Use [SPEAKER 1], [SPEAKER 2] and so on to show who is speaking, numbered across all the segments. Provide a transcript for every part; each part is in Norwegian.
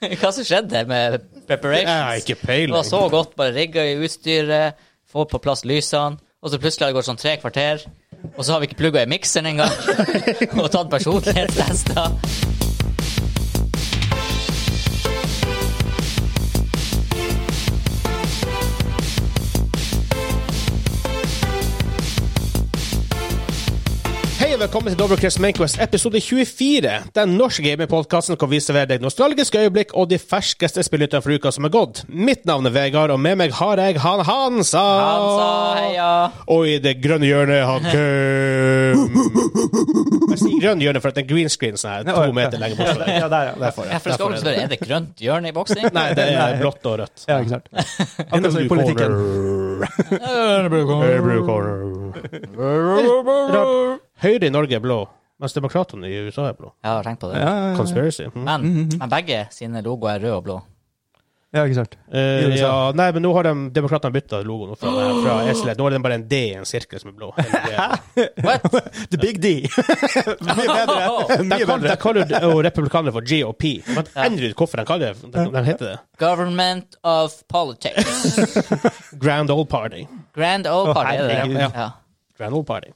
[SPEAKER 1] Hva som skjedde med preparations?
[SPEAKER 2] Jeg har ikke peiling.
[SPEAKER 1] Det var så godt, bare rigga i utstyret, få på plass lysene, og så plutselig har det gått sånn tre kvarter, og så har vi ikke plugga i mikseren engang, og tatt personlighetstester.
[SPEAKER 2] Hei og velkommen til Dobbeltkrets Mainquest episode 24. Den norske gamingpodkasten hvor vi serverer deg nostalgiske øyeblikk og de ferskeste spillnyttene for uka som er gått. Mitt navn er Vegard, og med meg har jeg han Hansa.
[SPEAKER 1] Han sa heia.
[SPEAKER 2] Og i det grønne hjørnet han Kim. Jeg sier grønne hjørne for at det er en green screen sånn her, to meter lenger bort. fra deg.
[SPEAKER 3] Ja, der, ja.
[SPEAKER 2] Derfor, ja.
[SPEAKER 1] Ja, for det skal
[SPEAKER 2] Derfor
[SPEAKER 1] også
[SPEAKER 2] er det.
[SPEAKER 1] være, Er det grønt hjørne i boksing?
[SPEAKER 2] Nei, det er blått og rødt.
[SPEAKER 3] ja, ikke sant. Akkurat som i politikken.
[SPEAKER 2] Rart. Høyre i Norge er blå, mens demokratene i USA er blå.
[SPEAKER 1] Jeg har tenkt på det.
[SPEAKER 3] Ja, ja, ja.
[SPEAKER 2] Conspiracy. Mm.
[SPEAKER 1] Men, men begge sine logoer er rød og blå.
[SPEAKER 3] ja, ikke sant.
[SPEAKER 2] Eh,
[SPEAKER 3] I USA.
[SPEAKER 2] ja, nei, men nå har de demokratene bytta logoen fra, fra SLED. Nå er det bare en D i en sirkel som er blå. eh, De,
[SPEAKER 1] What?
[SPEAKER 3] The big D. Mye bedre. Mye
[SPEAKER 2] kall, de
[SPEAKER 3] bedre.
[SPEAKER 2] kaller jo republikanere for GOP. Men endelig hvorfor de kaller det de, de heter det.
[SPEAKER 1] Government of Politics.
[SPEAKER 2] Grand Old Party.
[SPEAKER 1] Grand Old Party, er det
[SPEAKER 2] herregud.
[SPEAKER 1] det? Ja.
[SPEAKER 2] Grand Old Party.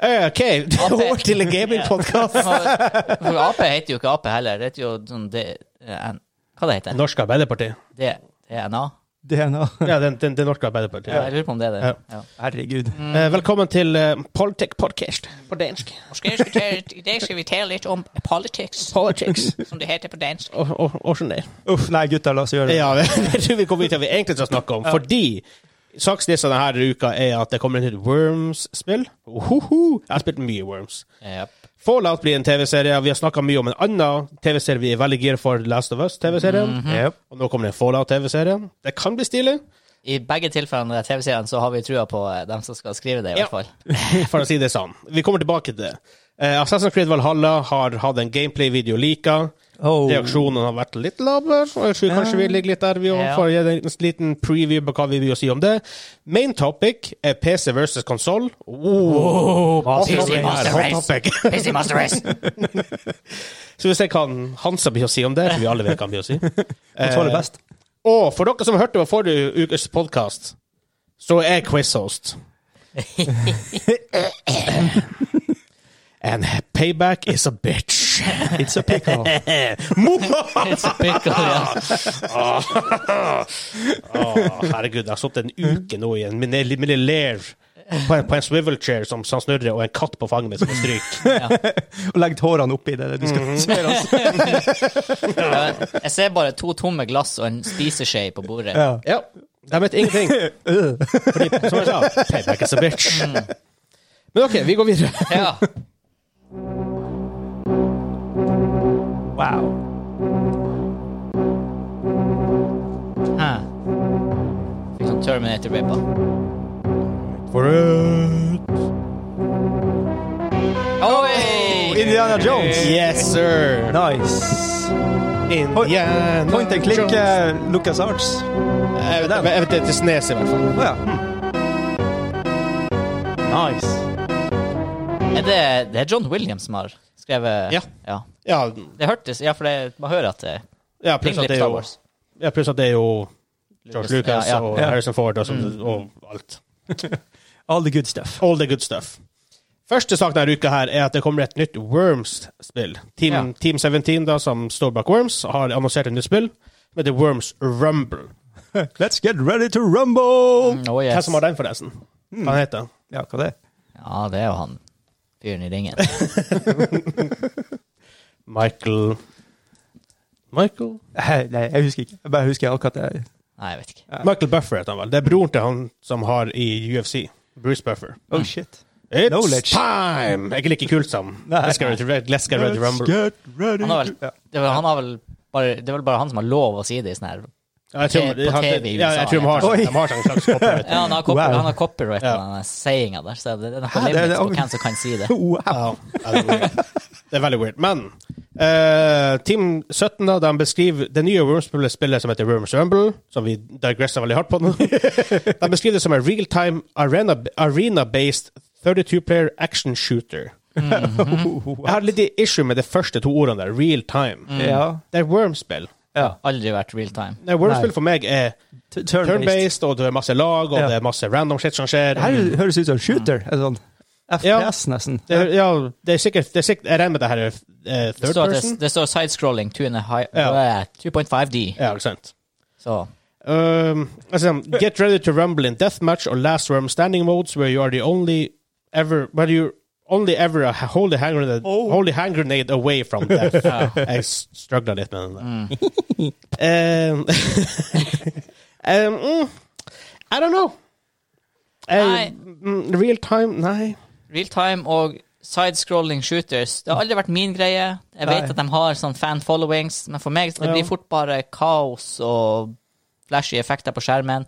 [SPEAKER 2] Eh, OK, over til en gamingpodkast.
[SPEAKER 1] For Ap heter jo ikke Ap heller. Det heter jo sånn D... N- Hva det heter det?
[SPEAKER 2] Norsk Arbeiderparti.
[SPEAKER 1] DNA?
[SPEAKER 3] DNA.
[SPEAKER 2] Ja, det, det, det norske Arbeiderpartiet.
[SPEAKER 1] Ja, jeg lurer på om det er det. Ja.
[SPEAKER 3] Herregud.
[SPEAKER 2] Eh, velkommen til uh, Politic Podcast på dansk.
[SPEAKER 1] I dag skal vi tale litt om politics,
[SPEAKER 2] Politics.
[SPEAKER 1] som det heter på dansk.
[SPEAKER 2] og, og, og sånn der.
[SPEAKER 3] Uff, nei, gutter, la oss gjøre det.
[SPEAKER 2] Ja, det tror vi kommer til det vi egentlig skal snakke om. Fordi sakslista denne uka er at det kommer et nytt Worms-spill. Ohoho! Jeg har spilt mye Worms. Fallout blir en TV-serie. Vi har snakka mye om en annen TV-serie vi er veldig gira for, Last of Us-TV-serien.
[SPEAKER 3] Jep.
[SPEAKER 2] Og nå kommer det en Fallout-TV-serie. Det kan bli stilig,
[SPEAKER 1] I begge tilfellene av TV-serien så har vi trua på eh, dem som skal skrive det, i
[SPEAKER 2] Ja.
[SPEAKER 1] hvert fall.
[SPEAKER 2] for å si det sånn. Vi kommer tilbake til det. Eh, Assassin's Creed Valhalla har hatt en gameplay-video lika.
[SPEAKER 3] Oh.
[SPEAKER 2] Reaksjonen har vært litt laber. og Jeg tror kanskje vi ligger litt der, vi òg,
[SPEAKER 1] Ja.
[SPEAKER 2] for å gi en liten preview på hva vi vil si om det. Main topic er PC versus konsoll. Oh, hot
[SPEAKER 1] PC
[SPEAKER 2] topic.
[SPEAKER 1] Master
[SPEAKER 2] Hot
[SPEAKER 1] Race.
[SPEAKER 2] topic.
[SPEAKER 1] Busy Master Race!
[SPEAKER 2] Så vi ser hva han- Hansa blir å si om det, for vi alle vet hva han blir å si.
[SPEAKER 3] Kontroll er best.
[SPEAKER 2] Og for dere som hørte på forrige ukes podkast, så er jeg quiz-host. And payback is a bitch.
[SPEAKER 3] It's a pickle.
[SPEAKER 1] It's a pickle, ja.
[SPEAKER 2] Åh, Ah. herregud, jeg har sittet en uke nå i en min min lille lair på en, på en swivel chair som, som snurrer, og en katt på fanget mitt som er stryk.
[SPEAKER 3] Og legg tårene oppi det. Du skal se oss.
[SPEAKER 1] Ja, Jeg ser bare to tomme glass og en spiseskje på bordet.
[SPEAKER 3] Ja.
[SPEAKER 2] Ja, de vet ingenting. Fordi, som jeg sa, payback is a bitch. Men OK, vi går videre.
[SPEAKER 1] Ja.
[SPEAKER 3] Wow.
[SPEAKER 1] Hæ. Fikk sånn Terminator-vibba. Oi!
[SPEAKER 3] Indiana Jones.
[SPEAKER 2] Yes, sir.
[SPEAKER 3] Nice.
[SPEAKER 2] Indiana
[SPEAKER 3] Point and click
[SPEAKER 2] Jones.
[SPEAKER 3] uh, Lucas Arts.
[SPEAKER 2] Jeg vet- Eh, jeg vet det er til Snes, i hvert fall.
[SPEAKER 3] Å ja. Hmm. Nice.
[SPEAKER 1] Er det, det er John Williams som har skrevet
[SPEAKER 2] Ja. Ja,
[SPEAKER 1] Det hørtes Ja, for det, man hører at det
[SPEAKER 2] ja, pluss at det er
[SPEAKER 1] Star
[SPEAKER 2] jo,
[SPEAKER 1] Wars.
[SPEAKER 2] ja, pluss at det er jo George Lucas
[SPEAKER 1] Ja, Mm. ja.
[SPEAKER 2] og
[SPEAKER 3] Ja.
[SPEAKER 2] Harrison Ford og, sånt, og alt.
[SPEAKER 3] All the good stuff.
[SPEAKER 2] All the good stuff. Første sak denne uka her er at det kommer et nytt Worms-spill. Team,
[SPEAKER 1] Ja.
[SPEAKER 2] Team 17, da, som står bak Worms, har annonsert et nytt spill med The Worms Rumble.
[SPEAKER 3] Let's get ready to rumble!
[SPEAKER 1] Oh,
[SPEAKER 2] Hvem
[SPEAKER 1] yes.
[SPEAKER 2] som har den, forresten? Hva heter den?
[SPEAKER 3] Ja, hva det er?
[SPEAKER 1] Ja, det er jo han fyren i ringen.
[SPEAKER 2] Michael Michael
[SPEAKER 3] Hei, Nei, jeg husker ikke. Jeg bare husker akkurat det.
[SPEAKER 1] Nei, jeg vet ikke.
[SPEAKER 2] Michael Buffer heter han vel. Det er broren til han som har i UFC. Bruce Buffer.
[SPEAKER 3] Oh shit.
[SPEAKER 2] It's
[SPEAKER 3] Knowledge.
[SPEAKER 2] time! Er ikke like kult som
[SPEAKER 3] Nei.
[SPEAKER 2] Let's get ready to let's get ready to rumble.
[SPEAKER 3] get ready
[SPEAKER 1] Han har vel,
[SPEAKER 3] Ja.
[SPEAKER 1] det, er vel, han har vel bare, det er vel bare han som har lov å si det i sånn her
[SPEAKER 2] Ja, jeg
[SPEAKER 1] På
[SPEAKER 2] tror,
[SPEAKER 1] TV i
[SPEAKER 2] han- ja, jeg
[SPEAKER 1] USA,
[SPEAKER 2] tror de har,
[SPEAKER 3] heter det.
[SPEAKER 2] de har sånn slags copyright.
[SPEAKER 1] Ja, han har, copy,
[SPEAKER 3] Wow.
[SPEAKER 1] han har copyright på
[SPEAKER 2] Ja.
[SPEAKER 1] den sayinga der, så det, det er noe
[SPEAKER 3] Hæ, det er-
[SPEAKER 1] limit
[SPEAKER 3] det er-
[SPEAKER 1] på hvem som kan si det.
[SPEAKER 3] Wow.
[SPEAKER 2] Ja, det er weird. det er veldig weird. Men eh, Team 17 da, de beskriver det nye Worms-spillet som heter Worms Rumble, som vi digresser veldig hardt på nå. De beskriver det som en real-time arena- arena-based 32-player action shooter.
[SPEAKER 3] Mm.
[SPEAKER 2] Jeg har litt issue med de første to ordene der. Real-time.
[SPEAKER 3] Mm. Ja.
[SPEAKER 2] Det er Worms-spill.
[SPEAKER 3] Ja.
[SPEAKER 1] Aldri vært real time.
[SPEAKER 2] Nei, Wormspill for meg er
[SPEAKER 3] T- Turn-based.
[SPEAKER 2] turn-based, og det er masse lag, og
[SPEAKER 3] Ja.
[SPEAKER 2] det er masse random shit som skjer.
[SPEAKER 3] Det her høres ut som shooter. En sånn FPS, nesten.
[SPEAKER 2] Det, er- ja, det er sikkert, det er sikkert Jeg regner med det her er eh,
[SPEAKER 1] Det står,
[SPEAKER 2] third
[SPEAKER 1] at det,
[SPEAKER 2] person.
[SPEAKER 1] det står sidescrolling 2.5D.
[SPEAKER 2] Ja. Ja, ikke sant.
[SPEAKER 1] Så
[SPEAKER 2] Um, altså, get ready to rumble in deathmatch or last worm standing modes where you are the only ever where you only ever a holy hand grenade,
[SPEAKER 3] Oh.
[SPEAKER 2] holy hand grenade away from death. Jeg struggla litt med den der. Um, um, mm, I don't know.
[SPEAKER 1] Nei.
[SPEAKER 2] Mm, real time? Nei.
[SPEAKER 1] real time og sidescrolling shooters Det har aldri vært min greie. Jeg vet
[SPEAKER 3] Nei.
[SPEAKER 1] at de har sånn fan followings, men for meg det
[SPEAKER 2] Ja.
[SPEAKER 1] blir fort bare kaos og flashy effekter på skjermen.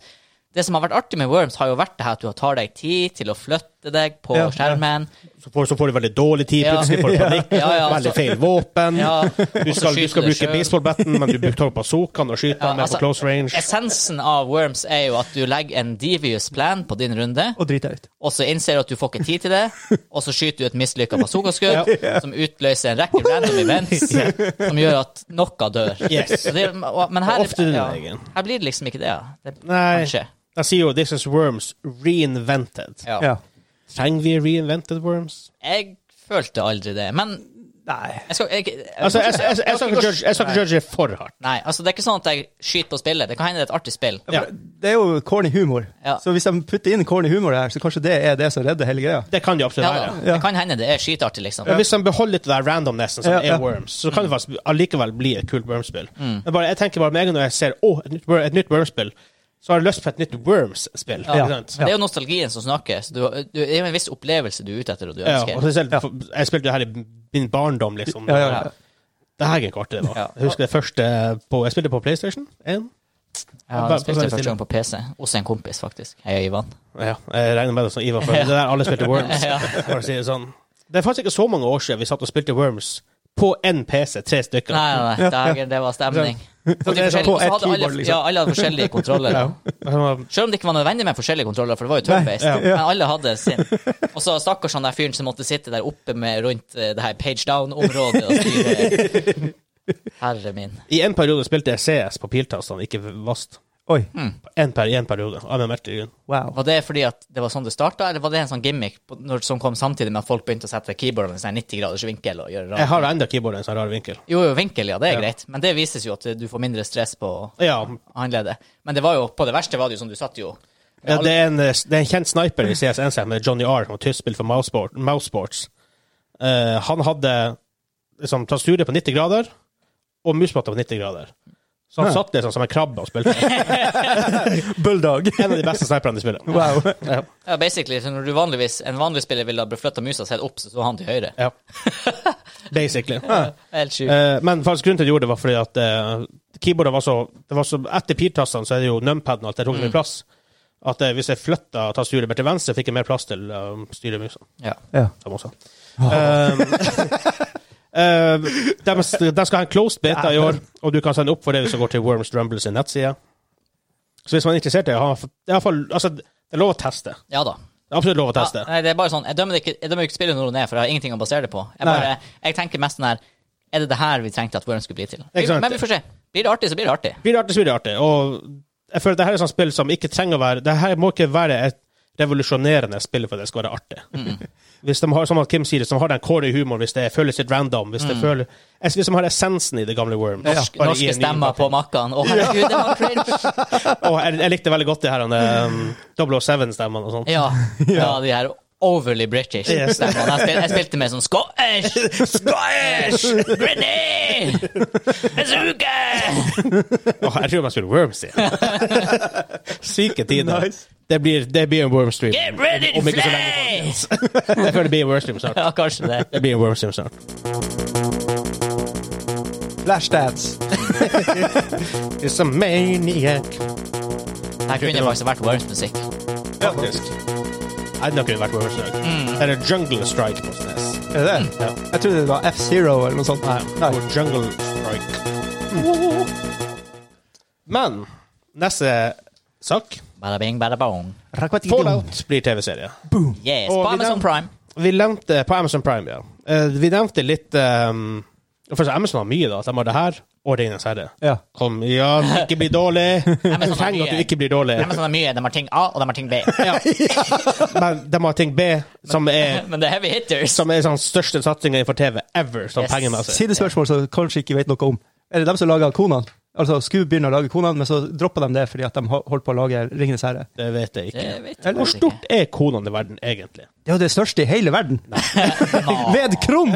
[SPEAKER 1] Det som har vært artig med Worms, har jo vært det her at du tar deg tid til å flytte deg på
[SPEAKER 3] Ja, ja.
[SPEAKER 1] skjermen.
[SPEAKER 2] Så får, så får du veldig dårlig tid,
[SPEAKER 1] Ja.
[SPEAKER 2] plutselig får du panikk,
[SPEAKER 1] Ja, ja,
[SPEAKER 2] veldig
[SPEAKER 1] så-
[SPEAKER 2] feil våpen.
[SPEAKER 1] Ja,
[SPEAKER 2] Du
[SPEAKER 1] og så
[SPEAKER 2] skal, du
[SPEAKER 1] skyter deg
[SPEAKER 2] skal bruke
[SPEAKER 1] selv.
[SPEAKER 2] baseballbatten, men du tar bazookaen og skyter
[SPEAKER 1] Ja,
[SPEAKER 2] med
[SPEAKER 1] altså,
[SPEAKER 2] på close range.
[SPEAKER 1] Essensen av Worms er jo at du legger en devious plan på din runde.
[SPEAKER 3] Og drita ut.
[SPEAKER 1] og så innser du at du får ikke tid til det, og så skyter du et mislykka bazooka-skudd som utløser en rekke random events som gjør at noe dør.
[SPEAKER 2] Yes.
[SPEAKER 1] Så det, og, men her,
[SPEAKER 2] Og ofte den
[SPEAKER 1] ja,
[SPEAKER 2] veien.
[SPEAKER 1] her blir det liksom ikke det. ja. det
[SPEAKER 2] Nei.
[SPEAKER 1] Kanskje.
[SPEAKER 2] De sier jo 'This is Worms reinvented'.
[SPEAKER 1] Ja.
[SPEAKER 3] Ja.
[SPEAKER 2] Trenger vi reinvented Worms?
[SPEAKER 1] Jeg følte aldri det, men
[SPEAKER 3] Nei.
[SPEAKER 1] jeg skal jeg, jeg,
[SPEAKER 2] Altså, jeg, jeg, jeg, jeg skal ikke judge- jeg skal ikke judge det for hardt.
[SPEAKER 1] Nei, altså det er ikke sånn at jeg skyter på spillet. Det kan hende det er et artig spill.
[SPEAKER 2] Ja.
[SPEAKER 3] Det er jo corny humor.
[SPEAKER 1] Ja.
[SPEAKER 3] Så hvis de putter inn corny humor her, så kanskje det er det som redder hele greia.
[SPEAKER 2] Det kan de absolutt
[SPEAKER 1] Ja,
[SPEAKER 2] være.
[SPEAKER 1] det kan hende det er skitartig, liksom.
[SPEAKER 2] Men hvis de beholder litt av den randomnessen som
[SPEAKER 3] Ja, ja.
[SPEAKER 2] er Worms, så kan det faktisk allikevel bli et kult Worms-spill.
[SPEAKER 1] Mm.
[SPEAKER 2] Men bare- Jeg tenker bare med en gang når jeg ser «Åh, et nytt, Wor- et nytt Worms-spill, så har jeg lyst på et nytt Worms-spill.
[SPEAKER 1] Ja.
[SPEAKER 2] ikke sant?
[SPEAKER 1] Men Det er jo nostalgien som snakker. Så du, du, det er jo en viss opplevelse du er ute etter, og du
[SPEAKER 2] Ja,
[SPEAKER 1] ønsker.
[SPEAKER 2] og spesielt, Jeg spilte det her i min barndom, liksom.
[SPEAKER 3] Ja, ja,
[SPEAKER 1] Ja.
[SPEAKER 3] ja.
[SPEAKER 2] Det her er ikke artig, det var.
[SPEAKER 1] Ja.
[SPEAKER 2] Jeg husker det første på, Jeg spilte på PlayStation 1.
[SPEAKER 1] Ja,
[SPEAKER 2] Bare-
[SPEAKER 1] jeg spilte
[SPEAKER 2] bare
[SPEAKER 1] det første
[SPEAKER 2] stille.
[SPEAKER 1] gang på PC hos en kompis, faktisk. Hei, Ivan.
[SPEAKER 2] Ja, jeg regner med det som Ivar, for det der alle spilte Worms.
[SPEAKER 1] Ja.
[SPEAKER 2] Bare si det sånn. Det er faktisk ikke så mange år siden vi satt og spilte Worms på én PC, tre stykker.
[SPEAKER 1] Nei, nei, nei. Dager, det var stemning.
[SPEAKER 2] Og det er sånn,
[SPEAKER 1] Forskjellig- og så
[SPEAKER 3] ett
[SPEAKER 1] hadde alle,
[SPEAKER 3] keyboard, liksom.
[SPEAKER 1] ja, alle hadde forskjellige kontroller.
[SPEAKER 2] altså,
[SPEAKER 1] Selv om det ikke var nødvendig med forskjellige kontroller, for det var jo turn-based,
[SPEAKER 3] Nei, ja.
[SPEAKER 1] men alle hadde sin. Og så stakkars han der fyren som måtte sitte der oppe med rundt eh, det her page down-området og styre Herre min.
[SPEAKER 2] I en periode spilte jeg CS på piltastene, ikke Vast.
[SPEAKER 3] Oi.
[SPEAKER 2] En per, i en periode. Av en merkelig grunn.
[SPEAKER 3] Wow.
[SPEAKER 1] Var det fordi at det var sånn det starta, eller var det en sånn gimmick på, når, som kom samtidig med at folk begynte å sette keyboardene i sånn 90 graders vinkel og gjøre
[SPEAKER 2] Jeg
[SPEAKER 1] rart?
[SPEAKER 2] har enda keyboardet i en sånn rar vinkel.
[SPEAKER 1] Jo, jo, vinkel, ja, det er
[SPEAKER 2] Ja.
[SPEAKER 1] greit, men det vises jo at du får mindre stress på
[SPEAKER 2] Ja,
[SPEAKER 1] håndleddet. Men det var jo, på det verste var det jo som du satt jo
[SPEAKER 2] ja det, er en, eh, det er en kjent sniper i CS1 som heter Johnny R, som har tysk spill for Mouseport- Mousesports. Eh, han hadde liksom, tastaturet på 90 grader og musmatta på 90 grader. Så han
[SPEAKER 3] Ja.
[SPEAKER 2] satt liksom som en krabbe og spilte.
[SPEAKER 3] Bulldog.
[SPEAKER 2] En av de beste sniperne i spillet.
[SPEAKER 3] Wow.
[SPEAKER 1] Ja, basically, så når du vanligvis, En vanlig spiller ville ha flytta musa seg opp, så så han til høyre.
[SPEAKER 2] Ja. Basically.
[SPEAKER 1] Helt sjukt.
[SPEAKER 2] Eh, men faktisk grunnen til at jeg gjorde det, var fordi at eh, keyboardet var så, det var så Etter piltastene så er det jo numpaden og alt, det tok så mye plass. At eh, hvis jeg flytta tastaturet mer til venstre, fikk jeg mer plass til å styre musa.
[SPEAKER 1] Ja.
[SPEAKER 3] Ja.
[SPEAKER 2] som også. Um, eh, de, de skal ha en closed beta i år, og du kan sende opp for det hvis du går til Worms Rumble sin nettside. Så hvis man er interessert i det, har- det er i hvert fall- altså, det er lov å teste.
[SPEAKER 1] ja da.
[SPEAKER 2] Det er absolutt lov å
[SPEAKER 1] Ja,
[SPEAKER 2] teste.
[SPEAKER 1] nei, det er bare sånn, Jeg dømmer ikke, jeg dømmer ikke spillet når hun er, for jeg har ingenting å basere det på. Jeg, bare, jeg tenker mest sånn her Er det det her vi trengte at Worm skulle bli til? Vi-
[SPEAKER 2] Ikke sant.
[SPEAKER 1] Men vi får se. Blir det artig, så blir det artig.
[SPEAKER 2] Blir det artig, så blir det artig. Og jeg føler det her er sånn spill som ikke trenger å være Det her må ikke være et revolusjonerende spill for det skal være artig.
[SPEAKER 1] Mm.
[SPEAKER 2] Hvis de har, som at Kim sier, som har den corny humoren, hvis det føles litt random, hvis det føler eh, Hvis de har essensen i det gamle Worms.
[SPEAKER 1] Mm. Norsk,
[SPEAKER 2] bare i
[SPEAKER 1] norske
[SPEAKER 2] en ny
[SPEAKER 1] stemmer på makkene. Å, herregud, det var cringe!
[SPEAKER 2] Og jeg, jeg likte veldig godt de her um, 007-stemmene og sånt.
[SPEAKER 1] Ja, ja, de her overly British
[SPEAKER 2] Yes.
[SPEAKER 1] stemmene. Jeg, spil, jeg spilte med sånn Scottish! Scottish! Grenade! Bazooka!
[SPEAKER 2] Åh, jeg tror man skulle Worms i. Syke tider.
[SPEAKER 3] Nice.
[SPEAKER 2] Det, blir, det blir en Wormstream.
[SPEAKER 1] Get ready to
[SPEAKER 2] Om ikke så lenge,
[SPEAKER 1] fly!
[SPEAKER 2] Jeg føler det blir en Wormstream snart.
[SPEAKER 1] Ja, kanskje det.
[SPEAKER 2] Det blir en Wormstream snart.
[SPEAKER 3] Flashdance.
[SPEAKER 2] It's a maniac.
[SPEAKER 1] Her kunne det faktisk vært Worms-musikk.
[SPEAKER 2] Faktisk. Nei, det kunne vært Wormstrike.
[SPEAKER 1] Mm.
[SPEAKER 2] Det er Jungle Strike på SNES.
[SPEAKER 3] Er det det?
[SPEAKER 2] Ja.
[SPEAKER 3] Jeg trodde det var F-Zero eller noe sånt.
[SPEAKER 2] Nei. Og Jungle Strike. Men neste sak
[SPEAKER 1] Bada bing, bada bong.
[SPEAKER 2] Fallout blir TV-serie.
[SPEAKER 1] Yes,
[SPEAKER 2] Og
[SPEAKER 1] på
[SPEAKER 2] vi
[SPEAKER 1] Amazon
[SPEAKER 2] nevnte-
[SPEAKER 1] Prime.
[SPEAKER 2] Vi eh, nevnte på Amazon Prime, ja. Eh, vi nevnte litt um, for så Amazon har mye, da. at De har det her, Årringenes herre.
[SPEAKER 3] Ja.
[SPEAKER 2] Kom igjen, ikke bli dårlig.
[SPEAKER 1] men
[SPEAKER 2] Du
[SPEAKER 1] sånn er
[SPEAKER 2] trenger
[SPEAKER 1] mye.
[SPEAKER 2] at du ikke blir dårlig.
[SPEAKER 1] Nei, men sånn er mye. De har ting A, og de har ting B.
[SPEAKER 2] Men de har ting B, som er,
[SPEAKER 1] Men det er heavy hitters.
[SPEAKER 2] som er sånn største satsinga innenfor TV ever, sånn
[SPEAKER 1] Yes.
[SPEAKER 2] pengemessig.
[SPEAKER 3] Sidespørsmål som jeg kanskje ikke vet noe om. Er det dem som lager Konan? Altså skulle begynne å lage Konan, men så droppa de det fordi at de ho- holdt på å lage Ringenes herre.
[SPEAKER 2] Det vet jeg ikke.
[SPEAKER 1] Det vet jeg
[SPEAKER 2] Eller, Hvor
[SPEAKER 1] faktisk
[SPEAKER 2] stort er konene i verden, egentlig?
[SPEAKER 3] Det er jo det største i hele verden! Ved krom!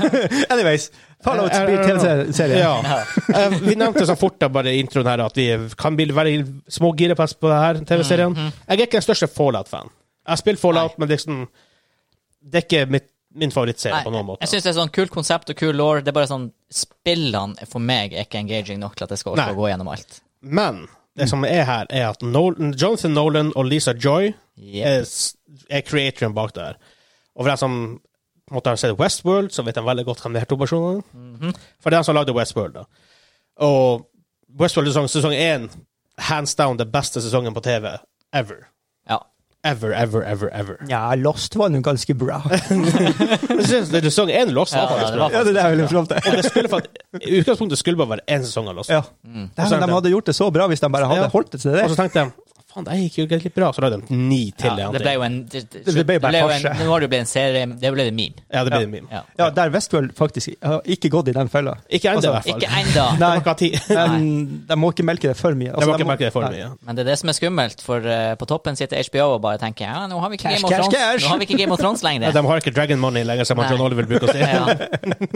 [SPEAKER 3] Anyways. Fallout
[SPEAKER 2] Eh, eh,
[SPEAKER 3] blir
[SPEAKER 2] eh,
[SPEAKER 3] TV-serie.
[SPEAKER 2] Ja. Eh, Vi nevnte så fort da bare i introen her at vi kan bli veldig små girepass på det her TV-serien.
[SPEAKER 1] Mhm.
[SPEAKER 2] Jeg er ikke den største Fallout-fan. Jeg har spilt Fallout, men liksom Det er ikke mitt, min favorittserie på noen
[SPEAKER 1] Nei,
[SPEAKER 2] måte.
[SPEAKER 1] jeg syns det er sånn kult konsept og kul law. Det er bare sånn Spillene for meg er ikke engaging nok til at jeg skal orke
[SPEAKER 2] Nei.
[SPEAKER 1] å gå gjennom alt.
[SPEAKER 2] Men det som er her, er at Nolan, Jonathan Nolan og Lisa Joy
[SPEAKER 1] Yep.
[SPEAKER 2] er, Eh, s- er creatoren bak det her. Og for dem som på en måte har sett Westworld, så vet de veldig godt hvem de her to personene er.
[SPEAKER 1] Mhm.
[SPEAKER 2] For det er de som lagde Westworld, da. Og Westworld sesong, sesong 1, hands down den beste sesongen på TV ever.
[SPEAKER 1] Ja.
[SPEAKER 2] Ever, ever, ever, ever.
[SPEAKER 3] Ja, Lost var nå ganske bra.
[SPEAKER 2] Jeg synes det er sesong 1 Lost var
[SPEAKER 1] Ja,
[SPEAKER 2] faktisk
[SPEAKER 1] det
[SPEAKER 2] bra.
[SPEAKER 1] var-
[SPEAKER 3] Ja, det er det jeg ville fram til.
[SPEAKER 2] Og det skulle faktisk, I utgangspunktet skulle det bare være én sesong av Lost.
[SPEAKER 3] Ja. Dæven, de hadde gjort det så bra hvis de bare
[SPEAKER 2] Ja.
[SPEAKER 3] hadde holdt det til det.
[SPEAKER 2] Og så tenkte jeg faen, det gikk jo egentlig bra, så lagde de ni til.
[SPEAKER 1] Ja,
[SPEAKER 2] eller
[SPEAKER 1] det
[SPEAKER 2] noe.
[SPEAKER 1] ble jo en Det, det,
[SPEAKER 3] Det ble bare
[SPEAKER 1] det jo en,
[SPEAKER 3] farse.
[SPEAKER 1] Nå har det jo blitt en serie. Det ble det meme.
[SPEAKER 2] Ja, det blir
[SPEAKER 3] Ja.
[SPEAKER 2] en meme.
[SPEAKER 1] Ja.
[SPEAKER 3] Ja, der Westworld faktisk har ikke gått i den fella.
[SPEAKER 2] Ikke ennå,
[SPEAKER 3] Altså,
[SPEAKER 2] i hvert fall.
[SPEAKER 1] Ikke ennå,
[SPEAKER 3] Nei.
[SPEAKER 2] Det var ikke tid.
[SPEAKER 3] Men de må ikke melke det for mye.
[SPEAKER 2] Jeg
[SPEAKER 3] Altså,
[SPEAKER 2] må
[SPEAKER 3] de
[SPEAKER 2] ikke merke det for
[SPEAKER 3] Nei.
[SPEAKER 2] mye.
[SPEAKER 1] men det er det som er skummelt, for eh, på toppen sitter HBO og bare tenker ja, nå har vi ikke
[SPEAKER 3] Cash,
[SPEAKER 1] Game of
[SPEAKER 3] cash,
[SPEAKER 1] Thrones
[SPEAKER 3] cash.
[SPEAKER 1] Nå har vi ikke Game of Thrones
[SPEAKER 2] Ja,
[SPEAKER 1] lenger.
[SPEAKER 2] de har ikke Dragon Money lenger, som John
[SPEAKER 1] Nei.
[SPEAKER 2] Oliver bruker å si.
[SPEAKER 1] Ja.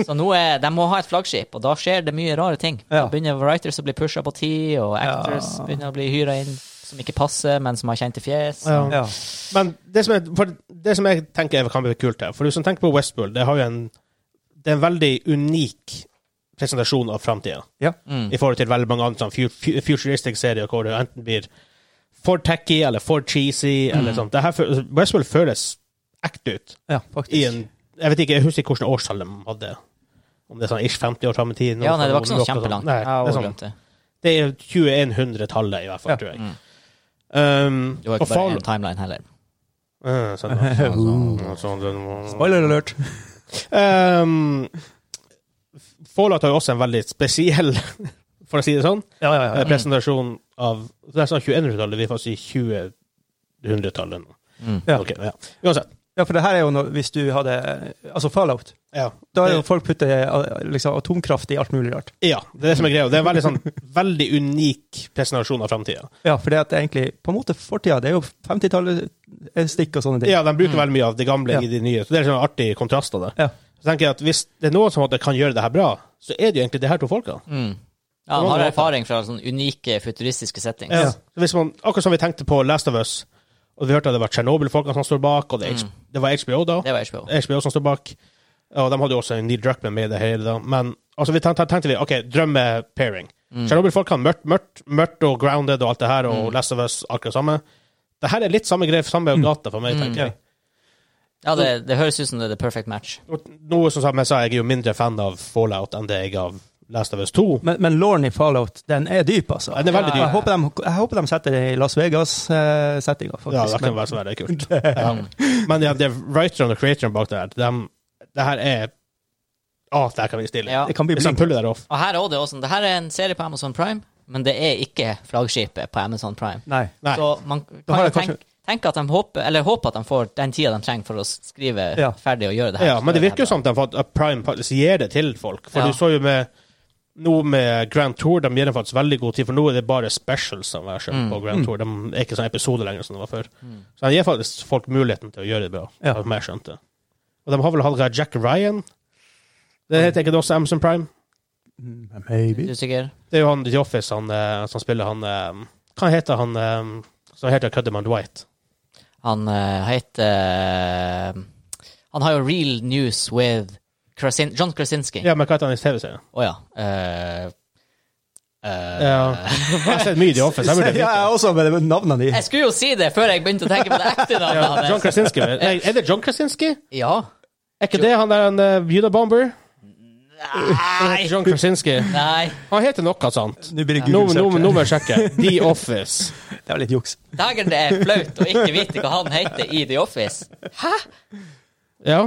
[SPEAKER 1] Så nå er, de må ha et flaggskip, og da skjer det mye rare ting. Da
[SPEAKER 3] Ja.
[SPEAKER 1] begynner writers å bli pusha på tid, og actors
[SPEAKER 3] Ja.
[SPEAKER 1] begynner å bli hyra inn som ikke passer, men som har kjente fjes.
[SPEAKER 2] Ja.
[SPEAKER 3] Ja.
[SPEAKER 2] Men det som, er, for det som jeg tenker er- kan bli kult her For du som tenker på Westworld, det, har jo en, det er en veldig unik presentasjon av framtida.
[SPEAKER 3] Ja.
[SPEAKER 1] Mm.
[SPEAKER 2] I forhold til veldig mange andre sånn fu- fu- futuristic serier hvor det enten blir for tacky eller for cheesy.
[SPEAKER 1] Mm.
[SPEAKER 2] Eller sånt. Det her, fø- Westworld føles ekte ut.
[SPEAKER 3] ja, faktisk.
[SPEAKER 2] I en, jeg vet ikke, jeg husker ikke hvilket årstall de hadde. Om det er sånn ish 50 år fram i tid.
[SPEAKER 1] Ja, nei, det var ikke sånn
[SPEAKER 2] Noe sånt.
[SPEAKER 1] kjempelangt.
[SPEAKER 2] Nei,
[SPEAKER 1] Jeg
[SPEAKER 2] det
[SPEAKER 1] har
[SPEAKER 2] er sånn
[SPEAKER 1] glemt det.
[SPEAKER 2] Det er 2100-tallet, i hvert fall,
[SPEAKER 3] Ja.
[SPEAKER 2] tror jeg.
[SPEAKER 1] Mm.
[SPEAKER 2] Um,
[SPEAKER 1] Det var
[SPEAKER 2] og
[SPEAKER 1] ikke bare
[SPEAKER 2] Fall-
[SPEAKER 1] en timeline heller.
[SPEAKER 2] Eh, sånn, sånn, sånn, sånn.
[SPEAKER 3] Uh. Spoiler alert.
[SPEAKER 2] Um, Fallout har jo også en veldig spesiell, for å si det sånn,
[SPEAKER 3] Ja, ja,
[SPEAKER 2] eh, presentasjon av Det er sånn 2100-tallet, vi får si 2000-tallet nå.
[SPEAKER 1] Mm.
[SPEAKER 3] Ja.
[SPEAKER 2] Ok, ja. Uansett.
[SPEAKER 3] Ja, for det her er jo når, hvis du hadde Altså Fallout.
[SPEAKER 2] Ja.
[SPEAKER 3] Da er jo
[SPEAKER 2] det,
[SPEAKER 3] folk putter eh, liksom, atomkraft i alt mulig rart.
[SPEAKER 2] ja, det er det som er greia. Det er en veldig, sånn, veldig unik presentasjon av framtida.
[SPEAKER 3] Ja, for det at det er egentlig på en måte fortida. Det er jo 50-tallet eh, stikk og sånne ting.
[SPEAKER 2] Ja, de bruker veldig mye av det gamle
[SPEAKER 3] Ja.
[SPEAKER 2] i de nye. Så det er sånn artig kontrast av det.
[SPEAKER 3] Ja.
[SPEAKER 2] Så tenker jeg at Hvis det er noen som på en måte kan gjøre det her bra, så er det jo egentlig det her to folka.
[SPEAKER 1] Mm. Ja, han har erfaring fra sånne unike, futuristiske settings.
[SPEAKER 2] Ja. Så Hvis man, akkurat som vi tenkte på Last of Us, og vi hørte at det var Tsjernobyl-folkene som står bak, og det, er X- det var HBO da,
[SPEAKER 1] Det var HBO.
[SPEAKER 2] HBO som står bak, og de hadde jo også Neil Druckmann med i det hele da, men altså, vi tenkte, tenkte vi, ok, drømme-pairing.
[SPEAKER 1] Mm.
[SPEAKER 2] Tsjernobyl-folkene, mørkt, mørkt, mørkt og grounded og alt det her, og Last of Us, akkurat samme. Det her er litt samme greie, samme gata for meg, tenker jeg.
[SPEAKER 1] Ja, det, det høres ut som det er the perfect match.
[SPEAKER 2] Og noe som som jeg sa, jeg er jo mindre fan av Fallout enn det jeg er av Last of Us 2.
[SPEAKER 3] Men, men Lauren i Fallout, den er dyp, altså.
[SPEAKER 2] Ja, den er veldig dyp.
[SPEAKER 3] Jeg håper de, jeg håper de setter det i Las Vegas-settinga,
[SPEAKER 2] Ja, det
[SPEAKER 3] faktisk.
[SPEAKER 2] kan være så veldig kult. Ja. Men ja, det er writeren og creatoren bak det her. De, det her er Å, det her kan vi stille.
[SPEAKER 1] Ja.
[SPEAKER 3] det kan bli
[SPEAKER 2] Hvis de
[SPEAKER 3] blink.
[SPEAKER 2] puller det off.
[SPEAKER 1] Og her er det også, det her er en serie på Amazon Prime, men det er ikke flaggskipet på Amazon Prime.
[SPEAKER 3] Nei.
[SPEAKER 2] Nei.
[SPEAKER 1] Så man
[SPEAKER 3] Da
[SPEAKER 1] kan
[SPEAKER 3] har
[SPEAKER 1] jo
[SPEAKER 3] jeg kanskje-
[SPEAKER 1] tenke, tenke at de håper, eller håper at de får den tida de trenger for å skrive
[SPEAKER 3] Ja.
[SPEAKER 1] ferdig og gjøre det her.
[SPEAKER 2] Ja, men det virker jo
[SPEAKER 1] Så
[SPEAKER 2] sånn. som de har fått at Prime faktisk gir det til folk. For
[SPEAKER 1] Ja.
[SPEAKER 2] du så jo med nå med Grand Tour, de gir dem faktisk veldig god tid, for nå er det bare specials som er
[SPEAKER 1] Mm.
[SPEAKER 2] skjønt på
[SPEAKER 3] Mm.
[SPEAKER 2] Grand Tour. De er ikke sånn episode lenger som det var før. Så de gir faktisk folk muligheten til å gjøre det bra,
[SPEAKER 3] Ja.
[SPEAKER 2] som jeg skjønte. Og de har vel hatt Jack Ryan. Det heter ikke det også Amazon Prime?
[SPEAKER 1] Er
[SPEAKER 3] Maybe.
[SPEAKER 1] du sikker?
[SPEAKER 2] Det er jo han i The Office han, eh, som spiller han eh, Hva heter han eh, som heter Cudderman Dwight?
[SPEAKER 1] Han eh, heter Han har jo Real News with Krasin John Krasinski. Å ja.
[SPEAKER 2] Ja, men hva heter han i TV-serien?
[SPEAKER 1] eh, eh,
[SPEAKER 2] Ja. Jeg har sett mye i The Office. Jeg
[SPEAKER 3] Ja,
[SPEAKER 2] burde
[SPEAKER 3] jeg
[SPEAKER 2] vite.
[SPEAKER 3] er også med navnene dine.
[SPEAKER 1] Jeg skulle jo si det før jeg begynte å tenke på det ekte navnet
[SPEAKER 2] John
[SPEAKER 1] hans.
[SPEAKER 2] Krasinski. vel? Nei, er det John Krasinski?
[SPEAKER 1] Ja.
[SPEAKER 2] Er ikke det han der en uh, Unabomber?
[SPEAKER 1] Nei.
[SPEAKER 2] John Krasinski.
[SPEAKER 1] Nei.
[SPEAKER 2] Han heter noe sånt.
[SPEAKER 3] Nå blir det
[SPEAKER 2] Nå, nå,
[SPEAKER 3] Google-søk.
[SPEAKER 2] nå må jeg sjekke. The Office.
[SPEAKER 3] Det er jo litt juks.
[SPEAKER 1] Dagen det er flaut å ikke vite hva han heter i The Office.
[SPEAKER 2] Ja.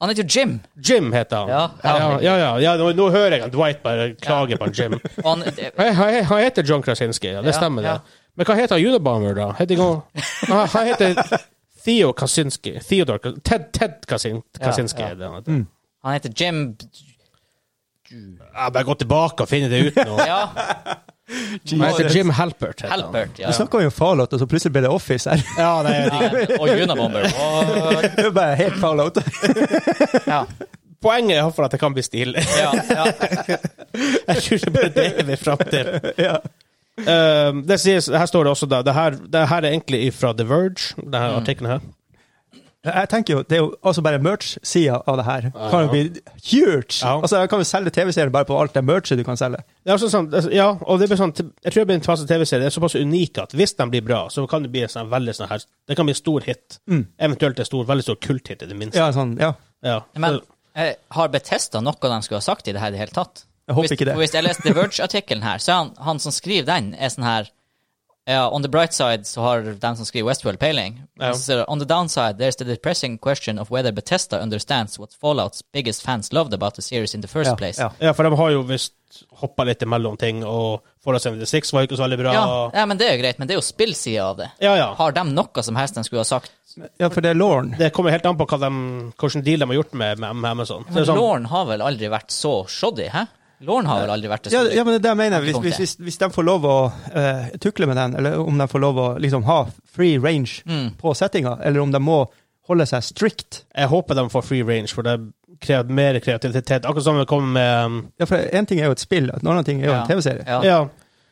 [SPEAKER 1] Han heter jo Jim.
[SPEAKER 2] Jim heter han.
[SPEAKER 1] Ja,
[SPEAKER 2] ja,
[SPEAKER 1] han-
[SPEAKER 2] ja, ja, ja, nå, nå hører jeg han Dwight bare klage på han Jim.
[SPEAKER 1] Og han, det,
[SPEAKER 2] Hei, hei, Han heter John Krasinski, ja, det
[SPEAKER 1] Ja,
[SPEAKER 2] stemmer det.
[SPEAKER 1] ja.
[SPEAKER 2] Men hva heter han Unabomber, da? Heter ikke han, Nei, han heter Theo Kaczynski. Theodor Ka- Ted, Ted Kazin, Kaczynski
[SPEAKER 1] Ja, ja.
[SPEAKER 2] er det han heter.
[SPEAKER 1] han heter Jim
[SPEAKER 2] Jeg bare gå tilbake og finne det ut nå.
[SPEAKER 1] Ja,
[SPEAKER 2] Han heter Jim Halpert. heter han.
[SPEAKER 1] Halpert. Ja.
[SPEAKER 3] Du snakka jo om Fallout, og så plutselig ble det Office her.
[SPEAKER 2] Ja, nei, jeg vet ikke.
[SPEAKER 1] Ja, Og Unabomber. Og,
[SPEAKER 3] Det er Bare helt Fallout.
[SPEAKER 1] ja,
[SPEAKER 2] Poenget er for at det kan bli stille.
[SPEAKER 1] ja, ja.
[SPEAKER 2] Jeg tror det bare det vi er fram til.
[SPEAKER 3] ja.
[SPEAKER 2] Um, det sies, her står det også, da. Det her, det her er egentlig fra The Verge, denne artikkelen her.
[SPEAKER 3] Jeg tenker jo, Det er jo altså bare merch-sida av det her. Kan jo bli huge!
[SPEAKER 2] Ja.
[SPEAKER 3] Altså, Jeg kan jo selge TV-serier bare på alt det merchet du kan selge.
[SPEAKER 2] Det er også sånn, altså, ja, og det blir sånn, jeg tror det blir en fase TV-serie. Det er såpass unik at hvis de blir bra, så kan det bli en sånn veldig sånn her, det kan bli en stor hit. Eventuelt en stor, veldig stor kulthit, i det minste.
[SPEAKER 3] Ja, sånn, ja.
[SPEAKER 2] Ja.
[SPEAKER 1] Men
[SPEAKER 2] Så-
[SPEAKER 1] eh, har Bethesda noe de skulle ha sagt i det her i det hele tatt?
[SPEAKER 3] Jeg håper
[SPEAKER 1] hvis,
[SPEAKER 3] ikke det.
[SPEAKER 1] Hvis jeg leste The Verge-artikkelen her, så er han, han som skriver den, er sånn her ja, On the bright side så har den som skriver Westworld peiling.
[SPEAKER 2] Ja.
[SPEAKER 1] Og så sier det, On the downside there's the depressing question of whether Bethesda understands what Fallouts biggest fans loved about the series in the first
[SPEAKER 3] Ja,
[SPEAKER 1] place.
[SPEAKER 3] ja.
[SPEAKER 2] ja, for de har jo visst hoppa litt imellom ting, og Forrest 76 var jo ikke så veldig bra.
[SPEAKER 1] Ja,
[SPEAKER 2] Ja,
[SPEAKER 1] ja, men det er jo greit, men det er jo spillsida av det.
[SPEAKER 2] ja.
[SPEAKER 1] Har de noe som helst de skulle ha sagt?
[SPEAKER 3] ja, for det er Lauren.
[SPEAKER 2] Det kommer helt an på hva de, hvilken deal de har gjort med, med Amazon. Så det
[SPEAKER 1] Men
[SPEAKER 2] er sånn,
[SPEAKER 1] Lorne har vel aldri vært så shoddy, hæ? Lorne har vel aldri vært det
[SPEAKER 3] Ja,
[SPEAKER 1] shoddy?
[SPEAKER 3] ja, men det er det jeg mener. Hvis,
[SPEAKER 1] Antipunktet.
[SPEAKER 3] hvis, hvis, hvis de får lov å eh, tukle med den, eller om de får lov å liksom ha free range på settinga, eller om de må holde seg strict
[SPEAKER 2] jeg håper de får free range, for det krever mer kreativitet. Akkurat som det kommer med um,
[SPEAKER 3] Ja, for én ting er jo et spill, en annen ting er jo
[SPEAKER 1] Ja.
[SPEAKER 3] en TV-serie.
[SPEAKER 1] Ja.
[SPEAKER 2] Ja.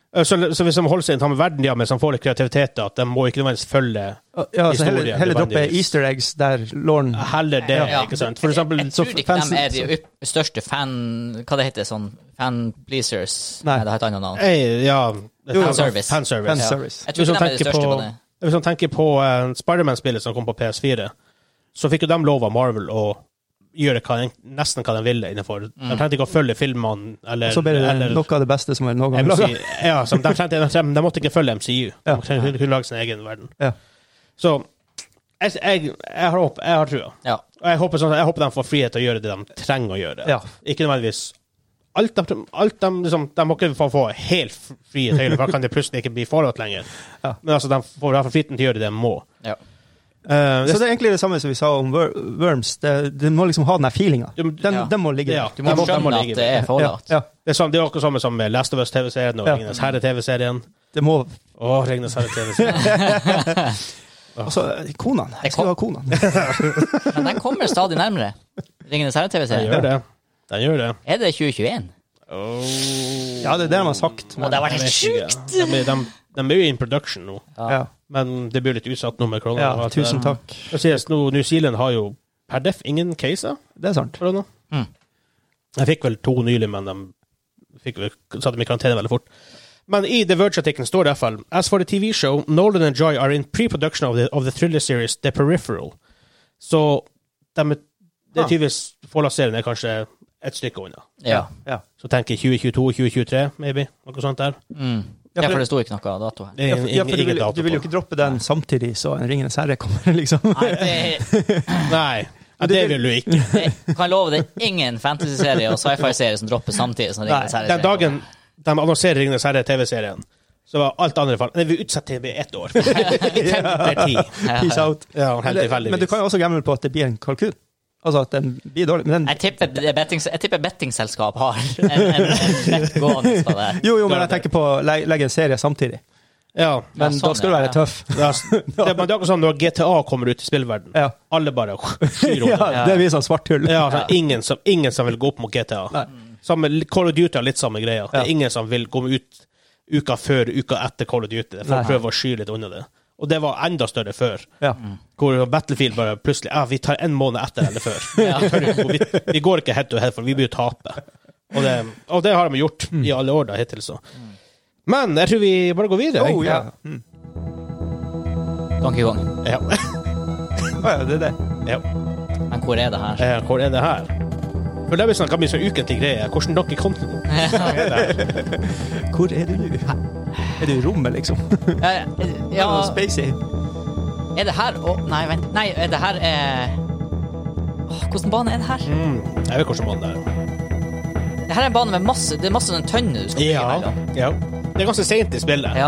[SPEAKER 2] Så, så hvis de holder seg innenfor verden, ja, mens de får litt kreativitet, da, at de må ikke nødvendigvis følge
[SPEAKER 3] Ja, så heller,
[SPEAKER 2] Historie,
[SPEAKER 3] heller droppe
[SPEAKER 2] nødvendigvis. Ah,
[SPEAKER 3] easter eggs der Lauren
[SPEAKER 2] heller det,
[SPEAKER 1] Ja.
[SPEAKER 2] ikke sant? For eksempel
[SPEAKER 1] Jeg
[SPEAKER 3] så
[SPEAKER 1] tror ikke
[SPEAKER 3] fansen-
[SPEAKER 1] de er de ypp- største fan... Hva det heter sånn? Fan pleasers? Nei,
[SPEAKER 3] Nei.
[SPEAKER 1] det har et annet navn.
[SPEAKER 2] eh, Ja.
[SPEAKER 1] Fanservice.
[SPEAKER 2] Fanservice.
[SPEAKER 3] Fanservice.
[SPEAKER 1] Ja.
[SPEAKER 3] service.
[SPEAKER 1] Jeg tror
[SPEAKER 2] Hvis
[SPEAKER 1] ikke
[SPEAKER 2] man
[SPEAKER 1] de er de
[SPEAKER 2] tenker
[SPEAKER 1] største på,
[SPEAKER 2] på,
[SPEAKER 1] det.
[SPEAKER 2] hvis man tenker på eh, Spiderman-spillet som kom på PS4, så fikk jo de lov av Marvel å gjøre hva, de- nesten hva de ville innenfor.
[SPEAKER 1] Mm.
[SPEAKER 2] De trengte ikke å følge filmene eller,
[SPEAKER 3] Så blir det
[SPEAKER 2] eller
[SPEAKER 3] noe av det beste som er noen gang laga.
[SPEAKER 2] MC, ja, som de, trengte, de, trengte, de måtte ikke følge MCU. De
[SPEAKER 3] Ja.
[SPEAKER 2] kunne, kunne lage sin egen verden.
[SPEAKER 3] Ja.
[SPEAKER 2] Så jeg, jeg, jeg, har, håp- jeg har trua.
[SPEAKER 1] Ja.
[SPEAKER 2] Og jeg håper, sånn, jeg håper de får frihet til å gjøre det de trenger å gjøre.
[SPEAKER 3] Ja.
[SPEAKER 2] Ikke nødvendigvis alt de, alt de, liksom, de må ikke få, få helt frie tøyler, for da kan det plutselig ikke bli forholdt lenger.
[SPEAKER 3] Ja.
[SPEAKER 2] Men altså, de får i hvert fall friheten til å gjøre det de må.
[SPEAKER 1] Ja.
[SPEAKER 2] Eh,
[SPEAKER 3] Så
[SPEAKER 2] det,
[SPEAKER 3] det er egentlig det samme som vi sa om Wor- Worms. Det, de må liksom ha den der feelinga.
[SPEAKER 2] Du-
[SPEAKER 3] Den,
[SPEAKER 1] ja.
[SPEAKER 3] den må ligge
[SPEAKER 2] Ja.
[SPEAKER 3] der.
[SPEAKER 1] Du må
[SPEAKER 2] De må- de må
[SPEAKER 1] skjønne
[SPEAKER 2] ligge
[SPEAKER 1] at det er fallout.
[SPEAKER 3] Ja, ja.
[SPEAKER 2] det er sånn, det er akkurat samme som med Last of Us-TV-serien og
[SPEAKER 3] Ja.
[SPEAKER 2] Ringenes herre-TV-serien.
[SPEAKER 3] Det må
[SPEAKER 2] Å, Ringenes herre-TV-serien.
[SPEAKER 3] Altså, konene. Jeg skal jo ha konene.
[SPEAKER 1] Men den kommer stadig nærmere. Ringenes
[SPEAKER 2] Den
[SPEAKER 1] herre-TV-serie.
[SPEAKER 2] gjør det. Den gjør det.
[SPEAKER 1] Er det 2021?
[SPEAKER 3] Ja, det er det de har sagt.
[SPEAKER 1] Og
[SPEAKER 3] Men,
[SPEAKER 1] det har vært
[SPEAKER 2] Jeg
[SPEAKER 1] helt
[SPEAKER 2] vet ikke.
[SPEAKER 1] sjukt!
[SPEAKER 2] De, er- de, de er jo in production nå,
[SPEAKER 3] ja.
[SPEAKER 2] men det blir jo litt utsatt nå med korona.
[SPEAKER 3] ja,
[SPEAKER 2] og alt det
[SPEAKER 3] tusen
[SPEAKER 2] der.
[SPEAKER 3] takk.
[SPEAKER 2] Det sies nå, New Zealand har jo per def ingen caser.
[SPEAKER 3] Det er sant.
[SPEAKER 2] korona.
[SPEAKER 1] Mm.
[SPEAKER 2] Jeg fikk vel to nylig, men de fikk vel, satte dem i karantene veldig fort. Men i The Verge-artikkelen står det i hvert fall As for the TV show, Nolan and Joy are in pre-production of the, of the thriller series The Peripheral. Så de, er- det
[SPEAKER 3] Ah.
[SPEAKER 2] er tydeligvis Fallout-serien er kanskje et stykke unna.
[SPEAKER 1] Ja.
[SPEAKER 3] Ja.
[SPEAKER 2] Så tenker jeg 2022-2023, maybe. Noe sånt der.
[SPEAKER 1] Mm.
[SPEAKER 3] Ja,
[SPEAKER 1] ja,
[SPEAKER 3] for-
[SPEAKER 1] for det sto ikke noe dato her.
[SPEAKER 2] Det er
[SPEAKER 3] Ja, for, ja, for du,
[SPEAKER 2] ingen
[SPEAKER 3] vil,
[SPEAKER 2] dato
[SPEAKER 3] du vil jo
[SPEAKER 2] på.
[SPEAKER 3] ikke droppe den samtidig så en Ringenes herre kommer, liksom.
[SPEAKER 1] Nei, det,
[SPEAKER 2] Nei, ja,
[SPEAKER 3] du
[SPEAKER 2] det
[SPEAKER 3] vil-
[SPEAKER 2] vil du ikke.
[SPEAKER 1] det kan love det er ingen fantasy-serie og sci-fi-serie som dropper samtidig som Ringenes herre.
[SPEAKER 2] Den dagen de annonserer Ringenes herre-TV-serien, så var alt andre fall Nei, vi utsetter det med ett år. Vi tenker ti.
[SPEAKER 3] Peace out.
[SPEAKER 2] Ja, helt
[SPEAKER 3] Eller,
[SPEAKER 2] tilfeldigvis.
[SPEAKER 3] men du kan jo også gamble på at det blir en kalkun. Altså at den blir dårlig. Men den,
[SPEAKER 1] Jeg tipper, det betting, jeg tipper bettingselskap har en, en, en bett gående på det. her.
[SPEAKER 3] jo, jo, men jeg tenker på å le- legge en serie samtidig.
[SPEAKER 2] Ja.
[SPEAKER 3] Men
[SPEAKER 1] Ja, sånn,
[SPEAKER 3] da skal du
[SPEAKER 1] ja,
[SPEAKER 3] være
[SPEAKER 1] ja.
[SPEAKER 3] tøff.
[SPEAKER 2] Ja, s- det, men det er akkurat sånn når GTA kommer ut i spillverden
[SPEAKER 3] Ja.
[SPEAKER 2] Alle bare skyr om det.
[SPEAKER 3] ja, det blir sånn svart hull.
[SPEAKER 2] Ja, altså, ingen, som, ingen som vil gå opp mot GTA.
[SPEAKER 3] Nei.
[SPEAKER 1] Mm.
[SPEAKER 2] Samme, Call of Duty har litt samme greia. Det
[SPEAKER 3] Ja.
[SPEAKER 2] er ingen som vil gå ut uka før uka etter Call of Duty.
[SPEAKER 3] Nei.
[SPEAKER 2] Folk prøver å sky litt unna det. Og det var enda større før.
[SPEAKER 3] Ja.
[SPEAKER 2] Hvor Battlefield bare plutselig ah, Vi tar en måned etter eller før. Vi tør ikke gå- Vi, vi går ikke head to head, for vi blir jo tape. Og det, og det har de gjort
[SPEAKER 3] Mm.
[SPEAKER 2] i alle år da, hittil. så Men jeg tror vi bare går videre. jeg.
[SPEAKER 3] Oh, ja. Mm.
[SPEAKER 1] Donkey Kong.
[SPEAKER 2] Ja.
[SPEAKER 3] Å, ja, det er det.
[SPEAKER 2] ja.
[SPEAKER 1] Men hvor er det her?
[SPEAKER 2] Eh, hvor er det her? For det er sånn, kan bli sånn ukentlig greie. Hvordan dere kom til det?
[SPEAKER 3] Hvor er du nå? Er du i rommet, liksom?
[SPEAKER 1] Eh, Ja,
[SPEAKER 3] Spacey.
[SPEAKER 1] er det her Å, nei, vent. Nei, er det her eh, Åh, Hvordan bane er det her?
[SPEAKER 2] Mm. Jeg vet hvordan måten det er.
[SPEAKER 1] Det her er en bane med masse Det er masse sånn tønner du skal bygge mellom.
[SPEAKER 2] ja. Det er ganske seint i spillet.
[SPEAKER 1] Ja.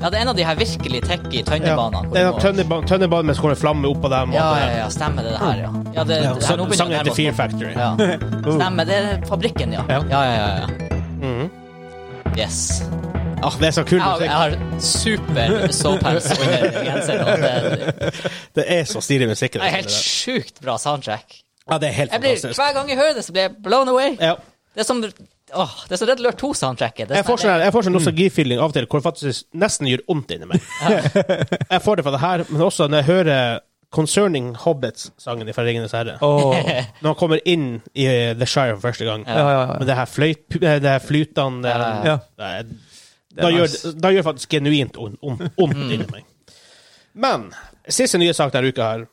[SPEAKER 1] ja, det er en av de her virkelig techy
[SPEAKER 2] Ja.
[SPEAKER 1] tønnebanene. hvor
[SPEAKER 2] Det er
[SPEAKER 1] du
[SPEAKER 2] en
[SPEAKER 1] må-
[SPEAKER 2] tønneban- tønnebane med skåret flamme oppå dem. og
[SPEAKER 1] ja,
[SPEAKER 2] alt det
[SPEAKER 1] ja,
[SPEAKER 2] der.
[SPEAKER 1] ja, stemmer det, det her, ja. ja, det,
[SPEAKER 2] Ja,
[SPEAKER 1] det her, nå
[SPEAKER 2] så-
[SPEAKER 1] begynner
[SPEAKER 2] Sangen
[SPEAKER 1] det å nærme
[SPEAKER 2] heter Fear
[SPEAKER 1] oss nå.
[SPEAKER 2] Factory.
[SPEAKER 1] Ja.
[SPEAKER 3] Oh.
[SPEAKER 1] Stemmer, det er fabrikken, ja.
[SPEAKER 2] Ja.
[SPEAKER 1] Ja, ja, ja. ja.
[SPEAKER 2] Mhm.
[SPEAKER 1] Yes.
[SPEAKER 2] Ah, det er så kul
[SPEAKER 1] Jeg har,
[SPEAKER 2] musikk.
[SPEAKER 1] jeg har super såpels under genseren. og Det
[SPEAKER 2] Det er så stilig musikk. i
[SPEAKER 1] det
[SPEAKER 2] det
[SPEAKER 1] er helt
[SPEAKER 2] spillet
[SPEAKER 1] sjukt bra soundtrack.
[SPEAKER 2] der. Ja, det er helt
[SPEAKER 1] Jeg blir,
[SPEAKER 2] fantastisk.
[SPEAKER 1] hver gang jeg hører det, så blir jeg blown away.
[SPEAKER 2] Ja.
[SPEAKER 1] Det er som åh, det er så Red Alert 2-soundtracket. Det er
[SPEAKER 2] Jeg får
[SPEAKER 1] sånn-
[SPEAKER 2] sånn, jeg får sånn nostalgifeeling av og til hvor det faktisk nesten gjør vondt inni meg. Jeg får det fra det her, men også når jeg hører Concerning Hobbits-sangen fra Ringenes herre.
[SPEAKER 3] Åh.
[SPEAKER 2] Når han kommer inn i eh, The Shire for første gang,
[SPEAKER 1] Ja.
[SPEAKER 3] Ja, ja,
[SPEAKER 2] med
[SPEAKER 3] ja.
[SPEAKER 2] det her, fløyt, eh, det her flytene eh,
[SPEAKER 1] Ja,
[SPEAKER 3] ja.
[SPEAKER 2] Nei,
[SPEAKER 3] er
[SPEAKER 2] Da gjør
[SPEAKER 3] nice.
[SPEAKER 2] da gjør det faktisk genuint on- on- ondt
[SPEAKER 1] Mm.
[SPEAKER 2] inni meg. Men siste nye sak denne uka her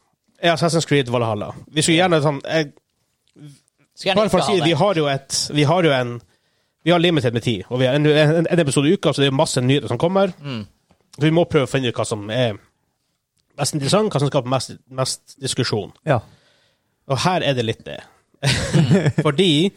[SPEAKER 2] er Assassin's Creed Valhalla. Vi skulle gjerne sånn jeg,
[SPEAKER 1] Skulle gjerne
[SPEAKER 2] Bare for å
[SPEAKER 1] ikke
[SPEAKER 2] si det,
[SPEAKER 1] ha
[SPEAKER 2] vi har jo et Vi har jo en Vi har limited med tid, og vi har en, en, en episode i uka, så det er jo masse nyheter som kommer.
[SPEAKER 1] Mm.
[SPEAKER 2] Så vi må prøve å finne ut hva som er mest interessant, hva som skaper mest, mest diskusjon.
[SPEAKER 3] ja.
[SPEAKER 2] Og her er det litt det. Fordi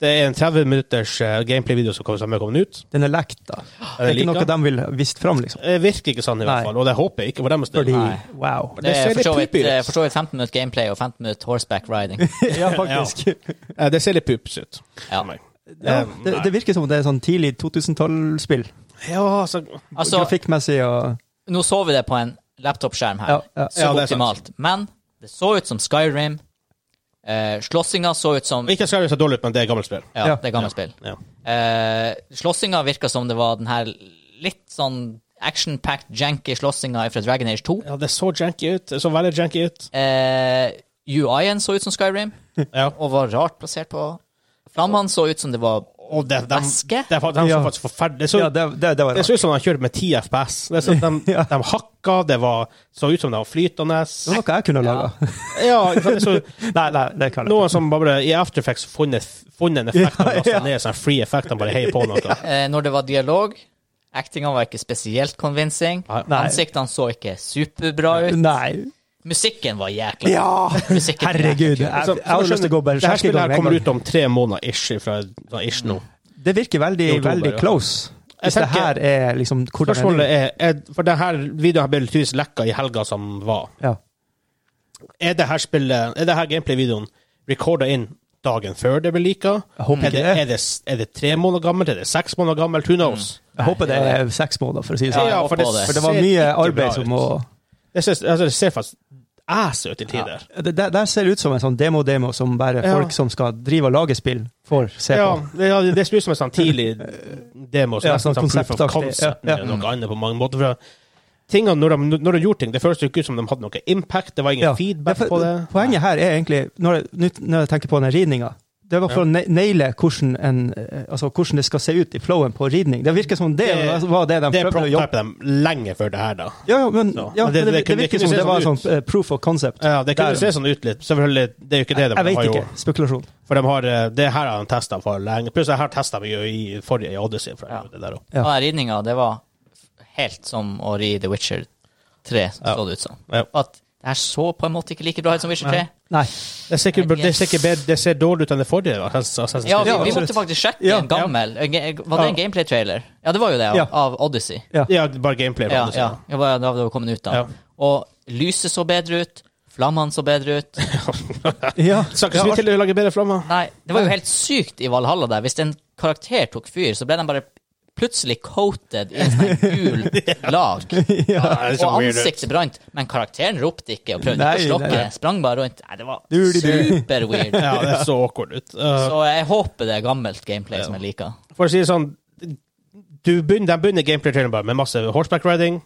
[SPEAKER 2] det er en 30 minutters eh, gameplay-video som kommer som er kommet ut.
[SPEAKER 3] Den er lekt, da. Det er
[SPEAKER 2] liker.
[SPEAKER 3] ikke noe de vil vist fram, liksom.
[SPEAKER 2] Det virker ikke sånn, i
[SPEAKER 3] Nei.
[SPEAKER 2] hvert fall. Og det håper jeg ikke for deres del.
[SPEAKER 3] Fordi
[SPEAKER 1] Nei.
[SPEAKER 3] Wow.
[SPEAKER 2] Det
[SPEAKER 1] Det
[SPEAKER 2] ser
[SPEAKER 1] er for
[SPEAKER 2] litt
[SPEAKER 1] så vidt-
[SPEAKER 2] creepy ut.
[SPEAKER 1] det er for så vidt 15 minutter gameplay og 15 minutter horseback riding.
[SPEAKER 3] Ja, faktisk.
[SPEAKER 2] Eh, Det ser litt pups ut.
[SPEAKER 1] Ja.
[SPEAKER 2] for meg.
[SPEAKER 3] Ja,
[SPEAKER 2] Eh,
[SPEAKER 3] det,
[SPEAKER 2] nei.
[SPEAKER 3] det virker som det er sånn tidlig 2012-spill.
[SPEAKER 2] ja, altså
[SPEAKER 1] Altså,
[SPEAKER 3] Grafikkmessig og
[SPEAKER 1] nå så vi det på en laptopskjerm her.
[SPEAKER 3] Ja, ja.
[SPEAKER 1] Så
[SPEAKER 2] Ja, det er sant.
[SPEAKER 1] optimalt. Men det så ut som Skyrim. Eh, slåssinga så ut som
[SPEAKER 2] Ikke skal det se dårlig ut, men det er gammelt spill.
[SPEAKER 1] Ja,
[SPEAKER 3] Ja.
[SPEAKER 1] det er gammelt spill.
[SPEAKER 2] Ja.
[SPEAKER 1] Eh, slåssinga virka som det var den her litt sånn action-packed, janky slåssinga fra Dragon Age 2.
[SPEAKER 2] ja, det så janky ut. Det så veldig janky ut.
[SPEAKER 1] Eh, UI-en så ut som Skyrim,
[SPEAKER 2] Ja.
[SPEAKER 1] og var rart plassert på Flammene så ut som det var
[SPEAKER 2] Og det, de,
[SPEAKER 1] Væske?
[SPEAKER 2] det, var- de så
[SPEAKER 3] Ja.
[SPEAKER 2] faktisk forferdelig det så,
[SPEAKER 3] Ja, det, det, det var
[SPEAKER 2] det
[SPEAKER 3] rart.
[SPEAKER 2] så ut som de kjørte med 10 FPS. Det så, de,
[SPEAKER 3] Ja.
[SPEAKER 2] de hakka, det var, så ut som de var flytende.
[SPEAKER 3] Det var noe jeg kunne laga.
[SPEAKER 2] Ja, ikke sant? det så,
[SPEAKER 3] Nei, nei, det kan jeg ikke.
[SPEAKER 2] noen som bare i After Effects funnet, funnet en effekt og lasta ned sånn free effect. De bare heier på noe.
[SPEAKER 1] Eh, når det var dialog, actinga var ikke spesielt convincing.
[SPEAKER 2] Nei.
[SPEAKER 3] Nei.
[SPEAKER 1] Ansiktene så ikke superbra ut.
[SPEAKER 3] Nei.
[SPEAKER 1] Musikken var jækla
[SPEAKER 3] Ja!
[SPEAKER 1] Musikken var
[SPEAKER 3] Herregud. Jeg,
[SPEAKER 1] jækla kul.
[SPEAKER 3] jeg har lyst til å gå
[SPEAKER 2] det her
[SPEAKER 3] berserk i
[SPEAKER 2] spillet
[SPEAKER 3] gang
[SPEAKER 2] her
[SPEAKER 3] med en
[SPEAKER 2] kommer
[SPEAKER 3] gang.
[SPEAKER 2] ut om tre måneder ish, fra, fra ish nå.
[SPEAKER 3] Det virker veldig,
[SPEAKER 2] I oktober,
[SPEAKER 3] veldig
[SPEAKER 2] ja.
[SPEAKER 3] close.
[SPEAKER 2] Jeg
[SPEAKER 3] Hvis det
[SPEAKER 2] tenker-
[SPEAKER 3] her er liksom hvordan det
[SPEAKER 2] Spørsmålet er, er For denne videoen her ble tydeligvis lekka i helga som var.
[SPEAKER 3] Ja.
[SPEAKER 2] Er det her spillet Er det her gameplay-videoen recorda inn dagen før det ble lika?
[SPEAKER 3] Jeg håper
[SPEAKER 2] Er det,
[SPEAKER 3] ikke det.
[SPEAKER 2] er, det, er det tre måneder gammelt? Er det seks måneder gammelt? Who knows?
[SPEAKER 3] Jeg håper det er seks måneder, for å si det
[SPEAKER 1] Ja,
[SPEAKER 3] sånn.
[SPEAKER 1] jeg håper det.
[SPEAKER 3] For det var
[SPEAKER 2] ser ikke
[SPEAKER 3] mye
[SPEAKER 2] bra
[SPEAKER 3] arbeid som
[SPEAKER 2] ut.
[SPEAKER 3] må
[SPEAKER 2] Det ser, altså, det ser faktisk ass ut i tider.
[SPEAKER 3] det, det, det ser ut som en sånn demo-demo som bare
[SPEAKER 2] Ja.
[SPEAKER 3] folk som skal drive og lage spill, får se
[SPEAKER 2] Ja,
[SPEAKER 3] på.
[SPEAKER 2] det, ja, det ser ut som en sånn tidlig demo. Så
[SPEAKER 3] Ja,
[SPEAKER 2] nesten sånn
[SPEAKER 3] sånn
[SPEAKER 2] proof of
[SPEAKER 3] konseptaktig,
[SPEAKER 2] concept
[SPEAKER 3] ja, ja.
[SPEAKER 2] eller noe annet på mange måter. For tingene, når, de, når de gjorde ting, det føltes jo ikke ut som de hadde noe impact. Det var ingen
[SPEAKER 3] Ja.
[SPEAKER 2] feedback
[SPEAKER 3] Ja, for
[SPEAKER 2] på det.
[SPEAKER 3] Poenget her er egentlig, når jeg, nyt- når jeg tenker på den ridninga det var for å ne- naile hvordan, en, eh, altså hvordan det skal se ut i flowen på ridning. Det virker som det,
[SPEAKER 2] Det-
[SPEAKER 3] var det de
[SPEAKER 2] Det
[SPEAKER 3] prøvde å jobbe
[SPEAKER 2] prototypet dem lenge før det her, da.
[SPEAKER 3] Ja, ja, men,
[SPEAKER 2] Så.
[SPEAKER 3] ja,
[SPEAKER 2] Men det-
[SPEAKER 3] men det,
[SPEAKER 2] det
[SPEAKER 3] det,
[SPEAKER 2] kunne- det
[SPEAKER 3] virker
[SPEAKER 2] kunne
[SPEAKER 3] som
[SPEAKER 2] se
[SPEAKER 3] det var
[SPEAKER 2] sånn
[SPEAKER 3] sånn eh, proof of concept.
[SPEAKER 2] Ja, det kunne
[SPEAKER 3] Der.
[SPEAKER 2] se sånn ut litt. Selvfølgelig, det er jo ikke det. de
[SPEAKER 3] Jeg vet
[SPEAKER 2] har jo-
[SPEAKER 3] ikke. Spekulasjon.
[SPEAKER 2] For de har, eh, det her har de testa for lenge. Pluss, det her testa vi jo i forrige i Odyssey. For
[SPEAKER 1] Ja.
[SPEAKER 2] det der også.
[SPEAKER 3] Ja.
[SPEAKER 1] Og den ridninga, det var helt som å ri The Witcher 3,
[SPEAKER 2] Ja.
[SPEAKER 1] så det ut som.
[SPEAKER 2] Ja.
[SPEAKER 1] At det her så på en måte ikke like bra ut som Witcher 3.
[SPEAKER 3] Nei.
[SPEAKER 2] Det ser ikke, det ser ikke bedre, det ser dårlig ut enn det forrige. da. Assassin's- Assassin's
[SPEAKER 1] Ja, vi,
[SPEAKER 2] Creed.
[SPEAKER 1] vi
[SPEAKER 3] absolutt.
[SPEAKER 1] måtte faktisk sjekke
[SPEAKER 3] Ja,
[SPEAKER 1] en gammel en ga- Var det
[SPEAKER 2] Ja.
[SPEAKER 1] en gameplay-trailer? Ja, det var jo det, av,
[SPEAKER 3] Ja.
[SPEAKER 1] av Odyssey.
[SPEAKER 2] ja, bare gameplay.
[SPEAKER 1] Ja,
[SPEAKER 2] faktisk.
[SPEAKER 1] ja. Det var da det var kommet ut, da.
[SPEAKER 2] Ja.
[SPEAKER 1] Og lyset så bedre ut. Flammene så bedre ut.
[SPEAKER 3] Ja.
[SPEAKER 2] Skal ikke vi til å lage bedre flammer?
[SPEAKER 1] Nei, det var jo helt sykt i Valhalla der. Hvis en karakter tok fyr, så ble den bare plutselig coated i en sånn gul lag.
[SPEAKER 2] Ja, det ser
[SPEAKER 1] og
[SPEAKER 2] weird ut.
[SPEAKER 1] ansiktet brant, men karakteren ropte ikke og prøvde
[SPEAKER 3] Nei,
[SPEAKER 1] ikke å slokke.
[SPEAKER 3] nei, nei.
[SPEAKER 1] Sprang bare rundt. Nei, det var
[SPEAKER 3] Du, du, du.
[SPEAKER 1] super weird.
[SPEAKER 2] Ja, det så awkward ut. Uh,
[SPEAKER 1] Så jeg håper det er gammelt gameplay som jeg liker.
[SPEAKER 2] for å si det sånn du begynner, De begynner gameplay-traileren bare med masse horseback riding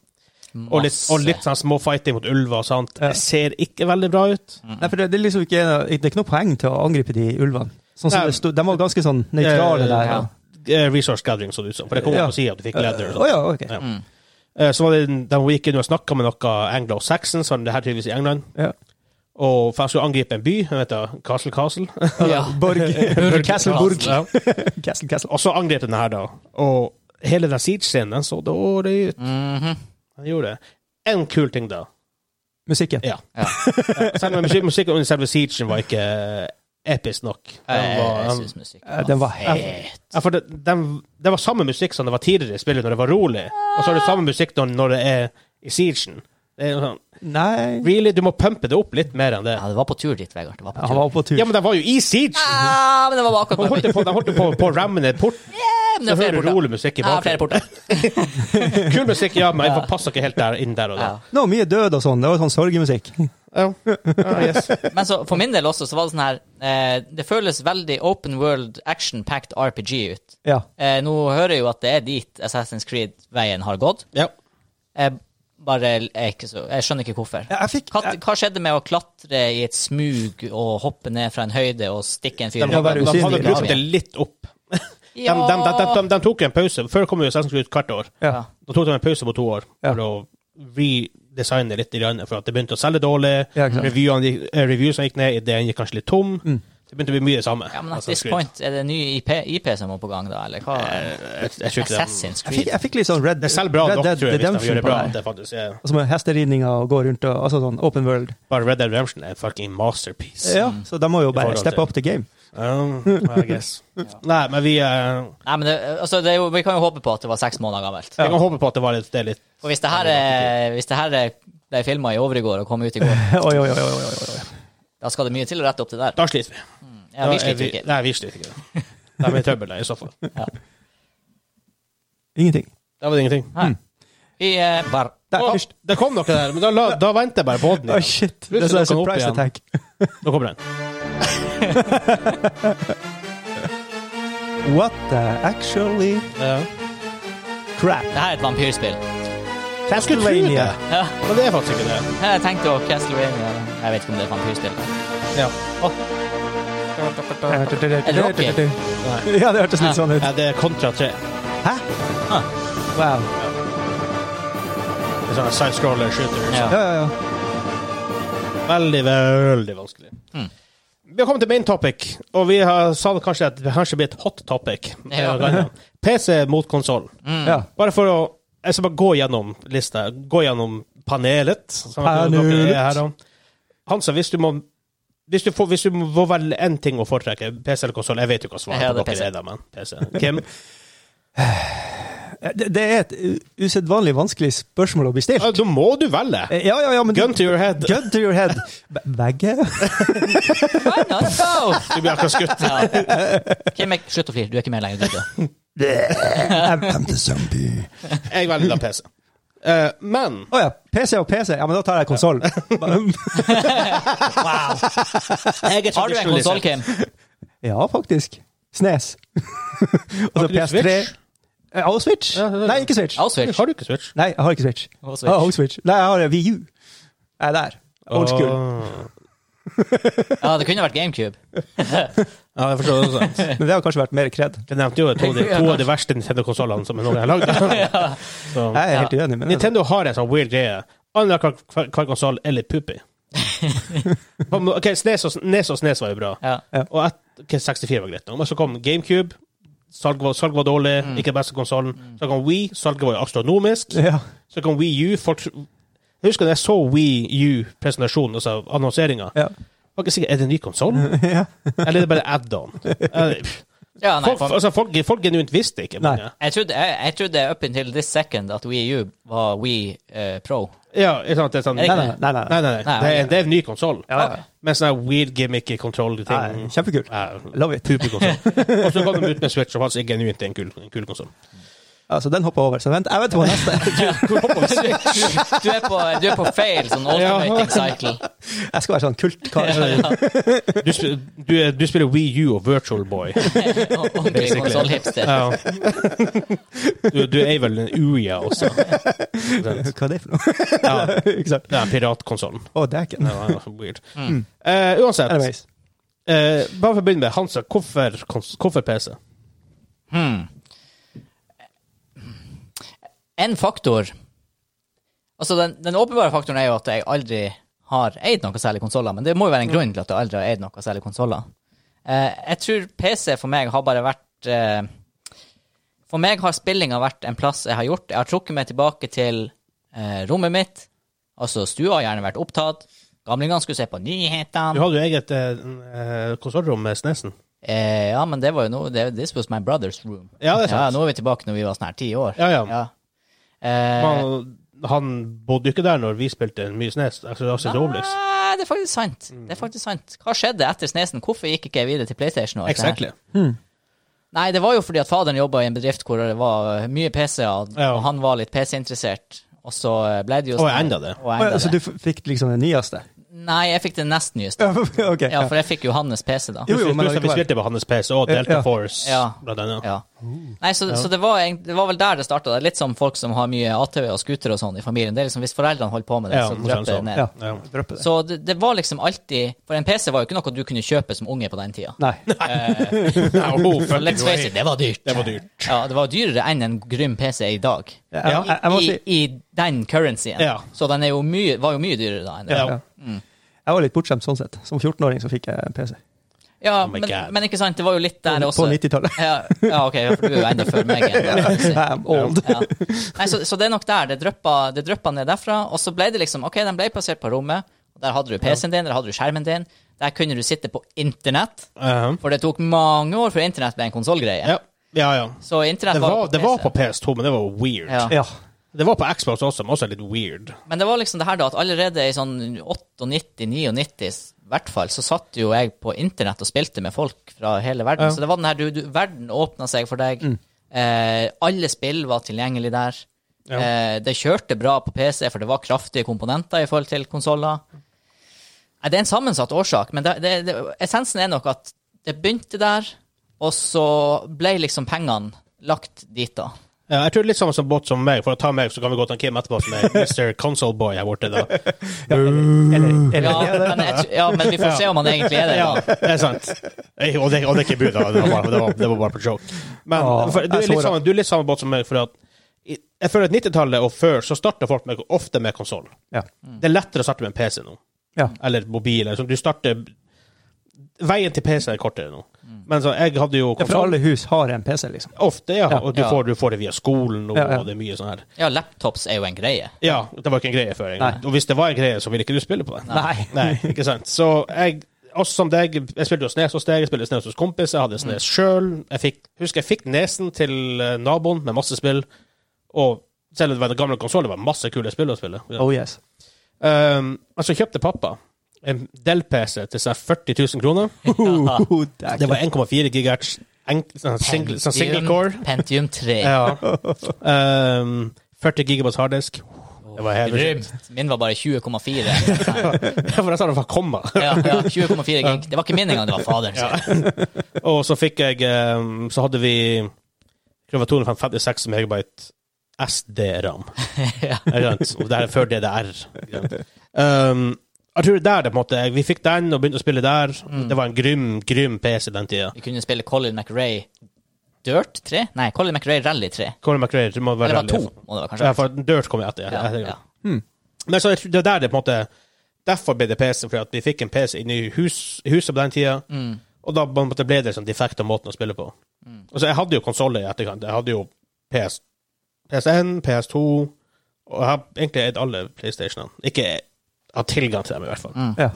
[SPEAKER 2] og litt, og litt sånn småfighting mot ulver og sånt.
[SPEAKER 3] Ja.
[SPEAKER 2] Det ser ikke veldig bra ut.
[SPEAKER 1] Mm.
[SPEAKER 3] Nei, for det, det er liksom ikke Det er ikke noe poeng til å angripe de ulvene. Sånn som
[SPEAKER 2] Nei.
[SPEAKER 3] det stod, De var ganske sånn nøytrale der.
[SPEAKER 1] Ja.
[SPEAKER 2] Eh, Resource gathering, så det ut som. For det kom
[SPEAKER 3] Ja.
[SPEAKER 2] opp og si at du fikk leather. og
[SPEAKER 3] Å ja, ok.
[SPEAKER 2] Ja. Eh, Så var det de hun gikk inn og snakka med noen anglo-saxons, var det her tydeligvis i England.
[SPEAKER 3] Ja.
[SPEAKER 2] Og for jeg skulle angripe en by, den heter Castle Castle.
[SPEAKER 1] Ja.
[SPEAKER 3] Borg.
[SPEAKER 1] Burg.
[SPEAKER 3] Castle Burg.
[SPEAKER 2] Ja.
[SPEAKER 3] Castle Castle.
[SPEAKER 2] Og så angrep den her, da. Og hele den siege-scenen den så dårlig ut.
[SPEAKER 1] Mhm.
[SPEAKER 2] Den gjorde det. En kul ting, da.
[SPEAKER 3] musikken.
[SPEAKER 2] Ja.
[SPEAKER 1] Ja.
[SPEAKER 2] Selv om musik- musikken under selve siegen var ikke episk nok. Den var,
[SPEAKER 1] Jeg
[SPEAKER 2] den,
[SPEAKER 1] syns musikk
[SPEAKER 3] Eh, Den var helt
[SPEAKER 1] Fet.
[SPEAKER 2] ja, for det, den, det var samme musikk som det var tidligere i spillet, når det var rolig. Og så er det samme musikk når, når det er i siegen. Det er jo sånn,
[SPEAKER 3] Nei
[SPEAKER 2] really, du må pumpe det opp litt mer enn det.
[SPEAKER 1] Ja, det var på tur dit, Vegard. Det var på
[SPEAKER 3] Han
[SPEAKER 1] tur.
[SPEAKER 3] var på tur.
[SPEAKER 2] Ja, men den var jo i siegen!
[SPEAKER 1] Ah, men det var bare
[SPEAKER 2] De
[SPEAKER 1] akkurat
[SPEAKER 2] holdt jo på, de holdt jo på, på å ramme ned porten.
[SPEAKER 1] Eh, men det
[SPEAKER 2] Så
[SPEAKER 1] er flere
[SPEAKER 2] hører du
[SPEAKER 1] porter.
[SPEAKER 2] rolig musikk i
[SPEAKER 1] Ja, flere
[SPEAKER 2] bakgrunnen.
[SPEAKER 1] porter.
[SPEAKER 2] Kul musikk, ja, men jeg passer ikke helt der, inn der og da.
[SPEAKER 1] Ja.
[SPEAKER 3] Nå, mye død og sånn. Det var sånn sørgemusikk.
[SPEAKER 2] Ja. Ja, Ah, yes.
[SPEAKER 1] Men så, for min del også, så var det sånn her eh, Det føles veldig open world, action-packed RPG ut.
[SPEAKER 3] Ja.
[SPEAKER 1] Eh, nå hører jeg jo at det er dit Assassin's Creed-veien har gått.
[SPEAKER 2] ja.
[SPEAKER 1] Jeg bare er ikke så Jeg skjønner ikke hvorfor.
[SPEAKER 3] Jeg fikk
[SPEAKER 1] Hva, hva skjedde med å klatre i et smug og hoppe ned fra en høyde og stikke en fyr
[SPEAKER 2] De,
[SPEAKER 1] i
[SPEAKER 3] må
[SPEAKER 2] hadde-
[SPEAKER 3] være
[SPEAKER 1] ryggen?
[SPEAKER 2] de hadde
[SPEAKER 3] usynlige.
[SPEAKER 2] brukt det litt opp. De, de, de, de, de, de tok en pause. Før kom jo Assassin's Creed hvert år.
[SPEAKER 3] Ja.
[SPEAKER 2] Da tok de en pause på to år
[SPEAKER 3] Ja.
[SPEAKER 2] for å redesigne litt, grann, for at det begynte å selge dårlig.
[SPEAKER 3] Ja, ikke sant.
[SPEAKER 2] Revyene gikk- eh, Reviewsene gikk ned, ideen gikk kanskje litt tom.
[SPEAKER 3] Mm.
[SPEAKER 2] Det begynte å bli mye det samme.
[SPEAKER 1] Ja, men at
[SPEAKER 2] Assassin's
[SPEAKER 1] this
[SPEAKER 2] Creed.
[SPEAKER 1] point, er det ny IP, IP som er på gang, da, eller hva?
[SPEAKER 2] Jeg, jeg tror ikke de,
[SPEAKER 1] Assassin's
[SPEAKER 3] Jeg fikk,
[SPEAKER 1] Creed.
[SPEAKER 3] jeg fikk litt sånn Red
[SPEAKER 2] det selger bra
[SPEAKER 3] Red
[SPEAKER 2] nok,
[SPEAKER 3] Dead
[SPEAKER 2] tror jeg, hvis de
[SPEAKER 3] Redemption
[SPEAKER 2] gjør det bra.
[SPEAKER 3] på
[SPEAKER 2] Det
[SPEAKER 3] det.
[SPEAKER 2] er faktisk, ja.
[SPEAKER 3] Altså med hesteridninger og gå rundt og altså sånn open world.
[SPEAKER 2] Bare Red Dead Redemption er en fucking masterpiece.
[SPEAKER 3] Ja, så da må jo
[SPEAKER 2] Mm. forhold
[SPEAKER 3] bare
[SPEAKER 2] til-
[SPEAKER 3] steppe up the game.
[SPEAKER 2] Um, I guess. Nei, men vi eh,
[SPEAKER 1] Nei, men det, altså, det er jo, vi kan jo håpe på at det var seks måneder gammelt.
[SPEAKER 2] Jeg kan håpe på at det var litt, det er litt
[SPEAKER 1] Og hvis det her, er- hvis det her er- ble filma i overgård og kom ut i går,
[SPEAKER 3] Oi, oi, oi, oi, oi, oi, oi.
[SPEAKER 1] da skal det mye til å rette opp det der.
[SPEAKER 2] Da sliter vi.
[SPEAKER 1] Ja, vi
[SPEAKER 2] Da er
[SPEAKER 1] sliter ikke.
[SPEAKER 2] Nei, vi sliter ikke. Da er vi i trøbbel, da, i så fall.
[SPEAKER 3] Ingenting.
[SPEAKER 2] Da var det ingenting.
[SPEAKER 1] Nei. Vi eh, bare
[SPEAKER 3] Der,
[SPEAKER 2] Å,
[SPEAKER 3] hysj.
[SPEAKER 2] det kom noe der, men da, la, da venter jeg bare på den.
[SPEAKER 3] Oi,
[SPEAKER 2] igjen.
[SPEAKER 3] shit. Det er
[SPEAKER 2] Plutselig dukker
[SPEAKER 3] sånn
[SPEAKER 2] den opp
[SPEAKER 3] surprise
[SPEAKER 2] igjen.
[SPEAKER 3] attack.
[SPEAKER 2] Nå kommer den.
[SPEAKER 3] What the actually
[SPEAKER 2] Ja.
[SPEAKER 3] crap?
[SPEAKER 1] Det her er et vampyrspill.
[SPEAKER 2] Jeg skulle tro det,
[SPEAKER 3] Castlevania.
[SPEAKER 1] Ja,
[SPEAKER 2] men det er faktisk ikke det.
[SPEAKER 1] jeg tenkte jo Castlevania Jeg vet ikke om det er et vampyrspill.
[SPEAKER 2] Ja.
[SPEAKER 1] det Rocky?
[SPEAKER 3] Ja, det hørtes litt sånn ut.
[SPEAKER 2] Ja, Ah. det er Kontra 3.
[SPEAKER 3] Hæ? Wow.
[SPEAKER 2] Det er sånn side-scroller shooter.
[SPEAKER 1] Ja.
[SPEAKER 3] Ja, ja, ja.
[SPEAKER 2] Veldig, veldig vanskelig.
[SPEAKER 1] Mm.
[SPEAKER 2] Vi har kommet til main topic, og vi har sa kanskje at det kanskje blir et hot topic.
[SPEAKER 1] Ja.
[SPEAKER 2] Eh, PC mot konsoll.
[SPEAKER 1] Mm.
[SPEAKER 3] ja.
[SPEAKER 2] Bare for å Jeg skal bare gå gjennom lista. Gå gjennom panelet. som at dere
[SPEAKER 3] Panelet.
[SPEAKER 2] er her da. Hansa, hvis du må hvis du, får, hvis du må velge én ting å foretrekke, PC eller konsoll Jeg vet jo hva svaret
[SPEAKER 1] Ja, det
[SPEAKER 2] på
[SPEAKER 1] er
[SPEAKER 2] dere
[SPEAKER 1] PC.
[SPEAKER 2] er, da, men PC. Kim?
[SPEAKER 3] Det, det er et u- usedvanlig vanskelig spørsmål å bli stilt.
[SPEAKER 2] Ja, da må du velge!
[SPEAKER 3] Ja, ja, ja, men
[SPEAKER 2] Gun to your head.
[SPEAKER 3] Gun to your head. Be- Begge?
[SPEAKER 1] Why not both?
[SPEAKER 2] Du blir akkurat skutt.
[SPEAKER 1] Ja. Kim, jeg- slutt å flire. Du er ikke med lenger. du, du.
[SPEAKER 3] I'm the zombie.
[SPEAKER 2] Jeg velger da PC. Eh, men
[SPEAKER 3] Å ja. PC og PC. Ja, men da tar jeg konsoll.
[SPEAKER 2] jeg er
[SPEAKER 1] Har du en konsoll, Kim?
[SPEAKER 3] Ja, faktisk. Snes. og så
[SPEAKER 2] Har ikke du Switch?
[SPEAKER 3] Ja, og Switch.
[SPEAKER 2] Ja, ja, ja.
[SPEAKER 3] Nei, ikke Switch.
[SPEAKER 1] Og Switch.
[SPEAKER 2] Har du ikke Switch?
[SPEAKER 3] Nei, jeg har ikke Switch.
[SPEAKER 1] Og Switch.
[SPEAKER 3] Ah, og Switch. Nei, jeg har VU. Jeg er der. Old school.
[SPEAKER 2] Åh.
[SPEAKER 1] Ja, det kunne vært GameCube.
[SPEAKER 2] Ja, jeg forstår det også.
[SPEAKER 3] Men det har kanskje vært mer kred.
[SPEAKER 2] Jeg nevnte jo to, av de- to av de verste Nintendo-konsollene som noen har lagd. Så.
[SPEAKER 3] Jeg er helt uenig med det.
[SPEAKER 2] Nintendo har en sånn weird greie. Annet hver, hver, hver konsoll eller puppy. ok, Snes og, Nes og Snes var jo bra.
[SPEAKER 1] Ja.
[SPEAKER 2] Og et, ok, 64 var greit. nå. Men så kom GameCube. Salget var, salget var dårlig. Ikke den beste konsollen. Så kom Wii. Salget var jo astronomisk.
[SPEAKER 3] Ja.
[SPEAKER 2] Så kom Wii U. Folk, jeg husker da jeg så Wii U-presentasjonen, altså annonseringa.
[SPEAKER 3] Ja.
[SPEAKER 2] Jeg var ikke sikker, Er det en ny konsoll,
[SPEAKER 3] ja.
[SPEAKER 2] eller er det bare add-on? Eh,
[SPEAKER 1] ja, nei,
[SPEAKER 2] Folk,
[SPEAKER 1] for,
[SPEAKER 2] altså, folk, folk genuint visste ikke.
[SPEAKER 3] Nei.
[SPEAKER 2] mange.
[SPEAKER 1] jeg trodde, jeg, jeg trodde up until this second at Wii U var Wii eh, Pro.
[SPEAKER 2] Ja, ikke sant? Det er sånn,
[SPEAKER 1] Er det
[SPEAKER 2] nei,
[SPEAKER 1] ikke
[SPEAKER 2] nei,
[SPEAKER 3] Nei, nei,
[SPEAKER 2] nei,
[SPEAKER 3] nei.
[SPEAKER 2] nei.
[SPEAKER 1] Nei,
[SPEAKER 2] Det, er,
[SPEAKER 1] ok.
[SPEAKER 2] det er en ny konsoll.
[SPEAKER 3] Ja, ja.
[SPEAKER 2] Med sånne weird gimmicky
[SPEAKER 3] Nei,
[SPEAKER 2] kontroll-ting.
[SPEAKER 3] Kjempekult. Love it.
[SPEAKER 2] Pupekonsoll. Og så kom de ut med Switch, og faktisk er genuint en kul, en kul konsoll.
[SPEAKER 3] Altså, den hopper jeg over. Så vent, jeg venter på neste.
[SPEAKER 1] Du er på, du er på feil sånn alternating cycle.
[SPEAKER 3] Jeg skal være sånn kultkar.
[SPEAKER 2] Du, sp- du, er- du spiller Wii U og Virtual Boy.
[SPEAKER 1] Ordentlig
[SPEAKER 2] Basically.
[SPEAKER 1] konsollhipster.
[SPEAKER 2] Ja. Du, du er vel en Uya også.
[SPEAKER 3] Hva er det for noe?
[SPEAKER 2] Ja,
[SPEAKER 3] Ikke sant?
[SPEAKER 2] ja piratkonsollen.
[SPEAKER 3] Å, dæken.
[SPEAKER 2] Det var altså Weird.
[SPEAKER 1] Mm.
[SPEAKER 2] Eh, uansett,
[SPEAKER 3] Anyways.
[SPEAKER 2] eh, bare for å begynne med, Hansa, hvorfor, kons- hvorfor PC?
[SPEAKER 1] Hmm. En faktor Altså, den, den åpenbare faktoren er jo at jeg aldri har eid noe særlig konsoller, men det må jo være en grunn til at jeg aldri har eid noe særlig konsoller. Eh, jeg tror PC for meg har bare vært eh, For meg har spillinga vært en plass jeg har gjort. Jeg har trukket meg tilbake til eh, rommet mitt, Altså, stua har gjerne vært opptatt. Gamlingene skulle se på
[SPEAKER 2] Du
[SPEAKER 1] nyhetene.
[SPEAKER 2] hadde jo eget uh, konsollrom med Snesen.
[SPEAKER 1] Eh, ja, men det var jo noe det, This was my brother's room.
[SPEAKER 2] Ja, det er
[SPEAKER 1] Ja,
[SPEAKER 2] sant.
[SPEAKER 1] nå er vi tilbake når vi var sånn her ti år.
[SPEAKER 2] Ja, ja.
[SPEAKER 1] Eh,
[SPEAKER 2] Man, han bodde jo ikke der når vi spilte mye Snes. Altså, altså,
[SPEAKER 1] Ah.
[SPEAKER 2] Rolex.
[SPEAKER 1] Nei, det er faktisk sant.
[SPEAKER 2] Mm.
[SPEAKER 1] Det er faktisk sant. Hva skjedde etter Snesen? Hvorfor gikk ikke jeg videre til PlayStation? og alt det her?
[SPEAKER 2] Exactly.
[SPEAKER 1] Nei, det var jo fordi at faderen jobba i en bedrift hvor det var eh, mye PC-er, og
[SPEAKER 2] Ja.
[SPEAKER 1] han var litt PC-interessert. Og så ble det jo
[SPEAKER 2] Og
[SPEAKER 1] sånn-
[SPEAKER 2] enda det.
[SPEAKER 1] Og enda
[SPEAKER 3] Så
[SPEAKER 1] det.
[SPEAKER 3] du f- fikk liksom det nyeste?
[SPEAKER 1] Nei, jeg fikk det nest nyeste.
[SPEAKER 3] ok.
[SPEAKER 1] Ja,
[SPEAKER 3] Ja,
[SPEAKER 1] for jeg fikk jo hans PC, da.
[SPEAKER 3] Jo, jo,
[SPEAKER 2] Plutselig
[SPEAKER 3] men
[SPEAKER 2] vi
[SPEAKER 3] allikevel.
[SPEAKER 2] spilte på hans PC og Delta
[SPEAKER 3] Ja.
[SPEAKER 2] Force,
[SPEAKER 1] Ja.
[SPEAKER 2] blant annet.
[SPEAKER 1] Ja. Nei, så, så det, var, egentlig- det var vel der det starta. Litt som folk som har mye ATV og scooter og sånn i familien. Det er liksom Hvis foreldrene holder på med det,
[SPEAKER 2] Ja,
[SPEAKER 1] så
[SPEAKER 2] sånn
[SPEAKER 1] drypper det
[SPEAKER 2] sånn.
[SPEAKER 1] ned.
[SPEAKER 3] ja.
[SPEAKER 2] Ja.
[SPEAKER 3] Dryppe det.
[SPEAKER 1] Så det, det var liksom alltid For en PC var jo ikke noe du kunne kjøpe som unge på den tida.
[SPEAKER 3] Nei.
[SPEAKER 2] Ja, oh,
[SPEAKER 1] Så
[SPEAKER 2] fucking
[SPEAKER 1] let's
[SPEAKER 2] way.
[SPEAKER 1] face it, det var dyrt.
[SPEAKER 2] Det var dyrt.
[SPEAKER 1] Ja, det var dyrere enn en grym PC i dag.
[SPEAKER 3] Jeg, jeg, jeg må si
[SPEAKER 1] I, I den currencyen.
[SPEAKER 2] Ja.
[SPEAKER 1] Så den er jo mye, var jo mye dyrere da enn det.
[SPEAKER 2] Ja.
[SPEAKER 3] ja. Jeg var litt bortskjemt sånn sett. Som 14-åring så fikk jeg en PC.
[SPEAKER 1] Ja,
[SPEAKER 2] Oh my
[SPEAKER 1] men,
[SPEAKER 2] God.
[SPEAKER 1] men ikke sant, det var jo litt der også.
[SPEAKER 3] På 90-tallet.
[SPEAKER 1] Ja, ja, ok, ja, for du er jo enda før meg. igjen, da.
[SPEAKER 3] I'm old.
[SPEAKER 1] Ja. Nei, så, så det er nok der. Det dryppa, det dryppa ned derfra. Og så ble det liksom OK, den ble plassert på rommet. og Der hadde du PC-en din, der hadde du skjermen din. Der kunne du sitte på internett.
[SPEAKER 2] Uh-huh.
[SPEAKER 1] For det tok mange år før internett ble en konsollgreie.
[SPEAKER 2] Ja, ja. ja.
[SPEAKER 1] Så internett
[SPEAKER 2] Det var,
[SPEAKER 1] jo
[SPEAKER 2] det var
[SPEAKER 1] PC.
[SPEAKER 2] på PS2, men det var weird.
[SPEAKER 1] Ja.
[SPEAKER 3] Ja.
[SPEAKER 2] Det var på Xbox også, men også litt weird.
[SPEAKER 1] Men det var liksom det her da, at allerede i sånn 98-99, i hvert fall, så satt jo jeg på internett og spilte med folk fra hele verden. Så det var den her, du, du, verden åpna seg for deg. Eh, alle spill var tilgjengelig der.
[SPEAKER 2] Ja.
[SPEAKER 1] Eh, det kjørte bra på PC, for det var kraftige komponenter i forhold til konsoller. Nei, Det er en sammensatt årsak, men det, det, det, essensen er nok at det begynte der, og så ble liksom pengene lagt dit da.
[SPEAKER 2] Ja, jeg tror litt samme som bot som meg. For å ta meg, så kan vi gå til Kim etterpå, som er Mr. Console Boy her borte. da.
[SPEAKER 3] Eller, eller,
[SPEAKER 1] Ja, men, jeg, tr- ja, men vi får se om han egentlig er det.
[SPEAKER 2] Ja,
[SPEAKER 1] da.
[SPEAKER 2] det er sant. Ei, Og det, og det er ikke bud, da. Det var bare, det var, det var bare på joke. Men
[SPEAKER 3] Åh,
[SPEAKER 2] for, du,
[SPEAKER 3] jeg
[SPEAKER 2] er
[SPEAKER 3] så
[SPEAKER 2] litt
[SPEAKER 3] det.
[SPEAKER 2] samme, du er litt samme båt som meg, for at i- jeg føler at 90-tallet og før så starter folk med, ofte med konsoll.
[SPEAKER 3] ja.
[SPEAKER 2] Det er lettere å starte med en PC nå.
[SPEAKER 3] Ja.
[SPEAKER 2] Eller mobil. Eller, sånn. du starter Veien til PC er kortere nå. Men så, jeg hadde jo
[SPEAKER 3] Mm. For
[SPEAKER 2] konsoll
[SPEAKER 3] alle hus har en PC, liksom.
[SPEAKER 2] ofte, ja.
[SPEAKER 3] Ja.
[SPEAKER 2] Og du
[SPEAKER 1] Ja.
[SPEAKER 2] får, du får det via skolen nå,
[SPEAKER 3] Ja, ja.
[SPEAKER 2] og det er mye sånn her.
[SPEAKER 1] Ja, laptops er jo en greie.
[SPEAKER 2] Ja, det var ikke en greie før. engang. Og hvis det var en greie, så ville ikke du spille på det.
[SPEAKER 3] Nei.
[SPEAKER 2] Nei, ikke sant. Så jeg, oss som deg, jeg spilte jo Snes hos deg, jeg spilte Snes hos kompis, jeg hadde Snes sjøl. Jeg fikk, husker jeg fikk nesen til eh, naboen med masse spill, og selv om det var en gammel konsoll, det var masse kule spill å spille.
[SPEAKER 3] Oh yes.
[SPEAKER 2] Um, men så kjøpte pappa en Dell-PC til sånn 40 000 kroner. Det var 1,4 gigahertz, enk- sånn single, sånn single core.
[SPEAKER 1] Pentium 3.
[SPEAKER 2] Ja. Um, 40 gigabytes harddisk. Det var helt
[SPEAKER 1] Grymt. Min var bare 20,4.
[SPEAKER 2] For jeg sa det var komma.
[SPEAKER 1] Ja, ja, 20,4 gig. Det var ikke min engang, det var faderen sin.
[SPEAKER 2] Og så fikk jeg ehm, Så hadde vi jeg tror det var 256 megabyte SD-ram.
[SPEAKER 1] Ja.
[SPEAKER 2] Ikke sant? Og det her er før DDR. ikke sant? Um, jeg tror det er der det på en måte Vi fikk den og begynte å spille der.
[SPEAKER 1] Mm.
[SPEAKER 2] Det var en grym, grym PC den tida.
[SPEAKER 1] Vi kunne spille Colin McRae Dirt 3? Nei, Colin McRae Rally 3.
[SPEAKER 2] Colin McRae det må
[SPEAKER 1] Eller
[SPEAKER 2] være
[SPEAKER 1] det var to, må det være,
[SPEAKER 2] Ja,
[SPEAKER 1] kanskje.
[SPEAKER 2] for Dirt kom jo etter.
[SPEAKER 1] Ja,
[SPEAKER 2] etter
[SPEAKER 1] ja.
[SPEAKER 2] Men så jeg tror det er der det på en måte Derfor ble det PC, fordi at vi fikk en PC inne i hus, huset på den tida. Og da på en måte ble det sånn defekt av måten å spille på. Og så Jeg hadde jo konsoller i etterkant. Jeg hadde jo PS, PS1, PS2 Og jeg har egentlig eid alle PlayStationene. Ikke hatt tilgang til dem, i hvert fall.
[SPEAKER 3] Ja.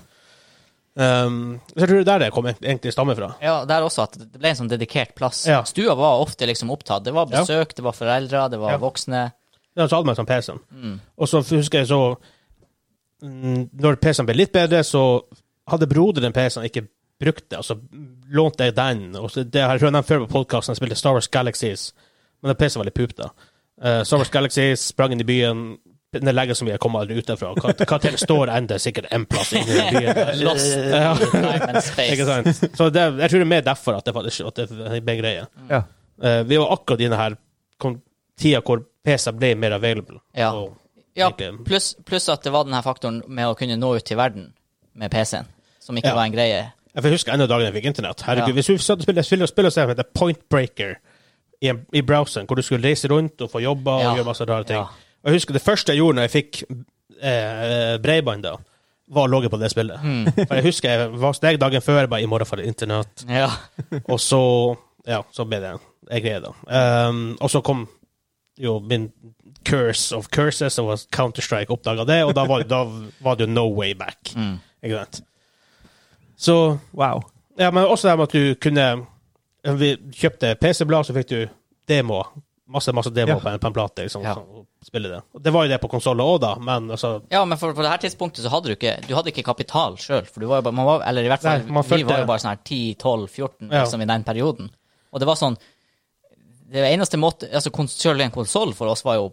[SPEAKER 2] Um, så jeg tror det er der det kom egentlig stammer fra.
[SPEAKER 1] Ja, der også at det ble en sånn dedikert plass.
[SPEAKER 2] Ja.
[SPEAKER 1] Stua var ofte liksom opptatt. Det var
[SPEAKER 2] Ja.
[SPEAKER 1] besøk, det var foreldre, det var
[SPEAKER 2] Ja.
[SPEAKER 1] voksne.
[SPEAKER 2] Ja, så hadde man sånn PC-en. Og så husker jeg så mm, Når PC-en ble litt bedre, så hadde broderen PC-en ikke brukt det, og så lånte jeg den. Og så, det har jeg nevnt før på podkasten, jeg spilte Star Wars Galaxies, men den PC-en var litt pup, da. Eh, Star Wars Galaxies sprang inn i byen. Den legger så mye, jeg kommer aldri ut derfra. Kar- Karakteren står enda sikkert en plass inni den byen.
[SPEAKER 1] Lost
[SPEAKER 2] Ja.
[SPEAKER 1] in time and
[SPEAKER 2] Ikke
[SPEAKER 1] space.
[SPEAKER 2] sant? Så det, jeg tror det er mer derfor at det faktisk at det ble en greie.
[SPEAKER 3] Ja.
[SPEAKER 2] Eh, vi var akkurat i denne her kon- tida hvor PC ble mer available.
[SPEAKER 1] Ja.
[SPEAKER 2] Og
[SPEAKER 1] Ja,
[SPEAKER 2] Ikke-
[SPEAKER 1] pluss pluss at det var den her faktoren med å kunne nå ut til verden med PC-en, som ikke
[SPEAKER 2] Ja.
[SPEAKER 1] var en greie.
[SPEAKER 2] jeg får huske enda dagen jeg fikk internett. Herregud,
[SPEAKER 1] Ja.
[SPEAKER 2] Hvis du satt og spilte spill og spill og som heter Point Breaker i, en, i browseren, hvor du skulle reise rundt og få jobber
[SPEAKER 1] Ja.
[SPEAKER 2] og gjøre masse rare ting
[SPEAKER 1] Ja.
[SPEAKER 2] Og Jeg husker det første jeg gjorde når jeg fikk eh, bredbånd, da, var å logge på det spillet.
[SPEAKER 1] Mm.
[SPEAKER 2] For jeg husker jeg var hos deg dagen før, bare i morgen får jeg internett.
[SPEAKER 1] Ja.
[SPEAKER 2] Og så Ja, så ble det en greie, da. Ehm, og så kom jo min curse of curses, som var Counter-Strike, oppdaga det, og da var, da var det jo no way back.
[SPEAKER 1] Mm.
[SPEAKER 2] Ikke sant? Så
[SPEAKER 3] Wow.
[SPEAKER 2] Ja, men også det med at du kunne Vi kjøpte PC-blad, så fikk du demo. Masse masse demo
[SPEAKER 3] Ja.
[SPEAKER 2] på, en, på en plate. liksom,
[SPEAKER 1] Ja.
[SPEAKER 2] sånn, og spille Det Og det var jo det på konsoller òg, da, men altså
[SPEAKER 1] Ja, men for, på det her tidspunktet så hadde du ikke Du hadde ikke kapital sjøl, for du var jo bare man var, Eller i hvert fall,
[SPEAKER 2] Nei, man
[SPEAKER 1] vi
[SPEAKER 2] følte-
[SPEAKER 1] var jo bare sånn her 10-12-14
[SPEAKER 2] Ja.
[SPEAKER 1] liksom, i den perioden. Og det var sånn Det eneste måte Altså, kons- sjøl en konsoll for oss var jo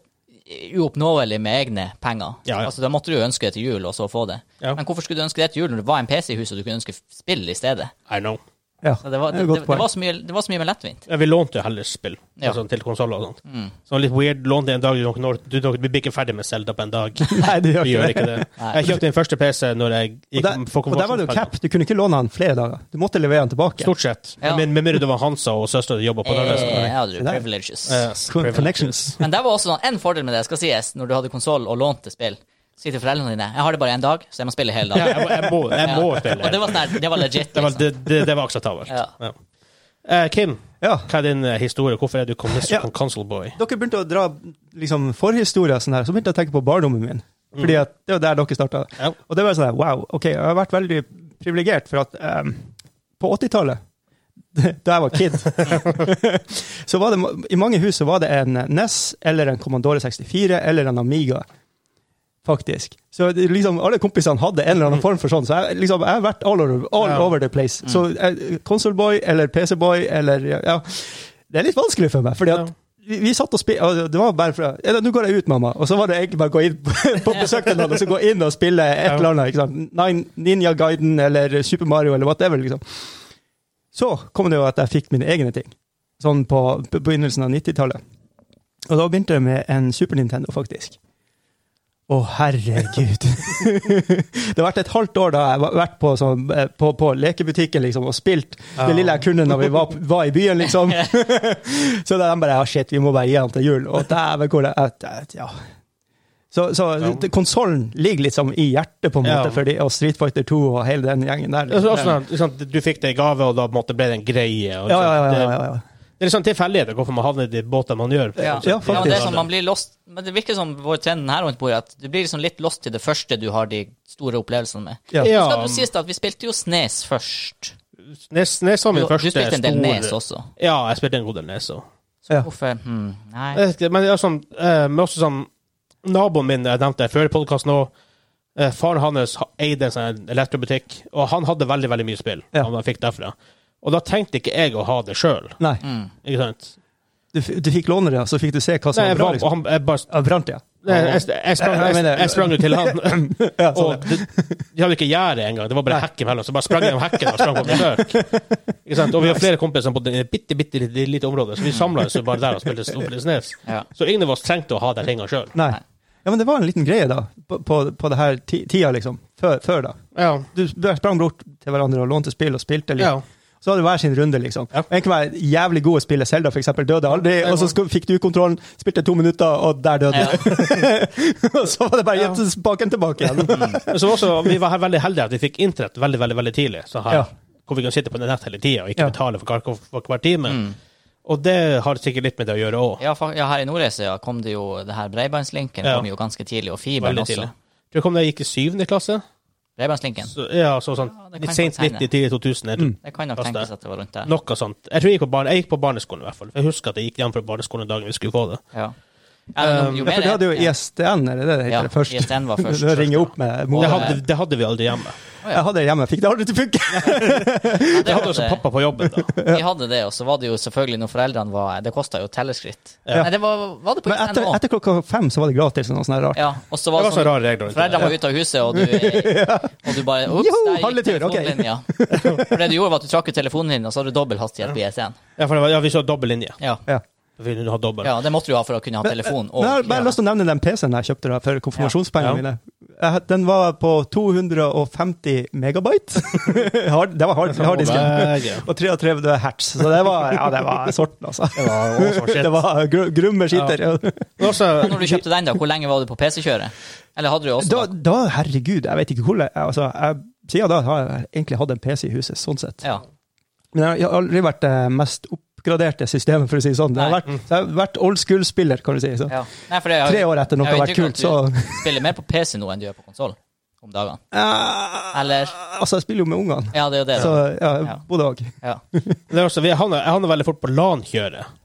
[SPEAKER 1] uoppnåelig med egne penger.
[SPEAKER 2] Ja, ja.
[SPEAKER 1] Altså, Da måtte du jo ønske det til jul, og så få det.
[SPEAKER 2] Ja.
[SPEAKER 1] Men hvorfor skulle du ønske det til jul når det var en PC i huset og du kunne ønske spill i stedet?
[SPEAKER 2] I know.
[SPEAKER 3] Ja,
[SPEAKER 1] Så det, var,
[SPEAKER 3] er
[SPEAKER 1] det,
[SPEAKER 3] et
[SPEAKER 1] det,
[SPEAKER 3] godt
[SPEAKER 1] det,
[SPEAKER 3] poeng.
[SPEAKER 1] var så mye, det var så mye mer lettvint.
[SPEAKER 2] Ja, vi lånte jo heller spill
[SPEAKER 1] Ja. Mm.
[SPEAKER 2] altså, til konsoller og sånt. Så litt weird lånte en dag du, når, du, du blir ikke ferdig med Zelda på en dag.
[SPEAKER 1] sånn-
[SPEAKER 3] Nei, det
[SPEAKER 2] Vi
[SPEAKER 3] gjør
[SPEAKER 2] gjør
[SPEAKER 3] ikke det.
[SPEAKER 2] ikke det.
[SPEAKER 1] Nei.
[SPEAKER 2] Jeg kjøpte min første PC når jeg
[SPEAKER 3] Og
[SPEAKER 2] gikk
[SPEAKER 3] der, og der var det jo cap. Du kunne ikke låne han flere dager. Du måtte levere han tilbake.
[SPEAKER 2] Stort sett.
[SPEAKER 1] Ja.
[SPEAKER 2] Men med mindre det var Hansa og søstera di jobba på
[SPEAKER 1] Eh,
[SPEAKER 2] lørdag.
[SPEAKER 1] ja, du,
[SPEAKER 3] Det der.
[SPEAKER 1] privileges.
[SPEAKER 2] Yes,
[SPEAKER 3] Con-
[SPEAKER 2] privilege.
[SPEAKER 3] Connections.
[SPEAKER 1] Men det var også sånn, en fordel med det, skal sies, når du hadde konsoll og lånte spill. Så sier til foreldrene dine jeg har det bare én dag, så jeg må spille hele
[SPEAKER 2] Ja,
[SPEAKER 1] dagen.
[SPEAKER 2] jeg, må- jeg må, jeg må
[SPEAKER 1] Ja.
[SPEAKER 2] spille.
[SPEAKER 1] Og det var, sånn, her- det var legit.
[SPEAKER 2] det, var,
[SPEAKER 1] Liksom.
[SPEAKER 2] det, det, det var akseptabelt.
[SPEAKER 1] Ja.
[SPEAKER 2] Ja. Eh, Kim,
[SPEAKER 3] Ja.
[SPEAKER 2] hva er din eh, historie? Hvorfor er du kon-
[SPEAKER 3] Ja.
[SPEAKER 2] console boy?
[SPEAKER 3] Dere begynte å dra liksom, forhistorier, og sånn her, så begynte jeg å tenke på barndommen min. Fordi at det var der dere starta.
[SPEAKER 2] Ja.
[SPEAKER 3] Og det var sånn her, wow, ok, jeg har vært veldig privilegert, for at em, på 80-tallet, da jeg var kid, så var det ma- i mange hus så var det en NES eller en Commodore 64 eller en Amiga, faktisk. Så det, liksom alle kompisene hadde en eller annen form for sånn, så jeg, liksom, jeg har vært all over, all
[SPEAKER 2] Ja.
[SPEAKER 3] over the place. Så eh, consoleboy eller PC-boy eller ja, det er litt vanskelig for meg, fordi at
[SPEAKER 2] Ja.
[SPEAKER 3] vi, vi satt og spilte Det var bare fra ja, 'Nå går jeg ut, mamma.' Og så var det egentlig bare å gå inn på- på besøk til noen og så gå inn og spille et
[SPEAKER 2] Ja.
[SPEAKER 3] eller annet. ikke sant? Nine, Ninja Guiden eller Super Mario eller whatever. liksom. Så kom det jo at jeg fikk mine egne ting, sånn på på begynnelsen av 90-tallet. Og da begynte jeg med en Super Nintendo, faktisk. Å, herregud. det har vært et halvt år da jeg har vært på, sånn, eh, på, på lekebutikken liksom, og spilt
[SPEAKER 2] Ja.
[SPEAKER 3] det lille jeg kunne når vi var, var i byen, liksom. så da de bare Ja, shit, vi må bare gi han til jul. Og dæven, hvor det at- at- Ja. Så, så
[SPEAKER 2] Ja.
[SPEAKER 3] konsollen ligger liksom i hjertet, på en måte,
[SPEAKER 2] Ja.
[SPEAKER 3] for de, og Street Fighter 2 og hele den gjengen der.
[SPEAKER 2] Altså,
[SPEAKER 3] Liksom.
[SPEAKER 2] også, sånn, liksom, du fikk det i gave, og da på en måte, ble det en greie. Og, sånn.
[SPEAKER 3] Ja, ja, ja. ja,
[SPEAKER 2] Det,
[SPEAKER 3] ja, ja.
[SPEAKER 2] det er sånn tilfeldigheter hvorfor man havner i de båtene man gjør.
[SPEAKER 1] Ja.
[SPEAKER 3] Ja,
[SPEAKER 1] Ja, men det, er
[SPEAKER 3] faktisk.
[SPEAKER 1] sånn, man blir lost, men det virker som vår trenden her rundt bordet, at du blir liksom litt lost til det første du har de store opplevelsene med.
[SPEAKER 3] Ja.
[SPEAKER 2] Ja,
[SPEAKER 1] Skal du sies da at vi spilte jo Snes først?
[SPEAKER 2] Nes, Nes var min
[SPEAKER 1] Du,
[SPEAKER 2] første
[SPEAKER 1] du spilte en del
[SPEAKER 2] store-
[SPEAKER 1] Nes også.
[SPEAKER 2] Ja, jeg spilte en god del Nes også.
[SPEAKER 3] Ja.
[SPEAKER 1] Hvorfor? Hmm, nei.
[SPEAKER 2] Jeg vet ikke, Men det er sånn, eh, men også sånn Naboen min jeg nevnte jeg før i podkasten òg. Eh, faren hans ha- eide en sånn elektrobutikk, og han hadde veldig veldig mye spill.
[SPEAKER 3] Ja.
[SPEAKER 2] Som han fikk derfra. Og da tenkte ikke jeg å ha det sjøl.
[SPEAKER 3] Nei,
[SPEAKER 1] Hmm,
[SPEAKER 2] Ikke sant?
[SPEAKER 3] du, f- du fikk låne det, og så fikk du se hva som
[SPEAKER 2] Nei, jeg,
[SPEAKER 3] var bra.
[SPEAKER 2] var,
[SPEAKER 3] Liksom.
[SPEAKER 2] han, jeg, bare,
[SPEAKER 3] Ja, brant, ja.
[SPEAKER 2] nei, jeg, jeg, sprang, jeg, jeg sprang jo til han.
[SPEAKER 3] ja sånn,
[SPEAKER 2] Og det, de hadde ikke gjerde engang, det var bare
[SPEAKER 3] Nei.
[SPEAKER 2] hekk imellom. Så bare sprang jeg om hekken og sprang på besøk. Ikke sant? Og vi har flere kompiser som bodde i et bitte, bitte lite, lite område, så vi samla oss jo bare der og spilte Stoplesnes.
[SPEAKER 1] Ja.
[SPEAKER 2] Så ingen av oss trengte å ha de tingene sjøl.
[SPEAKER 3] Nei. Ja, men det var en liten greie da, på, på, på det her ti- tida, liksom. Før, før da.
[SPEAKER 2] Ja.
[SPEAKER 3] Du sprang bort til hverandre og lånte spill og spilte litt.
[SPEAKER 2] Ja.
[SPEAKER 3] Så hadde hver sin runde, liksom.
[SPEAKER 2] Ja.
[SPEAKER 3] En kunne være jævlig god å spille Zelda, for eksempel. Døde aldri, og så sku- fikk du kontrollen, spilte to minutter, og der døde
[SPEAKER 1] Ja.
[SPEAKER 3] du. og så var det bare å gjette spaken tilbake igjen.
[SPEAKER 2] Men så var også, vi var her veldig heldige at vi fikk internett veldig veldig, veldig tidlig. Så her,
[SPEAKER 3] Ja.
[SPEAKER 2] Hvor vi kunne sitte på nett hele tida og ikke
[SPEAKER 3] Ja.
[SPEAKER 2] betale for hver, for hver time. Og det har sikkert litt med det å gjøre òg.
[SPEAKER 1] Mm. Ja, fa- ja, her i Nordreisa ja, kom det jo det her breibandslinken
[SPEAKER 2] Ja.
[SPEAKER 1] kom jo ganske tidlig, og fiberen
[SPEAKER 2] Veldig
[SPEAKER 1] også.
[SPEAKER 2] tidlig. Du kom da jeg gikk i syvende klasse?
[SPEAKER 1] Breibandslinken.
[SPEAKER 2] Så, ja, så sånn
[SPEAKER 1] Ja, det kan
[SPEAKER 2] litt
[SPEAKER 1] jeg
[SPEAKER 2] sent
[SPEAKER 1] godt hende.
[SPEAKER 2] 90, tidlig 2000. Jeg tror.
[SPEAKER 3] Mm.
[SPEAKER 1] Det kan nok
[SPEAKER 2] Fast
[SPEAKER 1] tenkes
[SPEAKER 2] det.
[SPEAKER 1] at det var rundt der.
[SPEAKER 2] Noe sånt. Jeg tror jeg gikk på, barne, jeg gikk på barneskolen, i hvert fall. Jeg husker at jeg gikk hjem fra barneskolen dagen vi skulle få det.
[SPEAKER 1] Ja. Ja, men
[SPEAKER 2] Um,
[SPEAKER 1] jo
[SPEAKER 3] Ja, for du
[SPEAKER 1] mer-
[SPEAKER 3] hadde jo E
[SPEAKER 1] ja.
[SPEAKER 3] ISDN, er det det det
[SPEAKER 1] Ja, E
[SPEAKER 3] heter? først.
[SPEAKER 1] ISDN var først.
[SPEAKER 3] Du ringer opp med
[SPEAKER 2] Det
[SPEAKER 3] mobilen.
[SPEAKER 2] hadde, det hadde vi aldri hjemme.
[SPEAKER 3] Jeg hadde det hjemme, fikk det aldri til å funke.
[SPEAKER 1] Ja,
[SPEAKER 2] Det hadde også
[SPEAKER 1] det-
[SPEAKER 2] pappa på jobben, da.
[SPEAKER 1] Vi hadde det, og så var det jo selvfølgelig når foreldrene var Det kosta jo telleskritt.
[SPEAKER 2] Ja.
[SPEAKER 1] Nei, det var, var det på
[SPEAKER 3] Men
[SPEAKER 1] ISDN
[SPEAKER 3] etter,
[SPEAKER 1] også?
[SPEAKER 3] etter klokka fem så var det gratis, og noe sånt her rart.
[SPEAKER 1] Ja, og så
[SPEAKER 2] Det
[SPEAKER 1] var det
[SPEAKER 2] var sånne
[SPEAKER 1] sånn
[SPEAKER 2] rare regler. rundt det.
[SPEAKER 1] Foreldrene var ute av huset, og du, og du bare Ops,
[SPEAKER 3] Joho,
[SPEAKER 1] der gikk
[SPEAKER 3] handletur, ok.»
[SPEAKER 1] telefonlinja. For det du gjorde, var at du trakk ut telefonen din, og så hadde du dobbel hastighet på ISN.
[SPEAKER 2] Ja, for det var, ja, vi så dobbel linje.
[SPEAKER 1] Ja.
[SPEAKER 3] Ja.
[SPEAKER 2] Vi ville ha dobbel.
[SPEAKER 1] ja, det måtte du ha for å kunne ha telefon.
[SPEAKER 3] Men jeg har
[SPEAKER 1] Og,
[SPEAKER 3] bare lyst til å nevne den PC-en jeg kjøpte da, for konfirmasjonspengene
[SPEAKER 2] Ja.
[SPEAKER 3] mine. Jeg, den var på 250 megabyte. hard, det var hard,
[SPEAKER 1] sånn
[SPEAKER 3] harddisken.
[SPEAKER 2] Vege.
[SPEAKER 3] Og 33 hertz. Så det var, ja, det var sorten, altså.
[SPEAKER 2] Det var også shit.
[SPEAKER 3] Det var gru, grumme skitter.
[SPEAKER 2] Men også,
[SPEAKER 1] Og når du kjøpte den, da, hvor lenge var du på PC-kjøret? Eller hadde du også
[SPEAKER 3] Da, da, herregud, jeg vet ikke hvordan jeg- altså, jeg, Siden da har jeg egentlig hatt en PC i huset, sånn sett.
[SPEAKER 1] Ja.
[SPEAKER 3] Men jeg har aldri vært eh, mest opp, oppgraderte systemet, for å si det sånn. Det har
[SPEAKER 1] Nei.
[SPEAKER 3] vært, så jeg har vært old school-spiller, kan du si. Så.
[SPEAKER 1] Ja. Nei, for det har-
[SPEAKER 3] Tre år etter noe
[SPEAKER 1] jeg
[SPEAKER 3] har
[SPEAKER 1] har
[SPEAKER 3] vært
[SPEAKER 1] inntrykk
[SPEAKER 3] kult, så
[SPEAKER 1] av Du spiller mer på PC nå enn du gjør på konsoll om dagene.
[SPEAKER 3] Eh,
[SPEAKER 1] Eller-
[SPEAKER 3] Altså, jeg spiller jo med ungene,
[SPEAKER 1] Ja, det er jo det.
[SPEAKER 3] så
[SPEAKER 1] da.
[SPEAKER 3] ja,
[SPEAKER 1] Ja.
[SPEAKER 3] både òg.
[SPEAKER 1] Ja.
[SPEAKER 2] Det er også, vi havner, jeg havner veldig fort på LAN-kjøret.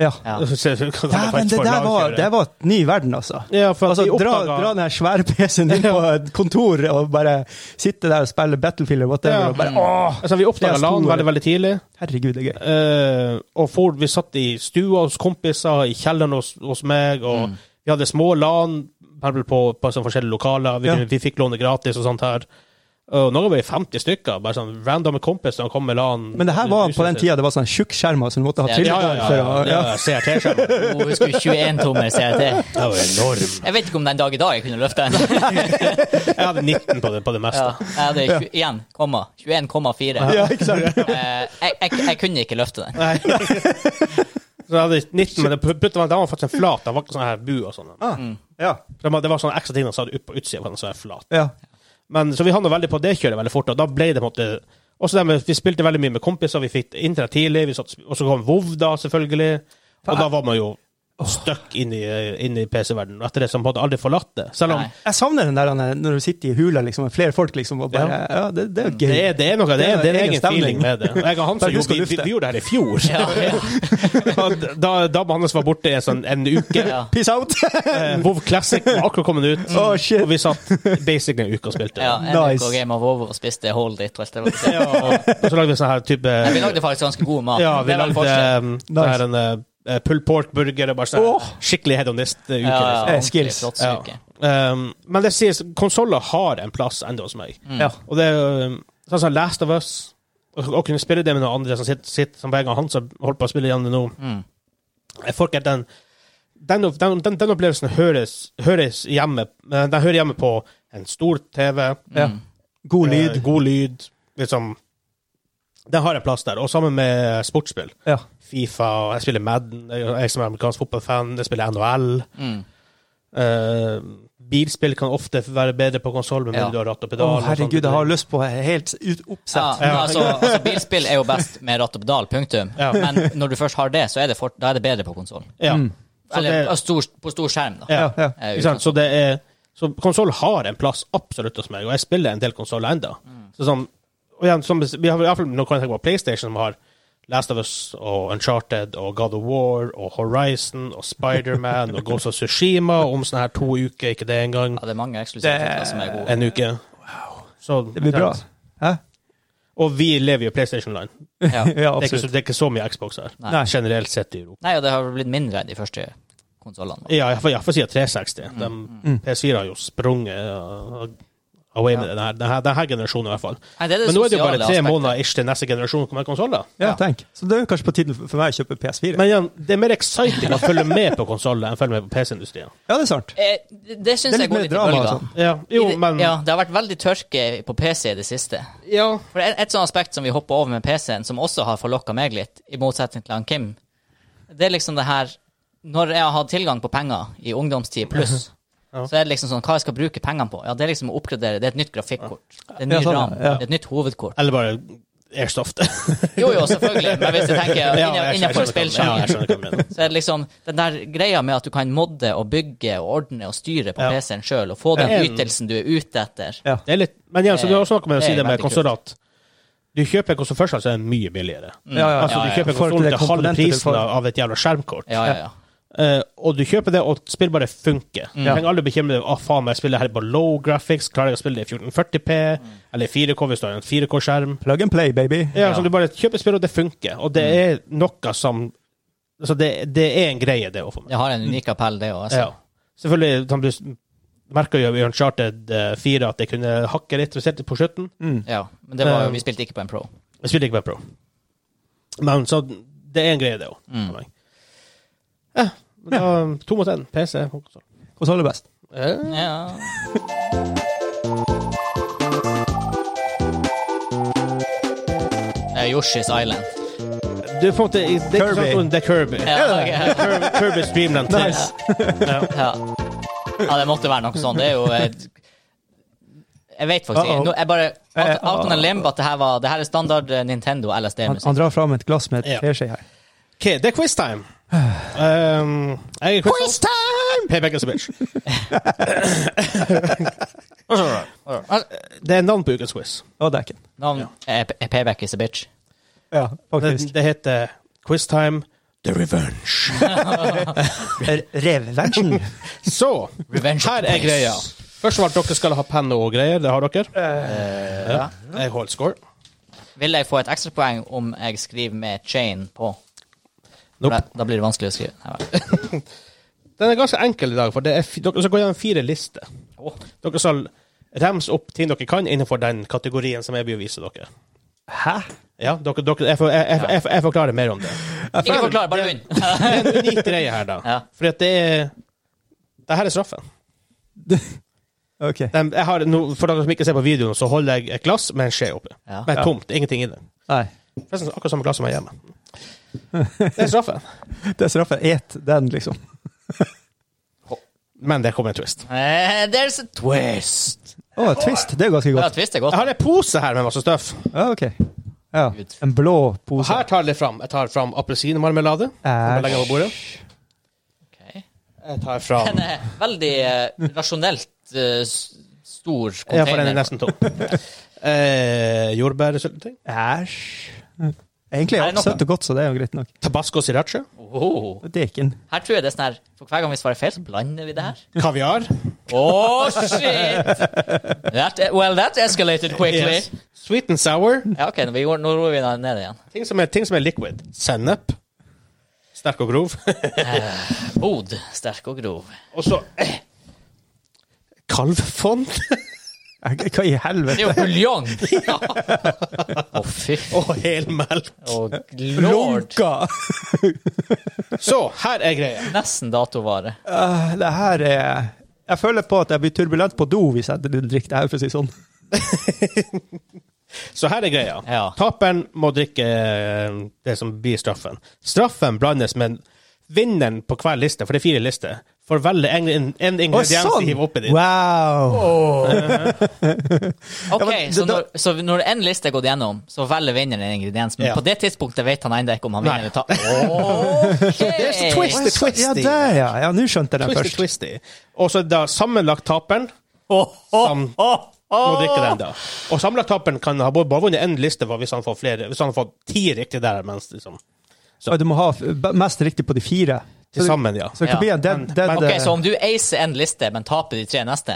[SPEAKER 3] Ja.
[SPEAKER 1] Ja.
[SPEAKER 2] Så- så- kan jeg
[SPEAKER 3] Ja, men
[SPEAKER 2] faktisk
[SPEAKER 3] det
[SPEAKER 2] få
[SPEAKER 3] der var,
[SPEAKER 2] LAN-kjøret.
[SPEAKER 3] det var et ny verden, altså.
[SPEAKER 2] Ja, for at
[SPEAKER 3] Altså,
[SPEAKER 2] vi
[SPEAKER 3] dra,
[SPEAKER 2] oppdaga
[SPEAKER 3] dra den her svære PC-en inn på et kontor og bare sitte der og spille Battlefield eller whatever.
[SPEAKER 2] Ja.
[SPEAKER 3] Og bare, åh,
[SPEAKER 2] altså, Vi oppdaga
[SPEAKER 3] Det er
[SPEAKER 2] LAN
[SPEAKER 3] stor-
[SPEAKER 2] veldig, veldig tidlig.
[SPEAKER 3] herregud, det er gøy.
[SPEAKER 2] Eh, og for, vi satt i stua hos kompiser, i kjelleren hos, hos meg, og
[SPEAKER 1] Mm.
[SPEAKER 2] vi hadde små LAN bare på, på sånne forskjellige lokaler. Vi,
[SPEAKER 3] Ja.
[SPEAKER 2] kunne- vi fikk låne gratis og sånt her. Og nå er vi 50 stykker, bare sånn random kompiser som kom med LAN.
[SPEAKER 3] Men det her var på den
[SPEAKER 2] tiden
[SPEAKER 3] tida det var sånne tjukkskjermer som du måtte ha
[SPEAKER 1] Ja,
[SPEAKER 3] tillit
[SPEAKER 2] Ja, ja, ja. ja,
[SPEAKER 3] for
[SPEAKER 2] ja.
[SPEAKER 3] å ja.
[SPEAKER 2] ja CRT-skjermen.
[SPEAKER 1] Hun husker 21 tommer CRT.
[SPEAKER 2] Det var enorm.
[SPEAKER 1] Jeg vet ikke om den dag i dag jeg kunne løfta en.
[SPEAKER 2] Jeg hadde 19 på det, på det meste.
[SPEAKER 1] Ja, jeg hadde 21, komma, 21,4.
[SPEAKER 3] ja, ikke sant?
[SPEAKER 1] Eh, jeg, jeg, jeg kunne ikke løfte den.
[SPEAKER 2] Nei. Så jeg hadde 19, men det puttet var, den var faktisk en flat. Den var ikke sånn her bu og sånn.
[SPEAKER 3] Ah, ja,
[SPEAKER 2] Det var- det var sånne ekstra ting som satt ut på utsida, for den så er flat.
[SPEAKER 3] ja.
[SPEAKER 2] Men, så vi havna veldig på det kjøret veldig fort, og da ble det på en måte også det med, Vi spilte veldig mye med kompiser, vi fikk internett tidlig, vi satt, og så kom WoW, da, selvfølgelig. Og da var man jo stuck inn i, inn i PC-verdenen. og Etter det så har man på en måte aldri forlatt det. Selv om
[SPEAKER 1] Nei.
[SPEAKER 3] Jeg savner den der Anne, når du sitter i hula liksom, med flere folk, liksom, og bare Ja, det, det er jo
[SPEAKER 2] det
[SPEAKER 3] gøy.
[SPEAKER 2] er, det er noe, det er, det er en egen
[SPEAKER 3] stemning.
[SPEAKER 2] feeling med det. Og Jeg og Hans
[SPEAKER 3] Bare du
[SPEAKER 2] gjorde,
[SPEAKER 3] skal
[SPEAKER 2] vi, vi,
[SPEAKER 3] lufte.
[SPEAKER 2] vi gjorde det her i fjor.
[SPEAKER 1] Ja, ja,
[SPEAKER 2] Og Da, da Hans var borte i sånn en uke.
[SPEAKER 1] ja.
[SPEAKER 3] Peace out!
[SPEAKER 2] Eh, WoW Classic var akkurat kommet ut,
[SPEAKER 3] Å, shit.
[SPEAKER 2] og vi satt basically en uke og spilte.
[SPEAKER 1] ja en uke
[SPEAKER 3] Nice.
[SPEAKER 1] og Game of Over og spiste hold it. Og alt det var
[SPEAKER 2] Ja, og, og så lagde vi sånn her type
[SPEAKER 1] Men vi lagde faktisk ganske god mat.
[SPEAKER 2] Ja, vi
[SPEAKER 1] Det er vel forskjell.
[SPEAKER 2] lagde um, det her en uh, pull pork-burger og bare sånn
[SPEAKER 3] Åh!
[SPEAKER 2] skikkelig
[SPEAKER 1] Ja,
[SPEAKER 2] hedonist-uke.
[SPEAKER 1] ja,
[SPEAKER 2] liksom.
[SPEAKER 1] ordentlig
[SPEAKER 3] skills.
[SPEAKER 1] flott
[SPEAKER 2] Ja.
[SPEAKER 1] stykke.
[SPEAKER 2] Um, men det sies, konsoller har en plass enda hos meg.
[SPEAKER 1] Mm.
[SPEAKER 3] Ja.
[SPEAKER 2] Og det er um, sånn som Last of Us, å å kunne spille det med noen andre som sitter, sitter som hver gang han som holder på å spille igjen nå
[SPEAKER 1] Mm.
[SPEAKER 2] Jeg får ikke den den, den, den, den opplevelsen høres, høres hjemme eh, Den hører hjemme på en stor TV,
[SPEAKER 3] Ja.
[SPEAKER 1] Mm.
[SPEAKER 3] God
[SPEAKER 2] eh,
[SPEAKER 3] lyd.
[SPEAKER 2] god lyd liksom Den har en plass der. Og sammen med sportsspill.
[SPEAKER 3] Ja.
[SPEAKER 2] Fifa, og jeg spiller Madden, jeg jeg som er amerikansk fotballfan, jeg spiller NHL.
[SPEAKER 1] Mm.
[SPEAKER 2] Eh, bilspill kan ofte være bedre på konsoll, men
[SPEAKER 1] Ja.
[SPEAKER 2] du har ratt og
[SPEAKER 3] Å,
[SPEAKER 2] pedal. og
[SPEAKER 3] herregud,
[SPEAKER 2] sånne
[SPEAKER 3] jeg har lyst på helt ut,
[SPEAKER 1] Ja,
[SPEAKER 3] oppsett.
[SPEAKER 1] men altså, altså, bilspill er jo best med ratt og pedal, punktum.
[SPEAKER 2] Ja.
[SPEAKER 1] Men når du først har det, så er det, for, da er det bedre på konsoll.
[SPEAKER 2] ting. Ja.
[SPEAKER 3] Mm.
[SPEAKER 2] Så
[SPEAKER 1] Eller altså,
[SPEAKER 2] det-
[SPEAKER 1] på stor, på stor skjerm, da.
[SPEAKER 3] Ja, ja.
[SPEAKER 1] Eh,
[SPEAKER 2] Ikke sant? Så det er Så konsoll har en plass absolutt hos meg, og jeg spiller en del konsoller enda. Så sånn, og igjen, som, vi har i hvert fall nå kan jeg tenke på PlayStation, som har Last of Us og Uncharted og God of War og Horizon og Spiderman og Ghost of Sushima om sånne her to uker, ikke det engang.
[SPEAKER 1] Ja, det er mange eksklusive
[SPEAKER 3] Det-
[SPEAKER 1] titler som er gode.
[SPEAKER 2] En uke. Så,
[SPEAKER 3] Det blir bra. Hæ?
[SPEAKER 2] Og vi lever jo PlayStation Line. Det
[SPEAKER 1] Ja.
[SPEAKER 3] Ja,
[SPEAKER 2] er, ikke, så-
[SPEAKER 3] absolutt.
[SPEAKER 2] det er ikke så mye Xbox her.
[SPEAKER 1] Nei.
[SPEAKER 3] Nei.
[SPEAKER 2] Generelt sett i Europa.
[SPEAKER 1] Nei, og det har blitt mindre enn de første konsollene.
[SPEAKER 2] Ja, jeg får, jeg får si at
[SPEAKER 1] Mm.
[SPEAKER 2] 360. De, PS4 har jo sprunget uh, away med denne, denne, denne generasjonen, i hvert fall.
[SPEAKER 1] Nei, det er det
[SPEAKER 2] Men nå er det jo bare
[SPEAKER 1] sosiale
[SPEAKER 2] tre
[SPEAKER 1] aspektet.
[SPEAKER 2] måneder ish til neste generasjon kommer konsoller.
[SPEAKER 3] Ja, tenk. Så det er jo kanskje på tide for meg å kjøpe PS4.
[SPEAKER 2] Men igjen, det er mer exciting å følge med på konsoller enn å følge med på PC-industrien.
[SPEAKER 3] Ja, det er sant.
[SPEAKER 1] Eh, det- det syns
[SPEAKER 3] Det er
[SPEAKER 1] jeg
[SPEAKER 3] litt
[SPEAKER 1] går
[SPEAKER 3] mer
[SPEAKER 1] litt i
[SPEAKER 3] drama og
[SPEAKER 1] bølger.
[SPEAKER 3] sånn.
[SPEAKER 2] Ja, jo,
[SPEAKER 1] I det-
[SPEAKER 2] men
[SPEAKER 1] Ja, det har vært veldig tørke på PC i det siste.
[SPEAKER 2] Ja.
[SPEAKER 1] For et, et sånt aspekt som vi hopper over med PC-en, som også har forlokka meg litt, i motsetning til han Kim, det er liksom det her Når jeg har hatt tilgang på penger i ungdomstid pluss,
[SPEAKER 2] Ja.
[SPEAKER 1] så er det liksom sånn Hva jeg skal bruke pengene på? Ja, det er liksom å oppgradere. Det er et nytt grafikkort. Det er en ny
[SPEAKER 3] Ja, sånn,
[SPEAKER 1] ram.
[SPEAKER 3] ja.
[SPEAKER 1] Det er et nytt hovedkort.
[SPEAKER 2] Eller bare airstoff.
[SPEAKER 1] Jo, jo, selvfølgelig. Men hvis jeg tenker
[SPEAKER 2] Ja,
[SPEAKER 1] inne-
[SPEAKER 2] jeg skjønner
[SPEAKER 1] innenfor
[SPEAKER 2] hva du mener. Ja, jeg
[SPEAKER 1] spillsjangeren
[SPEAKER 2] skjønner hva du mener.
[SPEAKER 1] Så er det liksom den der greia med at du kan modde og bygge og ordne og styre på
[SPEAKER 2] Ja.
[SPEAKER 1] PC-en sjøl, og få den
[SPEAKER 2] Ja.
[SPEAKER 1] ytelsen du er ute etter.
[SPEAKER 3] Ja.
[SPEAKER 2] Det er litt, men igjen, så du har også noe med å
[SPEAKER 1] Det
[SPEAKER 2] si
[SPEAKER 1] er
[SPEAKER 2] det med
[SPEAKER 1] veldig
[SPEAKER 2] konsoller at du kjøper en konsoll først, så er den mye billigere.
[SPEAKER 3] Ja, ja,
[SPEAKER 2] Altså,
[SPEAKER 1] Ja,
[SPEAKER 2] du
[SPEAKER 1] ja.
[SPEAKER 2] kjøper en
[SPEAKER 3] Folk-
[SPEAKER 2] konsoll
[SPEAKER 3] det er
[SPEAKER 2] til halv
[SPEAKER 3] komponenter du
[SPEAKER 2] prisen
[SPEAKER 3] får.
[SPEAKER 2] av et jævla skjermkort,
[SPEAKER 1] Ja, ja, ja.
[SPEAKER 2] Eh, og du kjøper det, og spill bare funker. Du trenger aldri bekymre deg om ah, faen, må jeg spiller her på low graphics, klarer jeg å spille det i 1440P, eller 4K hvis du har en 4K-skjerm.
[SPEAKER 3] Plug and play, baby.
[SPEAKER 2] Ja, Mm.
[SPEAKER 1] Ja.
[SPEAKER 2] Så du bare kjøper spill, og det funker. Og det er noe som Altså, det, det er en greie, det òg, for meg.
[SPEAKER 1] Det har en unik appell, det òg.
[SPEAKER 2] Ja. Selvfølgelig som du s- merker jo i Uncharted eh, 4 at jeg kunne hakke litt spesielt på slutten.
[SPEAKER 3] Mm.
[SPEAKER 1] Ja, men det var jo,
[SPEAKER 2] Um,
[SPEAKER 1] vi spilte ikke på en pro.
[SPEAKER 2] Jeg spiller ikke med Pro. Men så det er en greie, det òg.
[SPEAKER 1] Mm.
[SPEAKER 2] Ja, men da, to mot én. PC. konsoll.
[SPEAKER 3] Konsoll er best.
[SPEAKER 2] Eh,
[SPEAKER 1] Ja. Eh, Yoshi's Island.
[SPEAKER 2] Du er på en måte i- det er ikke
[SPEAKER 3] Kirby.
[SPEAKER 2] sånn- Det er Kirby.
[SPEAKER 1] Ja, ok.
[SPEAKER 2] Kirby, Kirby Streamland 3.
[SPEAKER 3] Nice.
[SPEAKER 1] ja. ja, det måtte være noe sånt. Det er jo et jeg vet faktisk ikke.
[SPEAKER 3] Uh-oh.
[SPEAKER 1] Nå, jeg bare
[SPEAKER 3] Eh,
[SPEAKER 1] out, out on a limb at det her, var, det her er standard eh, Nintendo
[SPEAKER 3] Han,
[SPEAKER 1] LSD-musikk.
[SPEAKER 3] han drar fram et glass med
[SPEAKER 2] Ja.
[SPEAKER 3] et teskje her.
[SPEAKER 2] OK, det er quiztime. Um, jeg er quiz Payback as a bitch. Det er navn på ukens quiz.
[SPEAKER 3] Og det er ikke den.
[SPEAKER 1] Navn er P- er Payback is a bitch.
[SPEAKER 3] Ja,
[SPEAKER 2] Det,
[SPEAKER 3] faktisk.
[SPEAKER 2] det heter Quiztime The Revenge.
[SPEAKER 3] Revvention.
[SPEAKER 2] Så
[SPEAKER 1] Revenge
[SPEAKER 2] her er greia. Først og fremst, dere skal ha penne og greier. Det har dere.
[SPEAKER 1] Ja.
[SPEAKER 2] Jeg holder score.
[SPEAKER 1] Vil jeg få et ekstrapoeng om jeg skriver med chain på?
[SPEAKER 2] Nope.
[SPEAKER 1] Da, da blir det vanskelig å skrive. Nei, vel.
[SPEAKER 2] Den er ganske enkel i dag, for det er, fi- dere skal gå gjennom fire lister.
[SPEAKER 1] Åh.
[SPEAKER 2] Dere skal remse opp ting dere kan innenfor den kategorien som jeg blir å vise dere.
[SPEAKER 3] Hæ?
[SPEAKER 2] Ja, dere, dere, jeg, får- jeg, jeg, jeg, jeg forklarer mer om det.
[SPEAKER 1] Ikke forklar, bare begynn.
[SPEAKER 2] Det er en unik greie her, da.
[SPEAKER 1] Ja.
[SPEAKER 2] Fordi at det er Det her er straffen.
[SPEAKER 3] OK.
[SPEAKER 2] Den, jeg har, no, for dere som ikke ser på videoen, så holder jeg et glass med en skje oppi.
[SPEAKER 1] Ja.
[SPEAKER 2] Med tomt, ingenting i det.
[SPEAKER 3] Nei.
[SPEAKER 2] Forresten akkurat samme glass som jeg har hjemme. Det er straffen.
[SPEAKER 3] Det er straffe. Et den, liksom.
[SPEAKER 2] Men det kommer en twist.
[SPEAKER 1] Eh, There's a twist.
[SPEAKER 3] Å, twist. Det er ganske
[SPEAKER 1] Ja,
[SPEAKER 3] godt.
[SPEAKER 1] twist er
[SPEAKER 2] Jeg
[SPEAKER 1] godt.
[SPEAKER 2] har en pose her med masse støff.
[SPEAKER 3] Ja, OK. Ja.
[SPEAKER 1] Gud.
[SPEAKER 3] En blå pose.
[SPEAKER 2] Her tar jeg det fram. Jeg tar fram appelsinmarmelade.
[SPEAKER 3] Æsj.
[SPEAKER 2] Jeg legger den på bordet.
[SPEAKER 1] Ok.
[SPEAKER 2] Jeg tar fram
[SPEAKER 1] Den er veldig eh, rasjonelt eh, s- stor
[SPEAKER 2] Ja, for den
[SPEAKER 1] container.
[SPEAKER 2] er nesten tom. Eh, Jordbærsyltetøy.
[SPEAKER 3] Æsj. Egentlig
[SPEAKER 1] Er
[SPEAKER 3] er
[SPEAKER 1] det noe?
[SPEAKER 3] det søtt og godt, så det er jo greit nok.
[SPEAKER 2] Tabasco sriracha.
[SPEAKER 1] Oho.
[SPEAKER 3] Det er ikke en
[SPEAKER 1] Her tror jeg det er sånn her For hver gang vi svarer feil, så blander vi det her.
[SPEAKER 2] Kaviar.
[SPEAKER 1] Å, shit! That, well, that escalated quickly.
[SPEAKER 2] Yes. Sweet and sour.
[SPEAKER 1] Ja, OK, nå vi går- nå roer vi den ned igjen.
[SPEAKER 2] Ting som er, ting som er liquid. Sennep. Sterk og grov.
[SPEAKER 1] Bod, sterk og grov.
[SPEAKER 2] og så eh, Kalvfond.
[SPEAKER 3] Hva i
[SPEAKER 1] Det
[SPEAKER 3] helvete?
[SPEAKER 1] er jo buljong! Ja. Å, fy.
[SPEAKER 2] og helmelk.
[SPEAKER 1] Og lord.
[SPEAKER 2] Så her er greia.
[SPEAKER 1] Nesten datovare.
[SPEAKER 3] Øh, det her er Jeg føler på at jeg blir turbulent på do hvis jeg drikker det her, for å si det sånn.
[SPEAKER 2] Så her er greia.
[SPEAKER 1] Ja.
[SPEAKER 2] Taperen må drikke eh, det som blir straffen. Straffen blandes med vinneren på hver liste, for det er fire lister. For velge en, en ingrediens å sånn! hive oppi dit.
[SPEAKER 3] Wow!
[SPEAKER 1] Ok,
[SPEAKER 3] men
[SPEAKER 1] så,
[SPEAKER 3] da-
[SPEAKER 1] når, så når en liste er gått gjennom, så velger vinneren en ingrediens, men
[SPEAKER 2] Ja.
[SPEAKER 1] på det tidspunktet vet han ennå ikke om han
[SPEAKER 2] Nei.
[SPEAKER 1] vinner eller taper.
[SPEAKER 2] There's a twist.
[SPEAKER 1] Ok.
[SPEAKER 3] Oi,
[SPEAKER 2] Twisty,
[SPEAKER 3] så- Ja,
[SPEAKER 2] twisty.
[SPEAKER 3] der, ja. Ja, nå skjønte jeg den
[SPEAKER 2] Twisty,
[SPEAKER 3] først.
[SPEAKER 2] twisty. Og så da sammenlagt taperen som må drikke den, da. Og sammenlagt taperen kan ha bare bare vunnet én liste for hvis han får flere, hvis han får ti riktige der. Mens, liksom,
[SPEAKER 3] Oi, Du må ha f- b- mest riktig på de fire.
[SPEAKER 2] til sammen, ja.
[SPEAKER 3] Så det
[SPEAKER 1] Ja.
[SPEAKER 3] kan bli en dead, dead
[SPEAKER 1] Ok,
[SPEAKER 3] eh,
[SPEAKER 1] så om du acer en liste, men taper de tre neste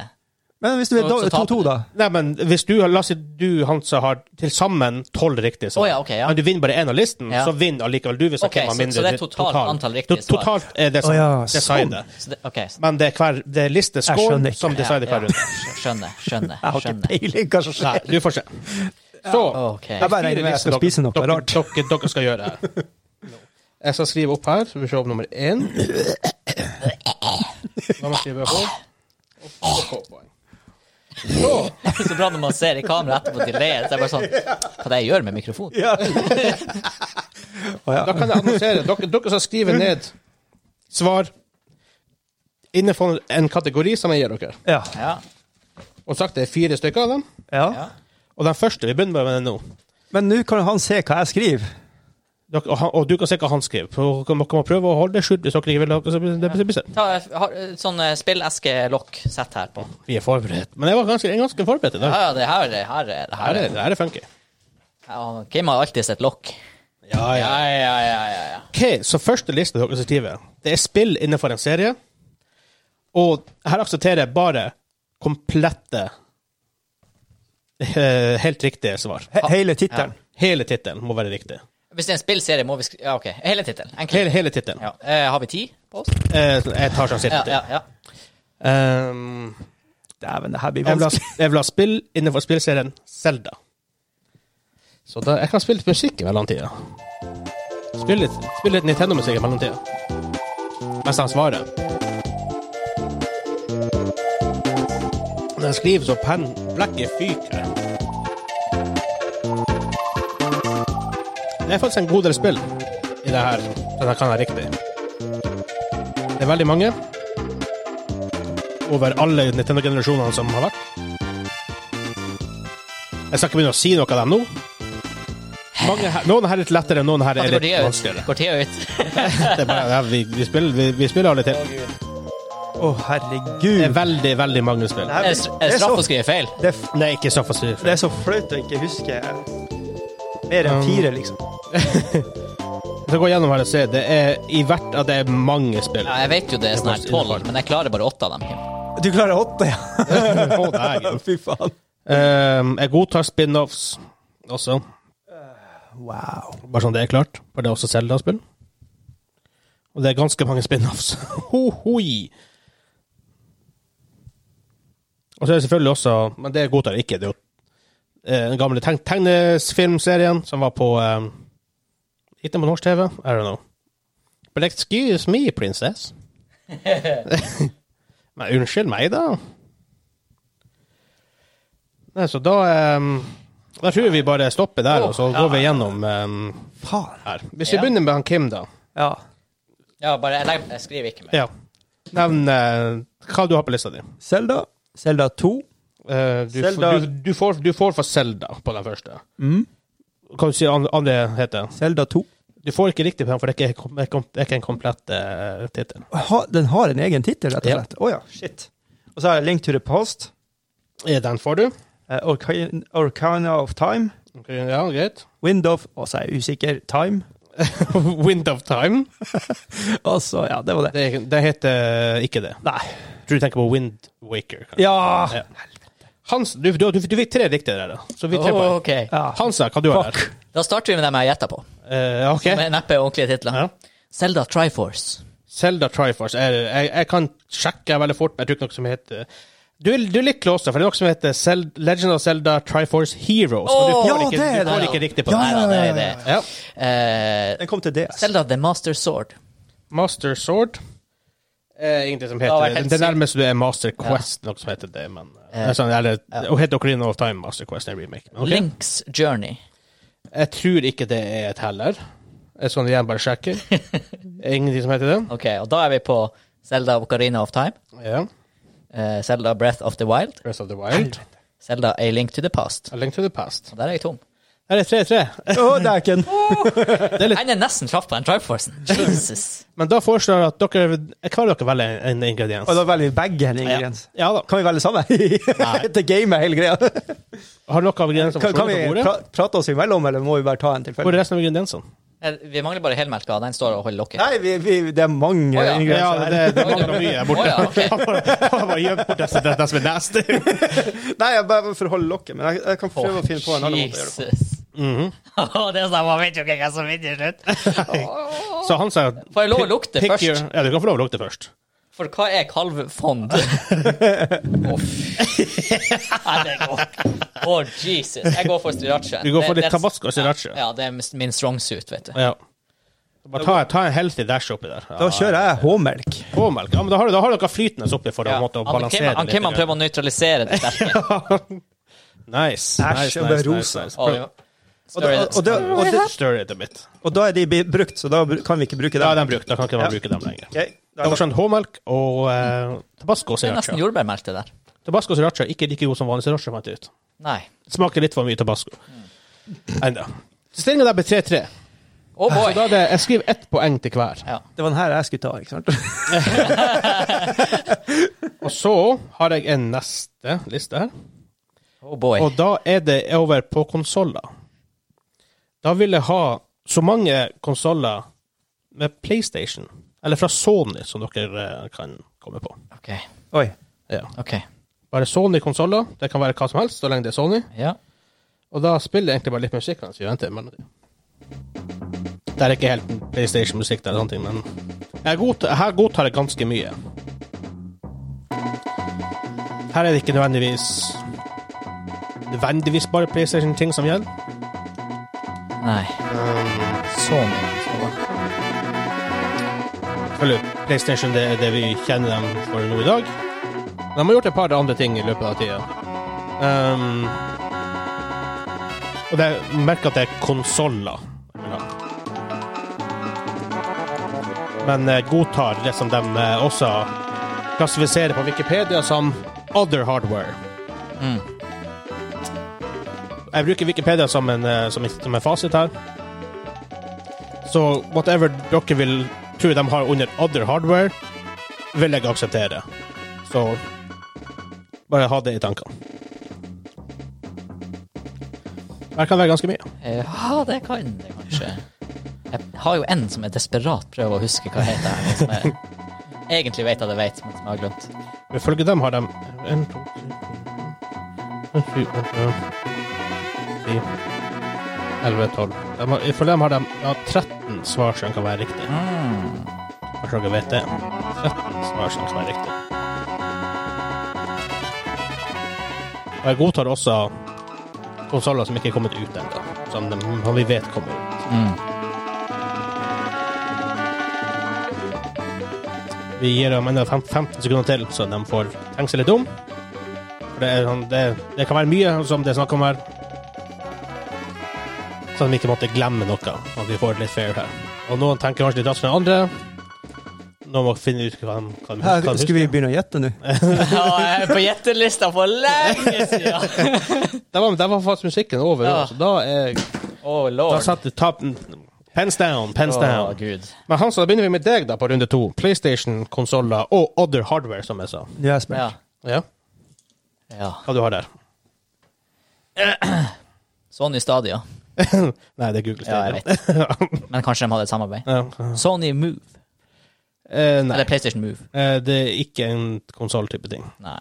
[SPEAKER 3] Men hvis du er
[SPEAKER 1] så- så
[SPEAKER 3] do-
[SPEAKER 1] taper du.
[SPEAKER 3] 2-2, da?
[SPEAKER 2] Nei, men hvis du, la oss si du, Hansa, har til sammen tolv riktige svar,
[SPEAKER 1] Å ja, ok, ja.
[SPEAKER 2] men du vinner bare én av listen,
[SPEAKER 1] Ja.
[SPEAKER 2] så vinner allikevel du hvis
[SPEAKER 1] Ok,
[SPEAKER 2] hvem har
[SPEAKER 1] så-
[SPEAKER 2] mindre
[SPEAKER 1] så det er
[SPEAKER 2] til-
[SPEAKER 1] totalt antall riktige
[SPEAKER 2] To- Totalt er det som
[SPEAKER 3] Å ja, sånn.
[SPEAKER 2] designer.
[SPEAKER 1] så det, Ok, så-
[SPEAKER 2] Men det er, hver, det er
[SPEAKER 3] Jeg skjønner
[SPEAKER 2] listescore
[SPEAKER 3] ikke.
[SPEAKER 2] som designer hver runde.
[SPEAKER 1] Skjønner, skjønner.
[SPEAKER 3] Jeg har ikke
[SPEAKER 1] skjønner.
[SPEAKER 3] peiling hva som skjer.
[SPEAKER 2] Nei, du får se. Så
[SPEAKER 1] Ok.
[SPEAKER 3] Jeg bare regner med jeg skal spise noe
[SPEAKER 2] dere,
[SPEAKER 3] rart.
[SPEAKER 2] Dere, dere skal gjøre her. Jeg skal skrive opp her, så vi ser opp nummer én. La meg skrive på. Og så K-poeng. Så
[SPEAKER 1] Så bra når man ser i kamera etterpå at de ler. Så er det bare sånn Hva det jeg gjør med mikrofonen?
[SPEAKER 3] Ja. Å, ja.
[SPEAKER 2] Da kan jeg annonsere. Dere, dere skal skrive ned svar innenfor en kategori som jeg gir dere.
[SPEAKER 3] Ja.
[SPEAKER 1] Ja.
[SPEAKER 2] Og sagt det er fire stykker av dem.
[SPEAKER 3] ja.
[SPEAKER 1] ja.
[SPEAKER 2] Og den første Vi begynner med den nå.
[SPEAKER 3] Men nå kan han se hva jeg skriver.
[SPEAKER 2] Dere, og, han, og du kan se hva han skriver. For Dere må, dere må prøve å holde det skjult hvis dere ikke vil ha det. blir- det blir-
[SPEAKER 1] Ta eh, har, eh, sånn eh, spilleskelokk sett her på.
[SPEAKER 2] Vi er forberedt. Men jeg var ganske, jeg er ganske forberedt i dag.
[SPEAKER 1] Ja, ja, det her, det her, er- det
[SPEAKER 2] Her
[SPEAKER 1] her
[SPEAKER 2] er,
[SPEAKER 1] er-
[SPEAKER 2] det her er funky.
[SPEAKER 1] ja, Kim har alltid sett lokk.
[SPEAKER 2] Ja,
[SPEAKER 1] Ja, ja, ja, ja, ja.
[SPEAKER 2] Ok, Så første liste dere skal skrive, det er spill innenfor en serie. Og her aksepterer jeg bare komplette eh, Helt riktige svar.
[SPEAKER 3] He hele tittelen.
[SPEAKER 2] Hele tittelen må være riktig.
[SPEAKER 1] Hvis det er en spillserie, må vi skrive Ja, OK. Hele tittelen. Enkelt.
[SPEAKER 2] Hele, hele tittelen.
[SPEAKER 1] Ja. Eh, har vi ti på oss?
[SPEAKER 2] Eh, jeg tar sånn
[SPEAKER 1] Ja,
[SPEAKER 2] cirka
[SPEAKER 1] ja,
[SPEAKER 2] til.
[SPEAKER 1] ja.
[SPEAKER 2] Ehm,
[SPEAKER 3] Dæven, det her blir
[SPEAKER 2] jeg, vil ha,
[SPEAKER 3] vanskelig.
[SPEAKER 2] jeg vil ha spill innenfor spillserien Zelda. Så da, jeg kan spille litt musikk i mellomtida. Spille litt, spill litt Nintendo-musikk i mellomtida. Mens han svarer. Den skriver så penn blekket fyker. Det er faktisk en god del spill i det her, så jeg kan ha riktig. Det er veldig mange. Over alle Nintendo-generasjonene som har vært. Jeg skal ikke begynne å si noe av dem nå. Mange her, noen her er litt lettere, noen her er litt
[SPEAKER 1] Kategorier ut.
[SPEAKER 2] vanskeligere.
[SPEAKER 1] Går tida ut?
[SPEAKER 2] Det er bare, ja, vi, vi, spiller, vi, vi spiller alle til.
[SPEAKER 3] Å,
[SPEAKER 2] Det er
[SPEAKER 3] herregud.
[SPEAKER 2] veldig, veldig mange spill.
[SPEAKER 1] Er det er det
[SPEAKER 3] sånn.
[SPEAKER 1] straff å skrive feil?
[SPEAKER 3] Det er, f-
[SPEAKER 2] Nei, ikke så fast.
[SPEAKER 3] det er så flaut å ikke huske mer enn fire, liksom.
[SPEAKER 2] Så gå gjennom her og se. Det er i hvert av det er mange spill.
[SPEAKER 1] Ja, jeg vet jo det er sånn her tolv, men jeg klarer bare åtte av dem. Kim.
[SPEAKER 3] Du klarer åtte, ja?
[SPEAKER 2] Å, dægen.
[SPEAKER 3] Fy faen.
[SPEAKER 2] Ehm, jeg godtar spin-offs også,
[SPEAKER 3] Wow.
[SPEAKER 2] bare sånn det er klart. For det er også Zelda-spill. Og det er ganske mange spin-offs. Hohoi! Og så er det selvfølgelig også Men det godtar jeg ikke. Det er jo eh, den gamle teg tegnefilmserien som var på um, Ikke på norsk TV. I don't know. But excuse me, princess. Nei, unnskyld meg, da. Nei, så da ehm, Da tror jeg vi bare stopper der, og så går vi gjennom ehm,
[SPEAKER 3] Faen.
[SPEAKER 2] her. Hvis vi
[SPEAKER 1] Ja.
[SPEAKER 2] begynner med han Kim, da.
[SPEAKER 3] Ja.
[SPEAKER 1] Ja, bare jeg, legger, jeg skriver ikke mer.
[SPEAKER 2] Ja. Nevn eh, hva du har på lista di.
[SPEAKER 3] Selda. Selda 2.
[SPEAKER 2] Eh, du, f-
[SPEAKER 3] Zelda-
[SPEAKER 2] du, du, får, du får for Selda på den første. Hva du sier andre, andre heter?
[SPEAKER 3] Selda 2.
[SPEAKER 2] Du får ikke riktig på den, for det er ikke, kom- det er kom- det er ikke en komplett uh, tittel.
[SPEAKER 3] Ha, den har en egen tittel, rett og
[SPEAKER 2] Ja.
[SPEAKER 3] slett. Å ja, shit. Og så har jeg Link to the Past,
[SPEAKER 2] Eh, Den får du.
[SPEAKER 3] eh, Arcan- Arcana of Time,
[SPEAKER 2] Ok, ja, greit.
[SPEAKER 3] Wind of Og så er jeg usikker. Time.
[SPEAKER 2] Wind of Time.
[SPEAKER 3] Og så, ja, det var det.
[SPEAKER 2] Det, det heter ikke det.
[SPEAKER 3] Nei.
[SPEAKER 2] Tror du tenker på Wind Waker. kanskje?
[SPEAKER 3] Ja!
[SPEAKER 2] Ja. Hans, du, du, du, du fikk tre riktige der, da. Så vi tre
[SPEAKER 1] Åh,
[SPEAKER 2] poeng.
[SPEAKER 1] ok.
[SPEAKER 3] ja.
[SPEAKER 2] Hansa, hva du har der?
[SPEAKER 1] Da starter vi med dem jeg gjetta på.
[SPEAKER 2] Eh, ok.
[SPEAKER 1] Med neppe ordentlige titler.
[SPEAKER 2] Ja.
[SPEAKER 1] Zelda Triforce.
[SPEAKER 2] Zelda Triforce. Er, jeg, jeg kan sjekke veldig fort, men jeg tror ikke noe som heter du, er- du er litt close, for det er noe som heter Zel Legend of Zelda Triforce Heroes. men
[SPEAKER 1] Åh,
[SPEAKER 2] du får
[SPEAKER 3] ja,
[SPEAKER 2] ikke,
[SPEAKER 3] det er
[SPEAKER 2] du får
[SPEAKER 3] det.
[SPEAKER 2] ikke riktig på
[SPEAKER 3] Ja,
[SPEAKER 1] Nei da,
[SPEAKER 2] det.
[SPEAKER 1] det er
[SPEAKER 3] ja,
[SPEAKER 1] det.
[SPEAKER 3] ja,
[SPEAKER 2] Ja.
[SPEAKER 1] Eh,
[SPEAKER 3] Den kom til DS.
[SPEAKER 1] Zelda The Master Sword.
[SPEAKER 2] Master Sword. Eh, ingenting som
[SPEAKER 1] Det
[SPEAKER 2] heter
[SPEAKER 1] har vært
[SPEAKER 2] det.
[SPEAKER 1] helt
[SPEAKER 2] Det
[SPEAKER 1] sykt.
[SPEAKER 2] nærmeste du er Master Quest, noe som heter det. Men, det er sånn, eller, Hun heter Ocarina of Time Master Quest, en remake. Men ok.
[SPEAKER 1] Link's Journey.
[SPEAKER 2] Jeg tror ikke det er et heller. sånn Jeg skal igjen bare sjekke. Ingenting som heter det.
[SPEAKER 1] Ok, og da er vi på Zelda Ocarina of Time.
[SPEAKER 2] Ja.
[SPEAKER 1] eh, Zelda Breath of the Wild.
[SPEAKER 2] Breath of the Wild.
[SPEAKER 1] Zelda A Link to the Past.
[SPEAKER 2] A Link to the Past.
[SPEAKER 1] Og der er jeg tom.
[SPEAKER 2] Her er 3-3.
[SPEAKER 3] Å, dæken!
[SPEAKER 1] Jeg er nesten traff på den Triforcen. Jesus.
[SPEAKER 2] Men da foreslår jeg at dere Hva vil dere velge en ingrediens?
[SPEAKER 3] Og da velger vi begge en
[SPEAKER 2] ja.
[SPEAKER 3] ingrediens.
[SPEAKER 2] ja da.
[SPEAKER 3] Kan vi velge samme? det gamet hele greia.
[SPEAKER 2] Har dere ingredienser
[SPEAKER 3] Kan,
[SPEAKER 2] på
[SPEAKER 3] kan vi
[SPEAKER 2] bordet?
[SPEAKER 3] pra prate oss imellom, eller må vi bare ta en
[SPEAKER 2] Hvor
[SPEAKER 3] tilfeldig?
[SPEAKER 2] er resten av ingrediensene?
[SPEAKER 1] Eh, Vi mangler bare helmelka, og den står og holder lokket.
[SPEAKER 3] Nei, vi, vi, det er mange
[SPEAKER 1] Å, ja.
[SPEAKER 2] Ja,
[SPEAKER 3] ingredienser
[SPEAKER 2] det,
[SPEAKER 3] her.
[SPEAKER 2] det mangler mye der borte.
[SPEAKER 1] Å, ja, ok.
[SPEAKER 2] Han bare gjemmer bort det som- det som er nasty.
[SPEAKER 3] Nei, jeg bare for å holde lokket, men jeg, jeg kan prøve å finne på en annen måte å gjøre det på.
[SPEAKER 1] Jesus. det er sånn, man vet jo ikke hva som vinner til slutt.
[SPEAKER 2] Så han sa
[SPEAKER 1] Får jeg lov å lukte
[SPEAKER 2] pick
[SPEAKER 1] først?
[SPEAKER 2] your- Ja, du kan få lov å lukte først.
[SPEAKER 1] For hva er kalvfond? Å, fy. Nei, det går ikke. Å, Jesus. Jeg går for sriracha.
[SPEAKER 2] Du går for
[SPEAKER 1] Det-
[SPEAKER 2] litt
[SPEAKER 1] det-
[SPEAKER 2] tabasco og sriracha.
[SPEAKER 1] Ja, det er min strong suit, vet du.
[SPEAKER 2] Ja. Bare ta, ta en healthy dash oppi der.
[SPEAKER 3] Da kjører jeg H-melk.
[SPEAKER 2] Påmelk. Ja, men da har, du- da har dere flytende oppi for
[SPEAKER 1] Ja.
[SPEAKER 2] å måtte
[SPEAKER 1] Han
[SPEAKER 2] balansere
[SPEAKER 1] Kim- han Kim, han prøver å nøytralisere det sterke.
[SPEAKER 2] Nice. nice,
[SPEAKER 3] Æsj, det er
[SPEAKER 2] nice, nice,
[SPEAKER 3] rosa.
[SPEAKER 2] nice.
[SPEAKER 1] Og-
[SPEAKER 3] Og da, og, da, og, da,
[SPEAKER 2] Stir it a bit.
[SPEAKER 3] og da er de br- brukt, så da br- kan vi ikke bruke
[SPEAKER 2] Ja,
[SPEAKER 3] dem.
[SPEAKER 2] den brukt. Da kan ikke man
[SPEAKER 3] Ja.
[SPEAKER 2] bruke dem lenger.
[SPEAKER 3] Ok, da
[SPEAKER 2] Det
[SPEAKER 3] er
[SPEAKER 2] var
[SPEAKER 3] det-
[SPEAKER 2] sånn H-melk og eh, tabasco og
[SPEAKER 1] Det er
[SPEAKER 2] sriracha.
[SPEAKER 1] nesten jordbærmelk, det der.
[SPEAKER 2] Tabasco og sriracha er ikke like god som vanlig sriracha, fant jeg ut.
[SPEAKER 1] Nei.
[SPEAKER 2] Smaker litt for mye tabasco. Enda. Stillinga der ble 3-3.
[SPEAKER 1] Å,
[SPEAKER 2] Så da
[SPEAKER 1] Oh, boy.
[SPEAKER 2] er det, jeg skriver ett poeng til hver.
[SPEAKER 1] Ja.
[SPEAKER 3] det var den her jeg skulle ta, ikke sant?
[SPEAKER 2] Og så har jeg en neste liste her.
[SPEAKER 1] Oh boy.
[SPEAKER 2] Og da er det over på konsoller. Da vil jeg ha så mange konsoller med PlayStation, eller fra Sony, som dere eh, kan komme på.
[SPEAKER 1] OK.
[SPEAKER 3] Oi.
[SPEAKER 2] Ja.
[SPEAKER 1] ok.
[SPEAKER 2] Bare Sony-konsoller. Det kan være hva som helst, så lenge det er Sony.
[SPEAKER 1] Ja.
[SPEAKER 2] Og da spiller jeg egentlig bare litt musikk mens vi venter. Men det er ikke helt PlayStation-musikk, der, sånne ting, men jeg godtar, her godtar jeg ganske mye. Her er det ikke nødvendigvis Nødvendigvis bare PlayStation-ting som gjelder.
[SPEAKER 1] Nei. Sånn. Sånn.
[SPEAKER 2] Eller PlayStation det er det vi kjenner dem for nå i dag. De har gjort et par andre ting i løpet av tida. Ehm, og det merker at det er konsoller. Men eh, godtar det som de eh, også klassifiserer på Wikipedia som other hardware. Jeg bruker Wikipedia som en, eh, som, en- som en fasit her. Så whatever dere vil tro de har under other hardware, vil jeg akseptere. Så bare ha det i tankene. Det kan være ganske mye.
[SPEAKER 1] Eh, Ja, det kan det kanskje. Jeg har jo en som er desperat prøver å huske hva heter her, men som jeg egentlig vet at jeg vet, men som jeg har glemt.
[SPEAKER 2] Ifølge dem har de En, to, tre, fire, fem, sju, åtte, ti, elleve, tolv. De har- Ifølge dem har de ja, 13 svar som kan være riktig.
[SPEAKER 1] Mm.
[SPEAKER 2] Kanskje dere vet det. 13 svar som kan være riktig. Og jeg godtar også konsoller som ikke er kommet ut ennå, som de, som vi vet kommer ut.
[SPEAKER 1] Mm.
[SPEAKER 2] Vi gir dem enda fem- 15 sekunder til, så de får tenke seg litt om. For det, er, sånn- det, det kan være mye som det er snakk om her. Så de ikke måtte glemme noe, at vi får litt fair her. Og noen tenker kanskje litt raskere enn andre. Noen må finne ut hva de, hva de, hva de
[SPEAKER 3] Her,
[SPEAKER 2] husker.
[SPEAKER 3] skal vi begynne å gjette nå?
[SPEAKER 1] Ja, jeg er på gjettelista for lenge siden!
[SPEAKER 2] Der var, der var faktisk musikken over,
[SPEAKER 1] Ja.
[SPEAKER 2] ja. så da er
[SPEAKER 1] Oh,
[SPEAKER 2] Da
[SPEAKER 1] lord.
[SPEAKER 2] satt det tapen Pens down, pens
[SPEAKER 1] Å,
[SPEAKER 2] down.
[SPEAKER 1] gud.
[SPEAKER 2] Men Hans, da begynner vi med deg da på runde to. PlayStation, konsoller og other hardware, som jeg sa.
[SPEAKER 3] Nå er jeg
[SPEAKER 1] Ja.
[SPEAKER 3] spent.
[SPEAKER 2] Ja,
[SPEAKER 1] ja.
[SPEAKER 2] Hva du har der?
[SPEAKER 1] Sony Stadia.
[SPEAKER 2] Nei, det er Google.
[SPEAKER 1] Ja, jeg vet. Men kanskje de hadde et samarbeid.
[SPEAKER 2] Ja.
[SPEAKER 1] Sony Move.
[SPEAKER 2] Eh, nei,
[SPEAKER 1] Eller PlayStation Move.
[SPEAKER 2] Eh, det er ikke en konsoll-type ting.
[SPEAKER 1] Nei.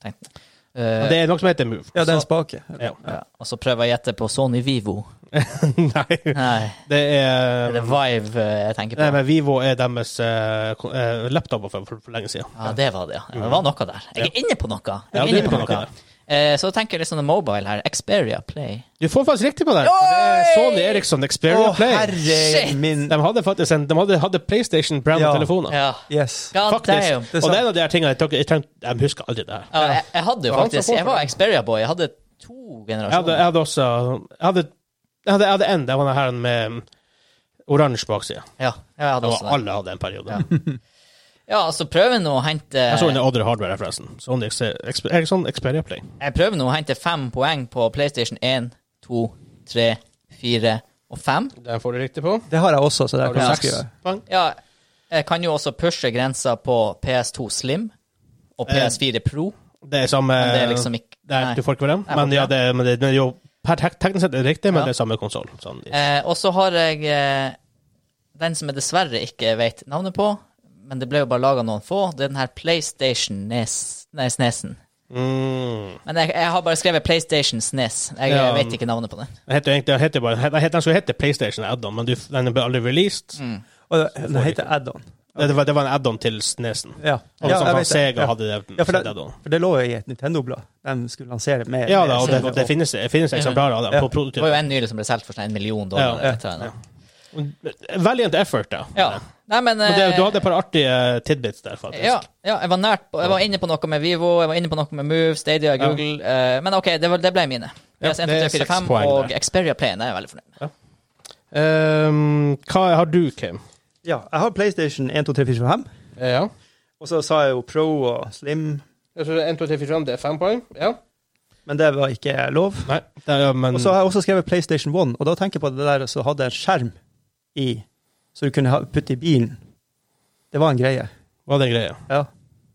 [SPEAKER 1] Tenkte. jeg.
[SPEAKER 2] Men
[SPEAKER 1] Eh,
[SPEAKER 2] Det er noe som heter Move.
[SPEAKER 3] Ja, det er en spake.
[SPEAKER 2] Ja.
[SPEAKER 1] ja. Og så prøver jeg å gjette på Sony Vivo.
[SPEAKER 2] nei,
[SPEAKER 1] Nei,
[SPEAKER 2] det
[SPEAKER 1] det
[SPEAKER 2] er
[SPEAKER 1] er det Vive eh, jeg tenker
[SPEAKER 2] Nei,
[SPEAKER 1] på.
[SPEAKER 2] men Vivo er deres eh, ko- eh, laptoper for, for, for lenge siden.
[SPEAKER 1] Ja, det var det, ja. Det var noe der. Jeg er inne på noe. Jeg
[SPEAKER 2] Ja,
[SPEAKER 1] er
[SPEAKER 2] du er
[SPEAKER 1] inne på
[SPEAKER 2] inne på
[SPEAKER 1] noe.
[SPEAKER 2] noe.
[SPEAKER 1] Eh, Så tenker jeg litt sånn mobile her. Xperia Play.
[SPEAKER 2] Du får faktisk riktig på det. for Det er
[SPEAKER 1] Oi!
[SPEAKER 2] Sony Eriksson Xperia Play.
[SPEAKER 1] Shit!
[SPEAKER 3] min
[SPEAKER 2] De hadde faktisk en, de hadde, hadde PlayStation brand
[SPEAKER 3] Ja.
[SPEAKER 2] telefoner.
[SPEAKER 1] Ja.
[SPEAKER 3] Yes.
[SPEAKER 1] God
[SPEAKER 2] Faktisk.
[SPEAKER 1] damn.
[SPEAKER 2] og det
[SPEAKER 3] Det er sant.
[SPEAKER 2] er en av de her tingene jeg, tok- jeg, trengte, jeg husker aldri det her.
[SPEAKER 1] Ja, jeg, jeg hadde jo
[SPEAKER 2] Det var han som
[SPEAKER 1] faktisk
[SPEAKER 2] kom
[SPEAKER 1] Jeg
[SPEAKER 2] for
[SPEAKER 1] var
[SPEAKER 2] det.
[SPEAKER 1] Xperia-boy. Jeg hadde to
[SPEAKER 2] Jeg hadde, jeg
[SPEAKER 1] generasjoner.
[SPEAKER 2] hadde også Jeg hadde, jeg hadde, jeg hadde en. Det var den her med um, oransje bakside.
[SPEAKER 1] Ja, jeg hadde
[SPEAKER 2] Og
[SPEAKER 1] også det.
[SPEAKER 2] alle hadde en periode.
[SPEAKER 1] Ja, så prøver nå å hente
[SPEAKER 2] Jeg så den i Odder Hardware, her, forresten. Sony Ex- Ex- Ericsson sånn Xperia Play.
[SPEAKER 1] Jeg prøver nå å hente fem poeng på PlayStation 1, 2, 3, 4 og 5.
[SPEAKER 2] Den får du riktig på.
[SPEAKER 3] Det har jeg også, så det
[SPEAKER 2] Da
[SPEAKER 3] kan
[SPEAKER 2] har
[SPEAKER 3] jeg
[SPEAKER 2] du seks
[SPEAKER 3] skrive.
[SPEAKER 2] poeng.
[SPEAKER 1] Ja, jeg kan jo også pushe grensa på PS2 Slim
[SPEAKER 2] Eh.
[SPEAKER 1] og PS4 Pro,
[SPEAKER 2] Det er samme
[SPEAKER 1] men det er liksom ikke
[SPEAKER 2] det er-
[SPEAKER 1] nei.
[SPEAKER 2] Du får ikke være dem.
[SPEAKER 1] Jeg får
[SPEAKER 2] Men
[SPEAKER 1] ikke
[SPEAKER 2] ja, det, men det, men jo, per tek, teknisk sett er det riktig, men
[SPEAKER 1] Ja.
[SPEAKER 2] det er samme konsoll. Sånn.
[SPEAKER 1] Eh, og så har jeg eh, den som jeg dessverre ikke vet navnet på, men det ble jo bare laga noen få. Det er den her PlayStation Nes, nei, Snesen.
[SPEAKER 2] Mm.
[SPEAKER 1] Men jeg, jeg har bare skrevet PlayStation Snes. Jeg
[SPEAKER 2] Ja.
[SPEAKER 1] vet ikke navnet på den.
[SPEAKER 2] Den heter jo egentlig- den heter bare den heter- Den skulle hete PlayStation Add-on, men du, den ble aldri released.
[SPEAKER 1] Mm.
[SPEAKER 3] Og det, det heter Add-on.
[SPEAKER 2] Det, det, var, det var en add-on til E Snesen.
[SPEAKER 3] Ja.
[SPEAKER 2] Og sånn
[SPEAKER 3] ja, jeg
[SPEAKER 2] som
[SPEAKER 3] vet det.
[SPEAKER 2] Sega
[SPEAKER 3] Ja.
[SPEAKER 2] hadde det.
[SPEAKER 3] Ja, for
[SPEAKER 2] sitt
[SPEAKER 3] det,
[SPEAKER 2] add-on.
[SPEAKER 3] for det lå jo i et Nintendo-blad. De skulle lansere med
[SPEAKER 2] Ja
[SPEAKER 3] med
[SPEAKER 2] da, og det,
[SPEAKER 3] Zelda
[SPEAKER 2] det
[SPEAKER 3] på.
[SPEAKER 2] finnes, det finnes eksemplarer av dem.
[SPEAKER 3] Ja.
[SPEAKER 2] på
[SPEAKER 1] Det var
[SPEAKER 2] prototypen.
[SPEAKER 1] jo en nylig som ble solgt for sånn en million dollar.
[SPEAKER 2] Ja,
[SPEAKER 1] vet jeg nå.
[SPEAKER 2] Valiant effort, da.
[SPEAKER 1] ja. Nei, men,
[SPEAKER 2] Men det,
[SPEAKER 1] eh,
[SPEAKER 2] du hadde et par artige eh, tidbits der, faktisk.
[SPEAKER 1] Ja, ja, jeg var nært på Jeg var inne på noe med Vivo, jeg var inne på noe med Move, Stadia, Google eh, Men OK, det, var, det ble mine.
[SPEAKER 2] Ja,
[SPEAKER 1] PS1,
[SPEAKER 2] det er
[SPEAKER 1] 2, 3, 4, 5
[SPEAKER 2] seks poeng
[SPEAKER 1] og
[SPEAKER 2] der.
[SPEAKER 1] Xperia Play. Det er jeg veldig fornøyd med.
[SPEAKER 2] Ehm, hva har du, Kim?
[SPEAKER 3] Ja, jeg har PlayStation 1, 2, 3, 4, 5.
[SPEAKER 2] Eh, Ja.
[SPEAKER 3] Og så sa jeg jo Pro og Slim,
[SPEAKER 2] 1, 2, 3, 4, 5, det er fem poeng. Ja.
[SPEAKER 3] men det var ikke lov.
[SPEAKER 2] Nei, det er, men
[SPEAKER 3] Og så har jeg også skrevet PlayStation 1, og da tenker jeg på det der som hadde en skjerm i, så du kunne ha- putte i bilen. Det var en greie.
[SPEAKER 2] var det greia?
[SPEAKER 3] Ja.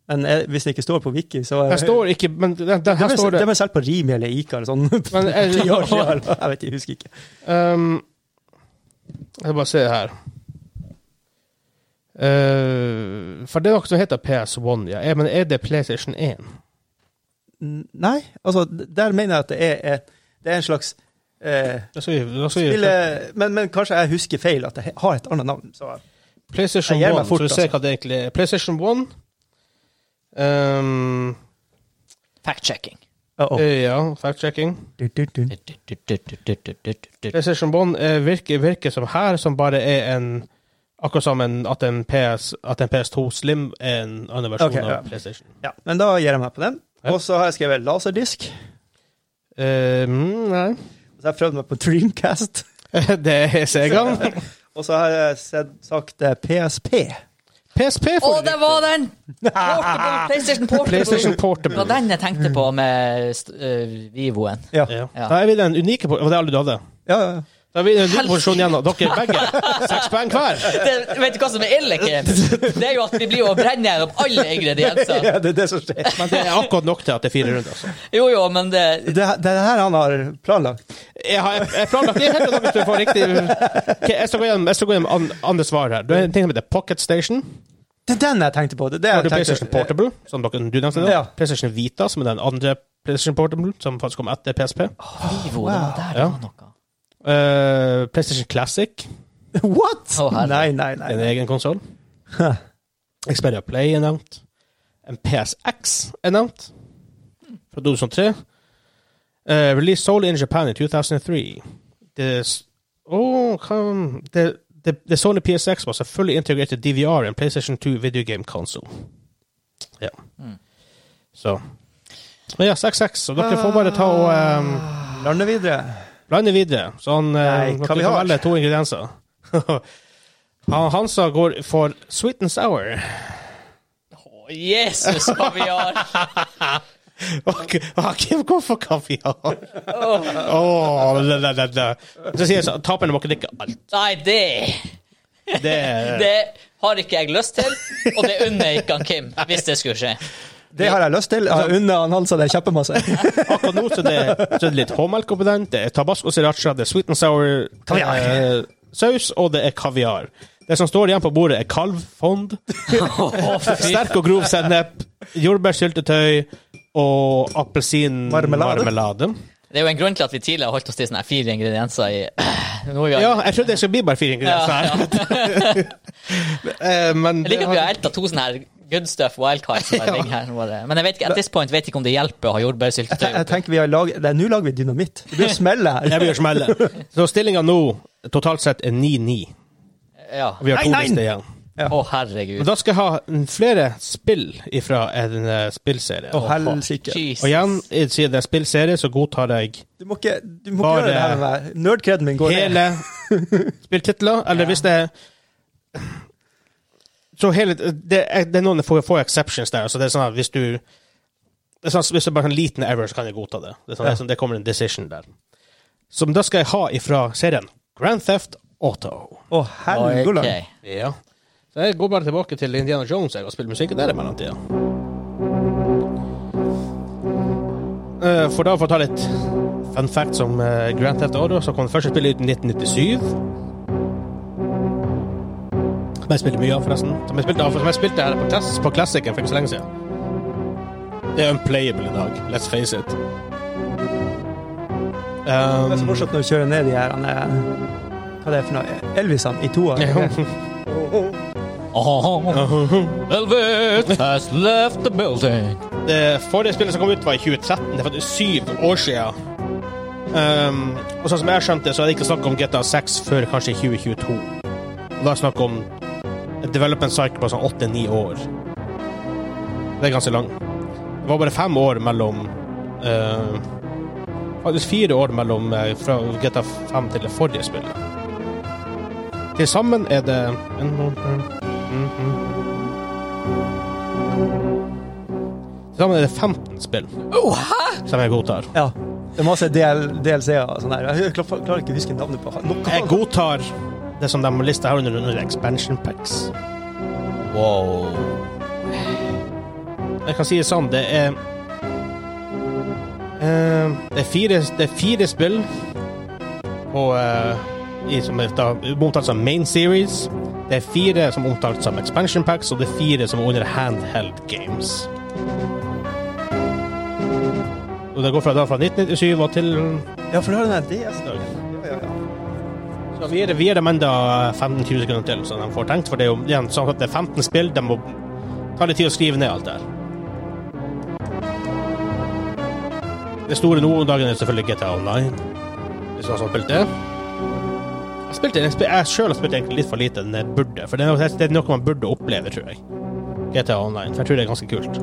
[SPEAKER 3] Men jeg, hvis det ikke står på Wiki, så
[SPEAKER 2] Her står ikke Men der, der,
[SPEAKER 3] det
[SPEAKER 2] her står Eh, det
[SPEAKER 3] var solgt på Rimi eller Ica eller sånn.
[SPEAKER 2] men, eh, er,
[SPEAKER 3] Ti år siden, eller- jeg vet ikke, jeg husker ikke.
[SPEAKER 2] Ehm, Jeg skal bare se her. Eh, for det er noe som heter PS1, ja. Eh, Men er det PlayStation 1?
[SPEAKER 3] N- Nei, altså, d- der mener jeg at det er, et- det er en slags eh,
[SPEAKER 2] Da skal vi- da skal vi-
[SPEAKER 3] spille, men, men kanskje jeg husker feil, at det he- har et annet navn. Så
[SPEAKER 2] PlayStation
[SPEAKER 3] Jeg gir meg
[SPEAKER 2] 1,
[SPEAKER 3] fort,
[SPEAKER 2] så vi ser
[SPEAKER 3] altså.
[SPEAKER 2] hva det egentlig er. PlayStation 1 um,
[SPEAKER 1] Fact-checking.
[SPEAKER 3] uh -oh.
[SPEAKER 2] eh, Ja, fact-checking.
[SPEAKER 3] Du, du, du.
[SPEAKER 2] PlayStation 1 eh, virker, virker som her, som bare er en Akkurat som en, at, en PS, at en PS2 Slim er en annen versjon
[SPEAKER 3] Ok, ja.
[SPEAKER 2] av PlayStation.
[SPEAKER 3] Ja, men da gir jeg meg på den.
[SPEAKER 2] Ja.
[SPEAKER 3] Og så har jeg skrevet laserdisk.
[SPEAKER 2] Eh, mm, nei.
[SPEAKER 3] Og så har jeg prøvd meg på Dreamcast.
[SPEAKER 2] det er Sega.
[SPEAKER 3] Og så har jeg sett, sagt eh, PSP.
[SPEAKER 2] PSP
[SPEAKER 1] Å,
[SPEAKER 2] får
[SPEAKER 1] der var den! Portable, PlayStation Portable.
[SPEAKER 2] PlayStation
[SPEAKER 1] Det var
[SPEAKER 2] Portable.
[SPEAKER 1] den jeg tenkte på med st- øh, Vivoen.
[SPEAKER 3] Ja.
[SPEAKER 2] Ja.
[SPEAKER 1] Ja.
[SPEAKER 2] Da er vi den unike po- Var det alle du hadde?
[SPEAKER 3] Ja, ja, ja.
[SPEAKER 2] Da er vi i den unike posisjonen igjen, og dere begge. Seks poeng hver.
[SPEAKER 1] Det, vet du hva som er ille, Kim? Det er jo at vi blir jo å brenne her opp alle ingredienser.
[SPEAKER 3] ja, det er det som skjer.
[SPEAKER 2] Men det er akkurat nok til at det er fire runder. Altså.
[SPEAKER 1] Jo, jo, men det
[SPEAKER 3] Det, det er her han har planlagt.
[SPEAKER 2] Jeg har jeg planlagt det helt hvis du får riktig Ok, Jeg skal gå gjennom, jeg skal gå gjennom an, andre svar her. Du har en ting som heter Pocket Station.
[SPEAKER 3] Det er den jeg tenkte på. Det, er det
[SPEAKER 2] Har du
[SPEAKER 3] jeg tenkte-
[SPEAKER 2] PlayStation Portable, som dere, du nevnte. da.
[SPEAKER 3] Ja.
[SPEAKER 2] PlayStation Vita, som er den andre PlayStation Portable, som faktisk kom etter PSP.
[SPEAKER 3] Ah.
[SPEAKER 1] Vivo, det var der det
[SPEAKER 2] Ja.
[SPEAKER 1] var noe.
[SPEAKER 2] Eh, PlayStation Classic,
[SPEAKER 3] What?!
[SPEAKER 1] Å, herre.
[SPEAKER 3] nei, nei, nei.
[SPEAKER 2] en egen konsoll. Xperia Play er nevnt. En PSX er nevnt. Fra 2003. Eh, released solely in Japan in 2003. Det, s- Åh, hva- det, det, the Sony PSX was a fully integrated DVR and PlayStation 2 video game console. Ja.
[SPEAKER 3] Mm.
[SPEAKER 2] Så Men ja, 6-6, så dere får bare ta og
[SPEAKER 3] Ah.
[SPEAKER 2] ehm,
[SPEAKER 3] Lande videre.
[SPEAKER 2] Blande videre. Så han
[SPEAKER 3] Nei,
[SPEAKER 2] eh,
[SPEAKER 3] hva
[SPEAKER 2] dere
[SPEAKER 3] vi
[SPEAKER 2] kan
[SPEAKER 3] har?
[SPEAKER 2] velge to ingredienser. han, Hansa går for sweet and sour.
[SPEAKER 1] Å, Jesus, hva vi har!
[SPEAKER 2] Og og Kim går for kaviar.
[SPEAKER 1] Åh,
[SPEAKER 2] Oh, la, la, la, la. Så sier jeg så, taperne må ikke drikke alt.
[SPEAKER 1] Nei, det
[SPEAKER 2] Det er
[SPEAKER 1] Det har ikke jeg lyst til, og det unner jeg ikke han Kim, hvis det skulle skje.
[SPEAKER 3] Det har jeg lyst til. Jeg unner han Hansa det kjempemasse.
[SPEAKER 2] akkurat nå, så det, så er det litt håmelk oppi den. Det er tabasco sriracha, det er sweet and sour
[SPEAKER 3] Kaviar.
[SPEAKER 2] eh, saus, og det er kaviar. Det som står igjen på bordet, er kalvfond, sterk og grov sennep, jordbærsyltetøy og
[SPEAKER 3] Marmelade.
[SPEAKER 2] appelsinmarmelade.
[SPEAKER 1] Det er jo en grunn til at vi tidligere har holdt oss til sånne her fire ingredienser i Nå har vi-
[SPEAKER 2] Ja, jeg trodde det skulle bli bare fire ingredienser her. Eh, Men
[SPEAKER 1] Jeg
[SPEAKER 2] det
[SPEAKER 1] liker at vi har
[SPEAKER 2] har,
[SPEAKER 1] elta to sånne her good stuff wildcards. som bare ligger her. Bare- Men jeg vet ikke, at this point vet ikke om det hjelper å ha jordbærsyltetøy.
[SPEAKER 3] Jeg tenker vi har lag... Nei, nå lager vi dynamitt. Det blir smelle her.
[SPEAKER 2] jeg vil smelle. Så stillinga nå totalt sett er 9-9.
[SPEAKER 1] Ja.
[SPEAKER 2] Og vi har to
[SPEAKER 3] Nei, nei.
[SPEAKER 2] lister igjen.
[SPEAKER 1] Å,
[SPEAKER 2] Men
[SPEAKER 1] herregud.
[SPEAKER 2] da skal jeg ha mm, flere spill ifra en eh, spillserie.
[SPEAKER 3] Å, helsike.
[SPEAKER 1] Jesus.
[SPEAKER 2] Og igjen, jeg sier det er spillserie, så godtar jeg
[SPEAKER 3] Du må ikke, du må ikke
[SPEAKER 2] Bare-
[SPEAKER 3] gjøre det her med meg. Nerdcreden min går ned.
[SPEAKER 2] hele spilltitler. Eller hvis det er Så hele Det er, det er noen få, få exceptions der. Så det er sånn at hvis du det er sånn, at Hvis det er bare en liten error, så kan jeg godta det. Det, er sånn, det, er sånn, det kommer en decision der. Som da skal jeg ha ifra serien Grand Theft Auto.
[SPEAKER 3] Å, helgoland.
[SPEAKER 1] Ok.
[SPEAKER 2] Ja. Så jeg går bare tilbake til Indiana Jones jeg, og spiller musikken der i mellomtida. Eh, For da for å ta litt fun facts om eh, Grand Theft Auto, så kom det første spillet ut i 1997. Som jeg spilte mye av, forresten. Som jeg spilte, av, som jeg spilte her på, test, på Classicen for ikke så lenge siden. Det er unplayable i dag. Let's face it.
[SPEAKER 3] Det er så
[SPEAKER 2] Um,
[SPEAKER 3] morsomt når vi kjører ned de her han er, Hva det er for noe? Elvisene i toa.
[SPEAKER 1] Elvis has left the building.
[SPEAKER 2] Det forrige spillet som kom ut, var i 2013. Det er faktisk syv år siden. Ehm, og sånn som jeg skjønte, så er det ikke snakk om GTA 6 før kanskje 2022. Og da er det snakk om et development cycle på sånn åtte-ni år. Det er ganske langt. Det var bare fem år mellom eh, Faktisk fire år mellom eh, fra GTA 5 til det forrige spillet. Til sammen er det Til sammen er det 15 spill som jeg godtar.
[SPEAKER 3] Ja. Det er masse DL, DLC-er og sånn der. Jeg klar- klarer ikke å huske navnet på han. Noe-
[SPEAKER 2] Jeg godtar det som de lister her under, under expansion packs.
[SPEAKER 1] Wow.
[SPEAKER 2] Jeg kan si det sånn, det er eh, det, er fire, det er fire spill på, eh, i, som er da, omtalt som main series. Det er fire som er omtalt som expansion packs, og det er fire som er under handheld games. Og det går fra, da, fra 1997 og til
[SPEAKER 3] Ja, for du har den der DS.
[SPEAKER 2] i dag.
[SPEAKER 3] Ja, ja, ja.
[SPEAKER 2] Så vi gir, vi gir dem enda 15-20 sekunder til, så de får tenkt. For det er jo igjen, sånn at det er 15 spill, de må ta litt tid å skrive ned alt det her. Det store nå om dagen er selvfølgelig GTA Online. Hvis du har sånn spilt det. Jeg, spilte, jeg, spil- jeg selv har spilt egentlig litt for lite enn jeg burde, for det er, noe- det er noe man burde oppleve, tror jeg. GTA Online. For jeg tror det er ganske kult.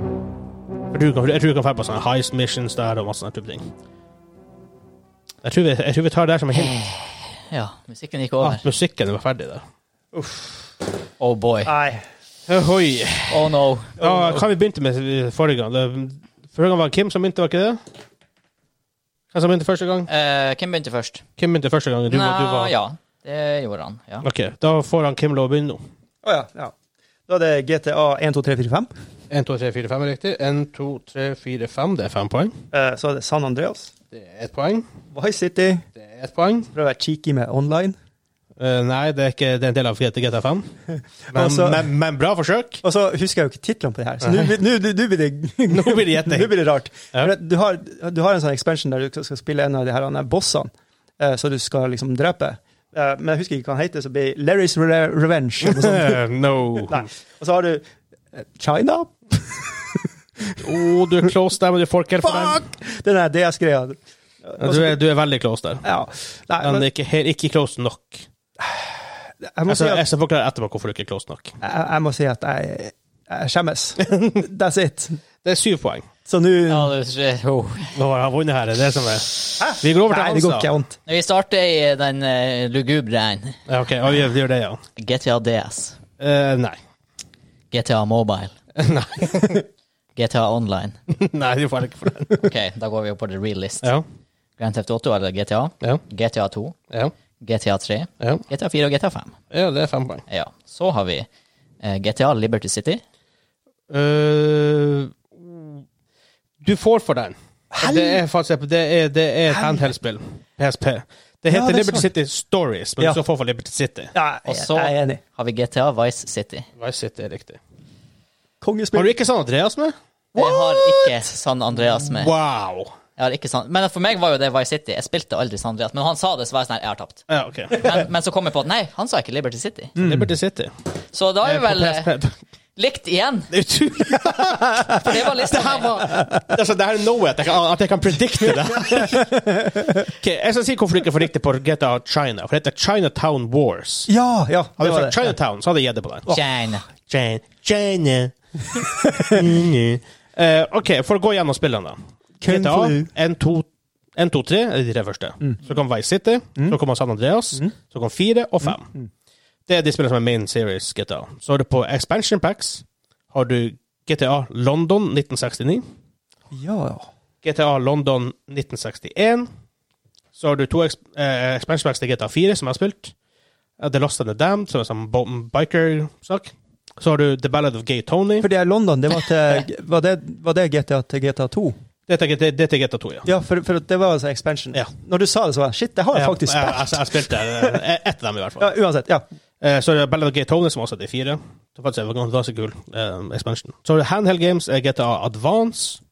[SPEAKER 2] Jeg tror du kan, jeg tror du kan få på sånne heist missions der og masse sånne type ting. Jeg tror, vi, jeg tror vi tar det her som en hint.
[SPEAKER 1] Ja, musikken gikk
[SPEAKER 2] Ja,
[SPEAKER 1] over.
[SPEAKER 2] Ah, musikken var ferdig der.
[SPEAKER 1] Oh boy.
[SPEAKER 3] Nei.
[SPEAKER 2] Ohoi.
[SPEAKER 1] Oh no.
[SPEAKER 2] Ja, hva vi begynte med forrige gang? Det, forrige gang var det Kim som begynte, var ikke det? Hvem som begynte første gang?
[SPEAKER 1] Eh, hvem begynte først?
[SPEAKER 2] Kim begynte første gang. Du, var- du var...
[SPEAKER 1] ja. Det gjorde han. Ja.
[SPEAKER 2] Ok, da får han Kim lov å begynne nå.
[SPEAKER 3] Å ja, ja. Da er det GTA 1, 2, 3, 4, 5.
[SPEAKER 2] 1, 2, 3, 4, 5 er riktig. 1, 2, 3, 4, 5. Det er fem poeng.
[SPEAKER 3] Eh, Så er det San Andreas.
[SPEAKER 2] Det er ett poeng.
[SPEAKER 3] Vice City.
[SPEAKER 2] Det er ett poeng.
[SPEAKER 3] Prøver å være cheeky med online.
[SPEAKER 2] Eh, nei, det er ikke det er en del av GTA 5. Men,
[SPEAKER 3] Altså-
[SPEAKER 2] men, men bra forsøk.
[SPEAKER 3] Og så Altså, husker jeg jo ikke titlene på det her, så nå blir- nå nå- nå blir det
[SPEAKER 2] Nå blir det gjetning.
[SPEAKER 3] Nå blir det rart.
[SPEAKER 2] Ja.
[SPEAKER 3] For at Du, har, du har en sånn expansion der du skal spille en av de her andre bossene, eh, så du skal liksom drepe. Eh, Men jeg husker ikke hva han heter, så det blir Larry's Re Revenge. eller noe sånt.
[SPEAKER 2] Eh, no.
[SPEAKER 3] Nei. Og så har du eh, China.
[SPEAKER 2] Oh, du er close der, men du får ikke helt for den.
[SPEAKER 3] Fuck! Den der DS-greia.
[SPEAKER 2] Du er, du er veldig close der.
[SPEAKER 3] Ja. Nei,
[SPEAKER 2] Men
[SPEAKER 3] men
[SPEAKER 2] ikke, helt- ikke close nok.
[SPEAKER 3] jeg må
[SPEAKER 2] Jeg
[SPEAKER 3] si
[SPEAKER 2] skal,
[SPEAKER 3] at
[SPEAKER 2] Altså, jeg skal forklare etterpå hvorfor du ikke er close nok.
[SPEAKER 3] jeg, jeg, må si at jeg, jeg skjemmes. That's it.
[SPEAKER 2] Det er syv poeng.
[SPEAKER 3] Så nå
[SPEAKER 1] Ja, det, oh.
[SPEAKER 2] Nå har han vunnet her, det er det som er Vi går over til
[SPEAKER 3] Nei, det går ikke vondt.
[SPEAKER 1] Vi starter i den eh, lugubre en.
[SPEAKER 2] Ja, ok, ja, vi gjør- vi gjør det, ja.
[SPEAKER 1] GTA DS.
[SPEAKER 2] Eh, nei.
[SPEAKER 1] GTA Mobile.
[SPEAKER 2] nei.
[SPEAKER 1] GTA Online.
[SPEAKER 2] Nei, du får ikke for den.
[SPEAKER 1] Ok, da går vi opp på the real list.
[SPEAKER 2] Ja,
[SPEAKER 1] Grand Theft 8 eller GTA.
[SPEAKER 2] ja,
[SPEAKER 1] GTA 2.
[SPEAKER 2] ja.
[SPEAKER 1] GTA 3.
[SPEAKER 2] Ja,
[SPEAKER 1] GTA 4 og GTA 5.
[SPEAKER 2] ja det er fem poeng.
[SPEAKER 1] Ja. Så har vi eh, GTA Liberty City.
[SPEAKER 2] Eh, du får for den. Det er faktisk det er, det er et
[SPEAKER 3] Hel-
[SPEAKER 2] handheld-spill. PSP. Det heter
[SPEAKER 3] det er
[SPEAKER 2] Liberty
[SPEAKER 3] sant.
[SPEAKER 2] City Stories, men
[SPEAKER 3] Ja.
[SPEAKER 2] du skal få for Liberty City.
[SPEAKER 3] Ja,
[SPEAKER 1] Og
[SPEAKER 3] jeg,
[SPEAKER 1] så
[SPEAKER 3] jeg er enig.
[SPEAKER 1] har vi GTA Vice City.
[SPEAKER 2] Vice City er riktig. Har
[SPEAKER 3] Kongespill.
[SPEAKER 2] du ikke San Andreas med?
[SPEAKER 1] Jeg har ikke San Andreas med.
[SPEAKER 2] Wow!
[SPEAKER 1] Jeg har ikke San... Men for meg var jo det Vice City. Jeg spilte aldri San Andreas. Men han sa det, så var jeg sånn her, jeg har tapt.
[SPEAKER 2] Ja, ok.
[SPEAKER 1] Men, men så kom jeg på at nei, han sa ikke Liberty City.
[SPEAKER 2] Liberty City.
[SPEAKER 1] Så da
[SPEAKER 2] Eh,
[SPEAKER 1] er
[SPEAKER 2] Mm. på
[SPEAKER 1] vi vel eh,
[SPEAKER 2] PSP.
[SPEAKER 1] likt igjen.
[SPEAKER 2] Det er utrolig
[SPEAKER 1] For det var sånn- lista mi.
[SPEAKER 2] altså, Det her er noe at jeg kan, at jeg kan predikte det. Ok, jeg skal si hvorfor du ikke får riktig på GTA China. For det heter Chinatown Wars.
[SPEAKER 3] Ja, ja.
[SPEAKER 2] Hadde
[SPEAKER 3] Det
[SPEAKER 2] du
[SPEAKER 3] var
[SPEAKER 2] sagt
[SPEAKER 3] det.
[SPEAKER 2] Chinatown, så hadde jeg gitt det på den.
[SPEAKER 1] China.
[SPEAKER 2] China. China. Mm. Eh, OK, for å gå gjennom spillene, da.
[SPEAKER 3] Kung
[SPEAKER 2] GTA
[SPEAKER 3] Fu. Mm.
[SPEAKER 2] 1, 2, 1, 2 3 er de tre første. Så kom Vice City, så kom San Andreas, så kom 4 og 5.
[SPEAKER 3] Mm.
[SPEAKER 2] Det er de spillene som er main series GTA. Så har du på Expansion Packs har du GTA London 1969.
[SPEAKER 3] Ja.
[SPEAKER 2] GTA London 1961. Så har du to eksp eh, expansion packs til GTA 4, som jeg har spilt. Eh, The Lost and the Damned, som er sånn bo- biker-sak. Så har du The Ballad of Gay Tony.
[SPEAKER 3] For det er London, det var, til, var, det, var det GTA til GTA 2?
[SPEAKER 2] Det er til det er til GTA 2, ja.
[SPEAKER 3] Ja, for, for det var altså expansion.
[SPEAKER 2] Ja.
[SPEAKER 3] Når du sa det, så var jeg shit, det har jeg
[SPEAKER 2] Ja,
[SPEAKER 3] faktisk
[SPEAKER 2] jeg,
[SPEAKER 3] spilt.
[SPEAKER 2] jeg, jeg spilte eh, ett av dem, i hvert fall.
[SPEAKER 3] Ja, uansett. Ja.
[SPEAKER 2] Eh, så er det Ballad of Gay Tony, som også er til 4. Det var faktisk en ganske kul eh, expansion. Så har du Handheld Games, eh, GTA Advance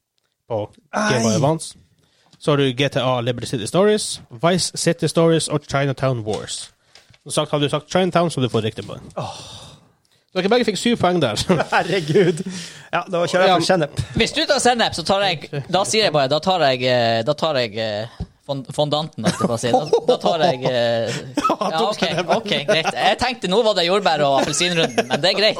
[SPEAKER 2] på Game Boy
[SPEAKER 3] Ei.
[SPEAKER 2] Advance. Så har du GTA Liberty City Stories, Vice City Stories og Chinatown Wars. Som sagt, Hadde du sagt Chinatown, så hadde du fått riktig på den. Så dere begge fikk syv poeng der.
[SPEAKER 3] Herregud. Ja, da kjører jeg
[SPEAKER 2] Ja.
[SPEAKER 3] for Kjennep.
[SPEAKER 1] Hvis du tar sennep, så tar jeg Da sier jeg bare Da tar jeg, eh, da tar jeg eh, fond- fondanten, holdt jeg på å si. Da, da tar jeg eh, Ja, OK, ok, greit. Jeg tenkte nå var det jordbær- og appelsinrunden, men det er greit.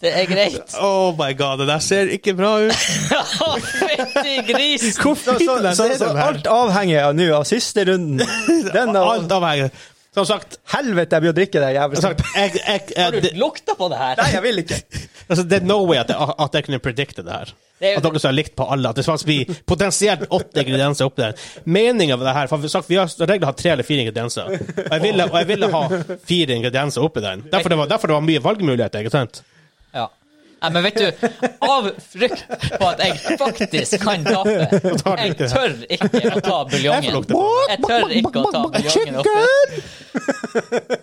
[SPEAKER 1] Det er greit.
[SPEAKER 2] Oh my god, det der ser ikke bra ut.
[SPEAKER 1] Å, Fytti grisen!
[SPEAKER 3] Så, så, så, så alt avhenger av nå, av siste runden. Den av
[SPEAKER 2] Alt avhenger. Som sagt,
[SPEAKER 3] Helvete, jeg blir å drikke det
[SPEAKER 2] som
[SPEAKER 3] jævlig.
[SPEAKER 2] sagt jeg, jeg, jeg,
[SPEAKER 1] Har du lukta på det her?
[SPEAKER 3] Nei, jeg vil ikke.
[SPEAKER 2] Altså, det er no way at jeg, at jeg kunne predikte det her.
[SPEAKER 1] Det er jo-
[SPEAKER 2] At dere skulle ha likt på alle. At det faktisk blir potensielt åtte ingredienser oppi der. Meninga med det her for vi har sagt, Vi har som regel hatt tre eller fire ingredienser. Og jeg ville, og jeg ville ha fire ingredienser oppi den. Derfor det var, derfor det var mye valgmuligheter. ikke sant?
[SPEAKER 1] Ja. Nei, men vet du, av frykt på at jeg faktisk kan tape
[SPEAKER 2] tar du
[SPEAKER 1] Jeg
[SPEAKER 2] ikke det.
[SPEAKER 1] tør ikke å ta
[SPEAKER 2] Jeg får
[SPEAKER 1] buljongen.
[SPEAKER 2] lukte på
[SPEAKER 1] Jeg tør ikke å ta buljongen opp.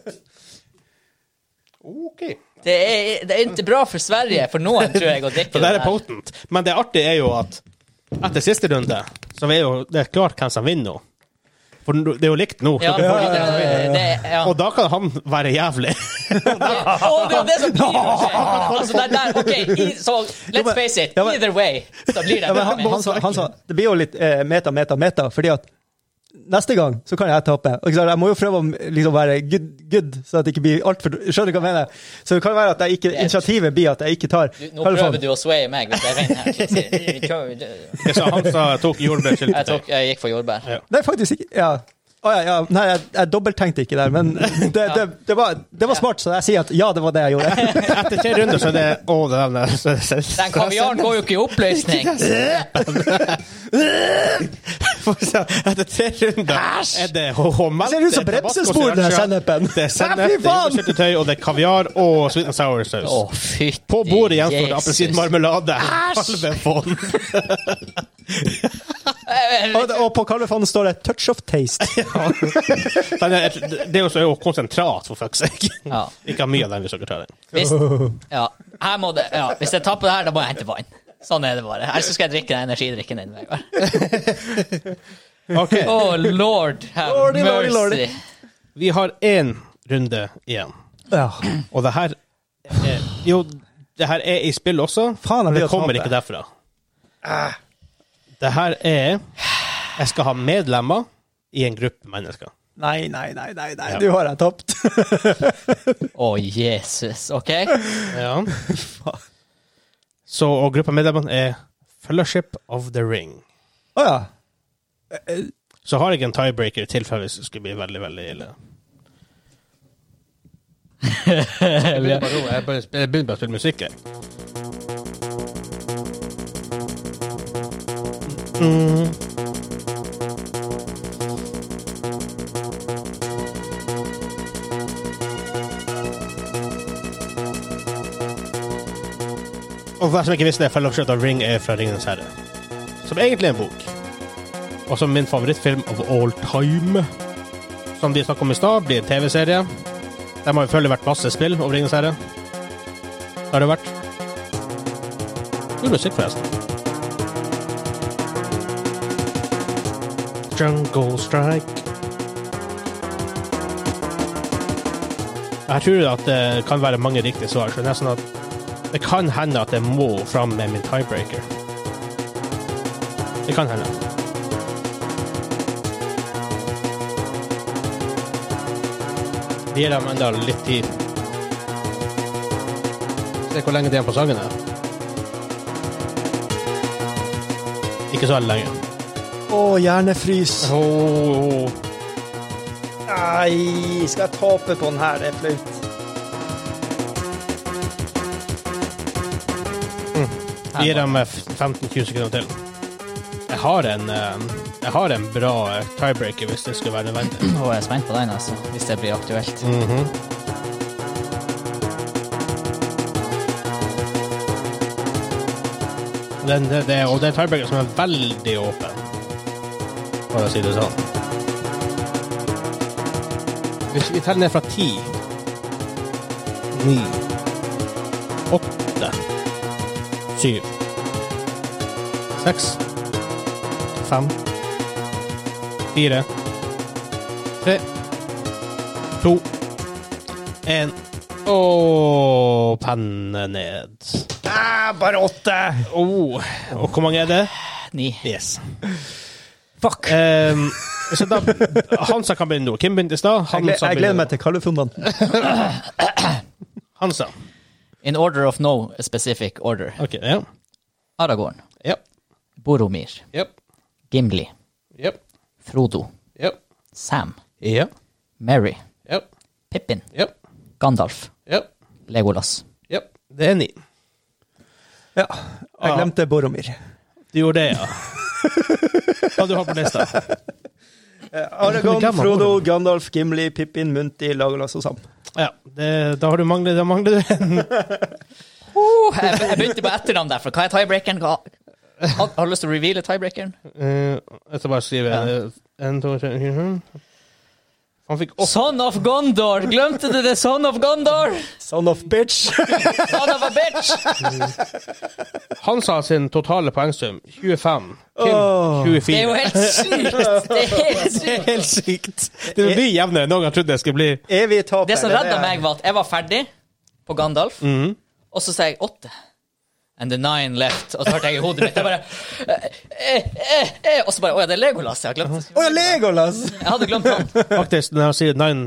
[SPEAKER 2] OK.
[SPEAKER 1] Det er, det er ikke bra for Sverige, for noen tror jeg, å drikke
[SPEAKER 2] For det
[SPEAKER 1] den
[SPEAKER 2] her er
[SPEAKER 1] her.
[SPEAKER 2] potent. Men det artige er jo at etter siste runde, så er jo det er klart hvem som vinner nå. For det er jo likt nå.
[SPEAKER 1] Ja,
[SPEAKER 2] Dere får-
[SPEAKER 1] det, det, det, ja.
[SPEAKER 2] Og da kan han være jævlig.
[SPEAKER 1] Å, det er det som blir å skje. Altså, det er der, ok, i, så let's face it,
[SPEAKER 3] Ja, men-
[SPEAKER 1] either way, så blir det
[SPEAKER 3] Ja, men
[SPEAKER 1] bra.
[SPEAKER 3] han, han,
[SPEAKER 1] men-
[SPEAKER 3] sa, han sa Det blir jo litt eh, meta, meta, meta, fordi at neste gang så kan jeg tape. Og ikke sant, Jeg må jo prøve å liksom være good, good så at det ikke blir altfor Skjønner du hva jeg mener? Så det kan være at jeg ikke, initiativet blir at jeg ikke tar
[SPEAKER 1] Nå prøver du å swaye meg hvis jeg vinner her.
[SPEAKER 2] Jeg sa han sa tok jordbærskyldig
[SPEAKER 1] Jeg,
[SPEAKER 2] til
[SPEAKER 1] tok, jeg gikk for jordbær.
[SPEAKER 2] Ja.
[SPEAKER 3] Nei, faktisk ikke. Ja. Å ja, ja. Nei, jeg, jeg dobbelttenkte ikke der, men det, det, det, var, det var smart, så jeg sier at ja, det var det jeg gjorde.
[SPEAKER 2] Etter tre runder så er det Å, det er den så- så-
[SPEAKER 1] Den kaviaren går jo ikke i oppløsning.
[SPEAKER 2] Får vi se. Etter tre runder er det HHML.
[SPEAKER 3] Det ser ut som bremsespor, den her sennepen.
[SPEAKER 2] Det er sennep,
[SPEAKER 3] Nei,
[SPEAKER 2] det
[SPEAKER 3] fy
[SPEAKER 2] er
[SPEAKER 3] faen!
[SPEAKER 2] jordbærsyltetøy, og det er kaviar og sweet and sour saus.
[SPEAKER 1] Å, fytti
[SPEAKER 2] På bordet gjenstår det
[SPEAKER 1] Jesus.
[SPEAKER 2] appelsinmarmelade.
[SPEAKER 1] Æsj!
[SPEAKER 2] Halve fond.
[SPEAKER 3] Og, det- og på kalvefanen står det 'touch of taste'.
[SPEAKER 2] Den er, det er jo så- er jo konsentrat, for fuck's sake.
[SPEAKER 1] Ja.
[SPEAKER 2] Ikke ha mye av den hvis dere tar den.
[SPEAKER 1] Hvis, ja, her må det, ja, hvis jeg tapper det her, da må jeg hente vann. Sånn er det bare. Ellers så skal jeg drikke den energidrikken din, Vegard.
[SPEAKER 2] Ok,
[SPEAKER 1] Å, Oh, lord have
[SPEAKER 3] Lordy, lordy,
[SPEAKER 1] mercy.
[SPEAKER 3] lordy.
[SPEAKER 2] Vi har én runde igjen.
[SPEAKER 3] Ja.
[SPEAKER 2] Og det her er, Jo, det her er i spill også.
[SPEAKER 3] Faen, jeg
[SPEAKER 2] men
[SPEAKER 3] blir Ah.
[SPEAKER 2] det
[SPEAKER 3] å
[SPEAKER 2] kommer
[SPEAKER 3] tape.
[SPEAKER 2] ikke derfra. Det her er Jeg skal ha medlemmer i en gruppe mennesker.
[SPEAKER 3] Nei, nei, nei, nei, nei.
[SPEAKER 2] Ja.
[SPEAKER 3] nå har jeg tapt.
[SPEAKER 1] Å, Oh, Jesus. OK?
[SPEAKER 2] Ja. Så, og gruppa medlemmene er Fellowship of the Ring.
[SPEAKER 3] Å ja.
[SPEAKER 2] Så har jeg en tiebreaker i tilfelle hvis det skulle bli veldig, veldig ille. Jeg begynner bare å- jeg bare- jeg begynner bare å spille musikk, jeg. Og for deg som ikke visste det, Fellowship of Ring er fra Ringenes herre. Som egentlig er en bok. Og som min favorittfilm of all time. Som de snakket om i stad, blir en TV-serie. Der har jo selvfølgelig vært masse spill over Ringenes herre. Det har det vært. Kul musikk, forresten. Jungle Strike. Jeg tror at det kan være mange riktige svar, så det er nesten at det kan hende at jeg må fram med min tiebreaker. Det kan hende. Vi gir dem enda litt tid. Se hvor lenge det er på sangen her. Ikke så veldig lenge.
[SPEAKER 3] Å, hjernefrys.
[SPEAKER 2] Oh,
[SPEAKER 3] Nei, skal jeg tape på den her? Det er flaut.
[SPEAKER 2] Vi gir dem eh, 15-20 sekunder til. Jeg har en, eh, jeg har en bra eh, tiebreaker hvis det skulle være nødvendig.
[SPEAKER 1] Nå er jeg spent på den, altså. Hvis det blir aktuelt.
[SPEAKER 2] Den, det, det, og det er en tiebreaker som er veldig åpen, for å si det sånn. Hvis vi teller ned fra ti Ni Åtte Syv Seks Fem Fire Tre To En Og penne ned Ah,
[SPEAKER 3] bare åtte!
[SPEAKER 2] oh. Og hvor mange er det?
[SPEAKER 1] Ni.
[SPEAKER 2] Yes
[SPEAKER 3] Fuck.
[SPEAKER 2] Ehm, så da, Hansa kan begynne nå. Kim begynte i stad.
[SPEAKER 3] Jeg, gle-
[SPEAKER 2] Hansa
[SPEAKER 3] jeg gleder
[SPEAKER 2] begynner
[SPEAKER 3] meg til kalvefundaen.
[SPEAKER 2] nå. Hansa.
[SPEAKER 1] In order of no specific order.
[SPEAKER 2] Ok, ja.
[SPEAKER 1] Aragorn.
[SPEAKER 2] Ja.
[SPEAKER 1] Boromir.
[SPEAKER 2] Ja.
[SPEAKER 1] Gimli.
[SPEAKER 2] Ja.
[SPEAKER 1] Frodo.
[SPEAKER 2] Ja.
[SPEAKER 1] Sam.
[SPEAKER 2] Ja.
[SPEAKER 1] Mary.
[SPEAKER 2] Ja.
[SPEAKER 1] Pippin.
[SPEAKER 2] Ja.
[SPEAKER 1] Gandalf.
[SPEAKER 2] Ja.
[SPEAKER 1] Legolas.
[SPEAKER 2] Ja. Det er ni.
[SPEAKER 3] Ja. Jeg
[SPEAKER 2] Ja.
[SPEAKER 3] glemte Boromir.
[SPEAKER 2] Du gjorde det, ja. Hva du har på lista?
[SPEAKER 3] Aragon,
[SPEAKER 2] Gammal
[SPEAKER 3] Frodo,
[SPEAKER 2] Boromir.
[SPEAKER 3] Gandalf, Gimli, Pippin, Munti, Lagolas og Sam.
[SPEAKER 2] Ja, det, da har du manglet, da mangler du en.
[SPEAKER 1] Oh, jeg, jeg begynte på etternavn der, for hva er tiebreakeren? Hva, har, har du lyst til å reveale tiebreakeren?
[SPEAKER 2] Eh, jeg skal bare skrive
[SPEAKER 1] Ja.
[SPEAKER 2] eh, en, to, tre fire, fem. Han fikk åtte.
[SPEAKER 1] Son of Gondor! Glemte du det? Son of Gondor!
[SPEAKER 3] Son of bitch!
[SPEAKER 1] Son of a bitch!
[SPEAKER 2] Han sa sin totale poengsum 25. Kim
[SPEAKER 3] Åh.
[SPEAKER 2] 24.
[SPEAKER 1] Det er jo helt sykt! Det er helt sykt.
[SPEAKER 2] helt sykt. Det blir jevnere enn noen gang trodde det skulle bli.
[SPEAKER 3] E- Evig taper.
[SPEAKER 1] Det som
[SPEAKER 3] er
[SPEAKER 1] redda
[SPEAKER 3] jeg-
[SPEAKER 1] meg, var at jeg var ferdig på Gandalf,
[SPEAKER 2] Mhm.
[SPEAKER 1] og så sa jeg åtte. And the nine left. Og så hørte jeg i hodet mitt jeg bare eh, eh, eh, Og så bare Å ja, det er Legolas jeg har glemt.
[SPEAKER 3] Å, Legolas!
[SPEAKER 1] Jeg hadde glemt han.
[SPEAKER 2] Faktisk, når han sier Nine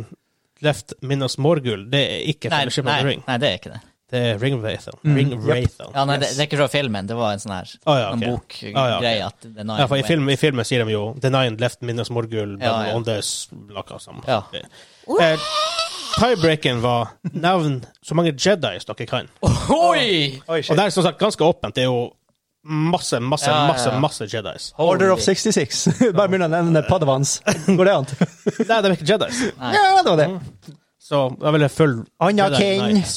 [SPEAKER 2] Left minus Morgul, det er ikke
[SPEAKER 1] Nei,
[SPEAKER 2] Fellowship of the
[SPEAKER 1] nei,
[SPEAKER 2] Ring.
[SPEAKER 1] nei, det er ikke det.
[SPEAKER 2] Det er Ring of Athon.
[SPEAKER 3] Mm.
[SPEAKER 2] Ring
[SPEAKER 3] Yep.
[SPEAKER 2] Wraithon.
[SPEAKER 1] Ja, nei, det,
[SPEAKER 3] Yes.
[SPEAKER 1] det er ikke fra filmen, det var en sånn her
[SPEAKER 2] Å, ja,
[SPEAKER 1] en
[SPEAKER 2] ok.
[SPEAKER 1] bokgreie.
[SPEAKER 2] Ah, ja, ok.
[SPEAKER 1] at the Nine
[SPEAKER 2] Ja, for i,
[SPEAKER 1] Went-
[SPEAKER 2] film, I filmen sier de jo The Nine left minus morgul, but
[SPEAKER 1] Ja, ja.
[SPEAKER 2] on this noe sånt.
[SPEAKER 1] Ja.
[SPEAKER 2] Eh, Tiebreaken var navn så mange Jedis dere kan.
[SPEAKER 1] Ohoi!
[SPEAKER 3] Oi,
[SPEAKER 2] Og det er som sagt ganske åpent. Det er jo masse, masse,
[SPEAKER 1] Ja, ja, ja.
[SPEAKER 2] masse masse Jedis.
[SPEAKER 3] Order of
[SPEAKER 1] Holy-
[SPEAKER 3] 66. Bare begynn å nevne Padavans. Går det an?
[SPEAKER 2] Nei, de er ikke Jedis.
[SPEAKER 1] Nei.
[SPEAKER 3] Ja, det var det.
[SPEAKER 2] Så da vil jeg følge
[SPEAKER 3] Anna
[SPEAKER 2] Jedi
[SPEAKER 3] King.
[SPEAKER 2] Knights.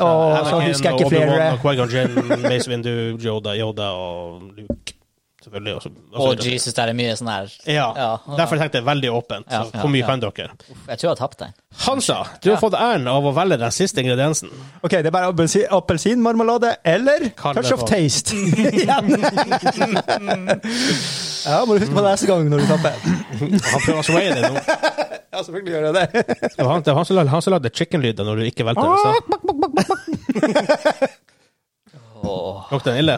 [SPEAKER 3] Og så
[SPEAKER 2] Anakin,
[SPEAKER 3] husker jeg
[SPEAKER 2] og
[SPEAKER 3] ikke flere.
[SPEAKER 2] Obi-Wan, og Qui-Gon Jinn, Mace Windu, Yoda, Yoda og Luke. Selvfølgelig. Og så-
[SPEAKER 1] Å,
[SPEAKER 2] og så videre.
[SPEAKER 1] Jesus, der er mye sånn her
[SPEAKER 2] Ja.
[SPEAKER 1] Ja.
[SPEAKER 2] Derfor tenkte jeg veldig åpent.
[SPEAKER 1] Ja,
[SPEAKER 2] Så
[SPEAKER 1] ja,
[SPEAKER 2] hvor mye
[SPEAKER 1] ja.
[SPEAKER 2] kan dere?
[SPEAKER 1] Uff, Jeg tror jeg har tapt den.
[SPEAKER 2] Hansa, du har fått æren av å velge den siste ingrediensen.
[SPEAKER 3] Ok, det er bare appelsi- appelsinmarmelade eller
[SPEAKER 2] Kan
[SPEAKER 3] touch
[SPEAKER 2] det
[SPEAKER 3] of
[SPEAKER 2] være.
[SPEAKER 3] taste. Igjen. ja, må du huske på det neste gang når du tapper.
[SPEAKER 2] Han prøver å swaye det nå.
[SPEAKER 3] Ja, selvfølgelig gjør jeg det.
[SPEAKER 2] Det var han, det var han som lagde, han som lagde chicken-lyder når du ikke valgte den. Så.
[SPEAKER 1] Åh.
[SPEAKER 2] Lukter den ille?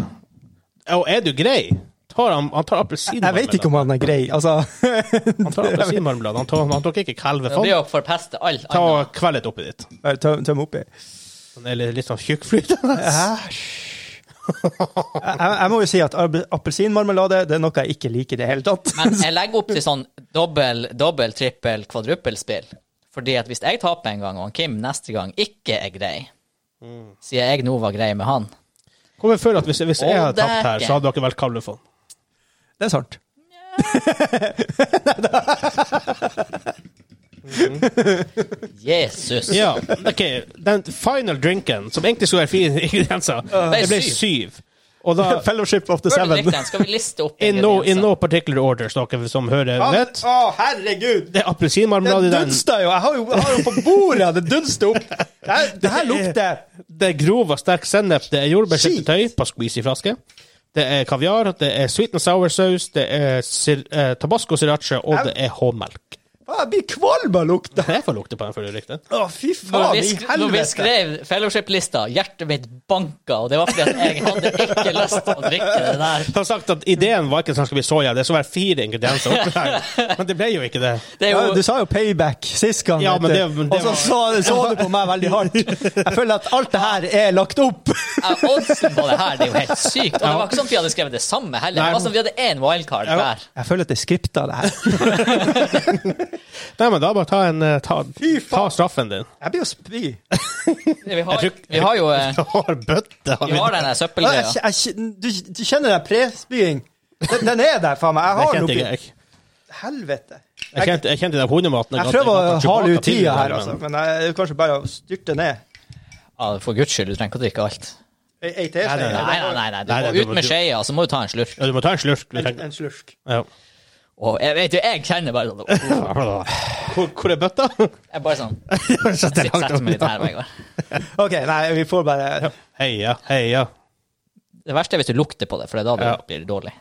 [SPEAKER 2] Og er du grei? Tar han, han tar appelsinmarmelade.
[SPEAKER 3] Jeg vet ikke om han er grei. Altså,
[SPEAKER 2] Han tar appelsinmarmelade. Han, tar- han tok ikke
[SPEAKER 1] Det blir
[SPEAKER 2] kalvefond.
[SPEAKER 1] jo forpeste alt
[SPEAKER 2] Ta
[SPEAKER 1] annet.
[SPEAKER 2] og kveld litt oppi ditt.
[SPEAKER 3] bare tøm, tøm oppi.
[SPEAKER 2] Den er litt, litt sånn tjukkflytende.
[SPEAKER 3] Æsj. Jeg, jeg- jeg må jo si at arbe- appelsinmarmelade det er noe jeg ikke liker i det hele tatt.
[SPEAKER 1] Men jeg legger opp til sånn dobbel, dobbel, trippel, kvadruppelspill. Fordi at hvis jeg taper en gang, og han Kim neste gang ikke er grei, siden jeg nå var grei med han
[SPEAKER 2] Hvorfor føler du at hvis, hvis jeg
[SPEAKER 1] Å,
[SPEAKER 2] hadde tapt her,
[SPEAKER 1] dæken.
[SPEAKER 2] så hadde dere valgt kalvefond?
[SPEAKER 3] Det er sant.
[SPEAKER 1] Jesus!
[SPEAKER 2] Ja, ok. Den final drinken, som egentlig skulle være fire ingredienser, det ble syv. Og da
[SPEAKER 3] Fellowship of the
[SPEAKER 1] Bør du
[SPEAKER 3] Seven.
[SPEAKER 1] like den? Skal vi liste opp
[SPEAKER 2] In no, in
[SPEAKER 1] ingredienser?
[SPEAKER 2] no particular order, så dere som hører vet.
[SPEAKER 3] Å, herregud!
[SPEAKER 2] Det er appelsinmarmelade i
[SPEAKER 3] Det
[SPEAKER 2] den.
[SPEAKER 3] dunsta jo! Jeg har jo, jeg har jo på bordet, det dunster opp! Det her, det her lukter
[SPEAKER 2] Det er grov og sterk sennep. Det er jordbærsyltetøy
[SPEAKER 3] Shit.
[SPEAKER 2] på squeezy-flaske. Det er kaviar, det er sweet and sour saus, det er sir eh, tabasco sriracha, og det er håmelk.
[SPEAKER 3] Faen, Jeg blir kvalm av lukta!
[SPEAKER 2] Det er for lukte på den før du likte.
[SPEAKER 3] Å, fy
[SPEAKER 1] Når
[SPEAKER 3] faen
[SPEAKER 1] vi,
[SPEAKER 3] i
[SPEAKER 1] sk når vi
[SPEAKER 3] helvete!
[SPEAKER 1] skrev fellowship-lista, hjertet mitt banka, og det var fordi at jeg hadde ikke lyst til å drikke det der.
[SPEAKER 2] Han har sagt at ideen var ikke at den skulle bli soya, det skulle være fire ingredienser oppi der. Men det ble jo ikke det.
[SPEAKER 1] Det er
[SPEAKER 3] Ja, du
[SPEAKER 1] jo
[SPEAKER 3] sa jo payback sist gang,
[SPEAKER 2] Ja,
[SPEAKER 3] vet
[SPEAKER 2] men
[SPEAKER 3] du.
[SPEAKER 2] det- men det
[SPEAKER 3] og så så, så du på meg veldig hardt. Jeg føler at alt det her er lagt opp.
[SPEAKER 1] ja, Oddsen på det her det er jo helt sykt. Og det var ikke sånn at vi hadde skrevet det samme heller.
[SPEAKER 2] Nei.
[SPEAKER 1] Det var sånn at Vi hadde én wildcard
[SPEAKER 2] Ja.
[SPEAKER 1] hver.
[SPEAKER 3] Jeg føler at det er skripta, det her.
[SPEAKER 2] Nei, men da bare ta, en, eh, ta, ta straffen din.
[SPEAKER 3] Jeg blir å spy. Jeg,
[SPEAKER 1] Vi har,
[SPEAKER 2] Jeg tror-
[SPEAKER 1] vi har jo eh,
[SPEAKER 2] Du har bøtte.
[SPEAKER 1] Vi har den der søppelgreia.
[SPEAKER 3] jeg, jeg, du, du kjenner den pre-spying? Den, den er der, faen meg.
[SPEAKER 2] Det
[SPEAKER 3] Jeg har
[SPEAKER 2] kjente
[SPEAKER 3] den
[SPEAKER 2] ikke
[SPEAKER 3] oppi
[SPEAKER 2] jeg.
[SPEAKER 3] Helvete.
[SPEAKER 2] Jeg kjente, jeg kjente den hundematen.
[SPEAKER 3] Jeg
[SPEAKER 2] godt.
[SPEAKER 3] prøver å
[SPEAKER 2] Jeg kan tilbake
[SPEAKER 3] hale ut
[SPEAKER 2] til
[SPEAKER 3] tida
[SPEAKER 2] den,
[SPEAKER 3] her,
[SPEAKER 2] men-
[SPEAKER 3] altså. Men jeg det er kanskje bare å styrte ned.
[SPEAKER 1] Ja, for guds skyld, du trenger ikke å drikke alt.
[SPEAKER 3] Ei ei teskje.
[SPEAKER 2] Nei, nei,
[SPEAKER 1] Nei, nei, nei. nei. Du
[SPEAKER 2] Nei, nei,
[SPEAKER 1] må
[SPEAKER 2] du
[SPEAKER 1] ut
[SPEAKER 2] må-
[SPEAKER 1] med skeia, så må du ta en slurk.
[SPEAKER 2] Ja, du må ta en slurk. Du
[SPEAKER 3] En,
[SPEAKER 2] trenger-
[SPEAKER 3] en slurk.
[SPEAKER 2] Ja.
[SPEAKER 1] Og jeg vet jo, jeg kjenner bare sånn Jeg
[SPEAKER 2] Hvor, hvor er bøtta?
[SPEAKER 1] er bare sånn
[SPEAKER 2] Så det er langt
[SPEAKER 1] setter meg litt
[SPEAKER 2] unna.
[SPEAKER 1] her hver gang.
[SPEAKER 3] OK, nei, vi får bare
[SPEAKER 2] Heia, heia.
[SPEAKER 1] Det verste er hvis du lukter på det, for det er da
[SPEAKER 2] Ja.
[SPEAKER 1] det blir dårlig.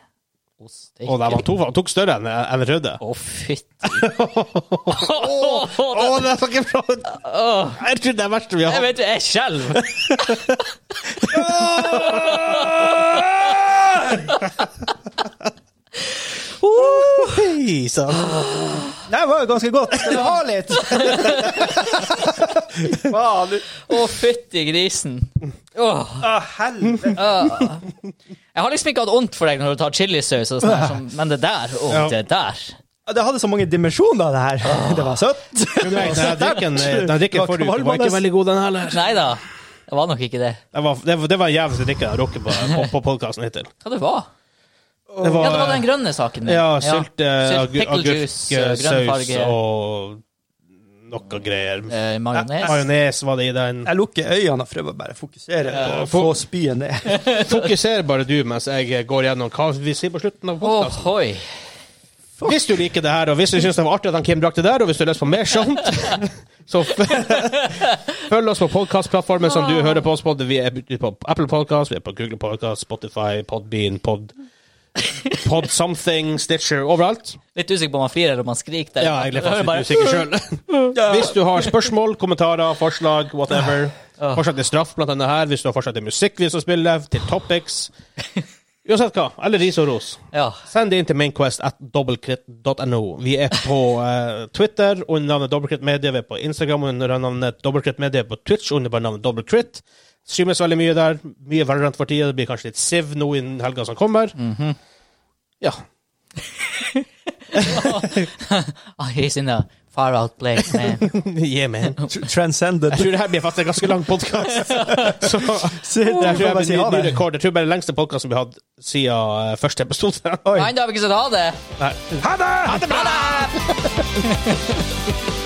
[SPEAKER 1] Å, steike.
[SPEAKER 2] Og de han tok, han tok større enn eh, enn røde.
[SPEAKER 1] Å, fytti
[SPEAKER 2] Å, det er fucking bra! Jeg tror det er verste vi har
[SPEAKER 1] Jeg
[SPEAKER 2] hatt.
[SPEAKER 1] vet jo, jeg skjelver.
[SPEAKER 2] Hei, sann.
[SPEAKER 3] Nei, det var jo ganske godt. Skal du ha litt? Faen, du.
[SPEAKER 1] Å, fytti grisen. Åh,
[SPEAKER 3] Å, helvete.
[SPEAKER 1] åh. Jeg har liksom ikke hatt vondt for deg når du tar chilisaus, og sånn her, som- men det der, åh,
[SPEAKER 2] Ja.
[SPEAKER 1] det der
[SPEAKER 3] Det hadde så mange dimensjoner, det her. Det var søtt.
[SPEAKER 2] Den drikken, Ah. eh, den drikken forut var ikke veldig god, den heller.
[SPEAKER 1] Nei da, det var nok ikke det.
[SPEAKER 2] Det var, det var, det var den jævligste drikken jeg har drukket på, på, på podkasten hittil.
[SPEAKER 1] Hva det var
[SPEAKER 2] Det
[SPEAKER 1] Ja, det var
[SPEAKER 2] var
[SPEAKER 1] den grønne saken. din.
[SPEAKER 2] ja, sylt, eh,
[SPEAKER 1] Sylt,
[SPEAKER 2] agu-
[SPEAKER 1] pickle
[SPEAKER 2] agurk,
[SPEAKER 1] juice,
[SPEAKER 2] eh,
[SPEAKER 1] eh, grønn
[SPEAKER 2] saus
[SPEAKER 1] farge,
[SPEAKER 2] og noe greier.
[SPEAKER 1] eh, majones.
[SPEAKER 2] Majones var det i den.
[SPEAKER 3] Jeg lukker øynene og prøver bare å fokusere på å få spyet ned.
[SPEAKER 2] Fokuser bare du mens jeg går gjennom hva vi sier på slutten av podcasten.
[SPEAKER 1] Ohoi.
[SPEAKER 2] Hvis du liker det her, og hvis du syns det var artig at han Kim drakk det der, og hvis du har lyst på mer sånt, så f- følg oss på podkastplattformen som du hører på oss på. Vi er på Apple Podcast, vi er på Google Podcast, Spotify, Podbean, Pod... Pod something, Stitcher, overalt.
[SPEAKER 1] Litt usikker på om han flirer eller om han skriker. der.
[SPEAKER 2] Ja, jeg ble
[SPEAKER 1] Hører bare-
[SPEAKER 2] faktisk litt usikker sjøl. Hvis du har spørsmål, kommentarer, forslag, whatever, forslag til straff, blant annet her, hvis du har forslag til musikk vi skal spille, til topics Uansett hva. Eller ris og ros.
[SPEAKER 1] Ja.
[SPEAKER 2] Send det inn til mainquest at dobbeltkritt.no. Vi er på eh, Twitter under navnet Dobbeltkritt Media. Vi er på Instagram under navnet Dobbeltkritt Media. På Twitch under bare navnet Dobbeltkritt. Streames veldig mye der. Mye Valorant for tida. Det blir kanskje litt Siv nå innen helga som kommer.
[SPEAKER 3] Mhm.
[SPEAKER 2] Ja.
[SPEAKER 1] Oh, he's in a far out place, man.
[SPEAKER 2] yeah, man.
[SPEAKER 3] Tr- Transcended.
[SPEAKER 2] Jeg tror det her blir faktisk en ganske lang podkast. Så
[SPEAKER 3] Se, der
[SPEAKER 2] jeg
[SPEAKER 3] kan
[SPEAKER 2] tror
[SPEAKER 3] jeg
[SPEAKER 2] jeg
[SPEAKER 3] bare si
[SPEAKER 2] blir
[SPEAKER 3] ha
[SPEAKER 2] ny, ny
[SPEAKER 3] det.
[SPEAKER 2] rekord. Jeg tror det er den lengste podkasten vi har hatt siden eh, første episode.
[SPEAKER 3] Oi.
[SPEAKER 1] Nei, da har vi ikke sett ha det.
[SPEAKER 2] Nei. Ha det! Ha det bra!
[SPEAKER 1] Ha det!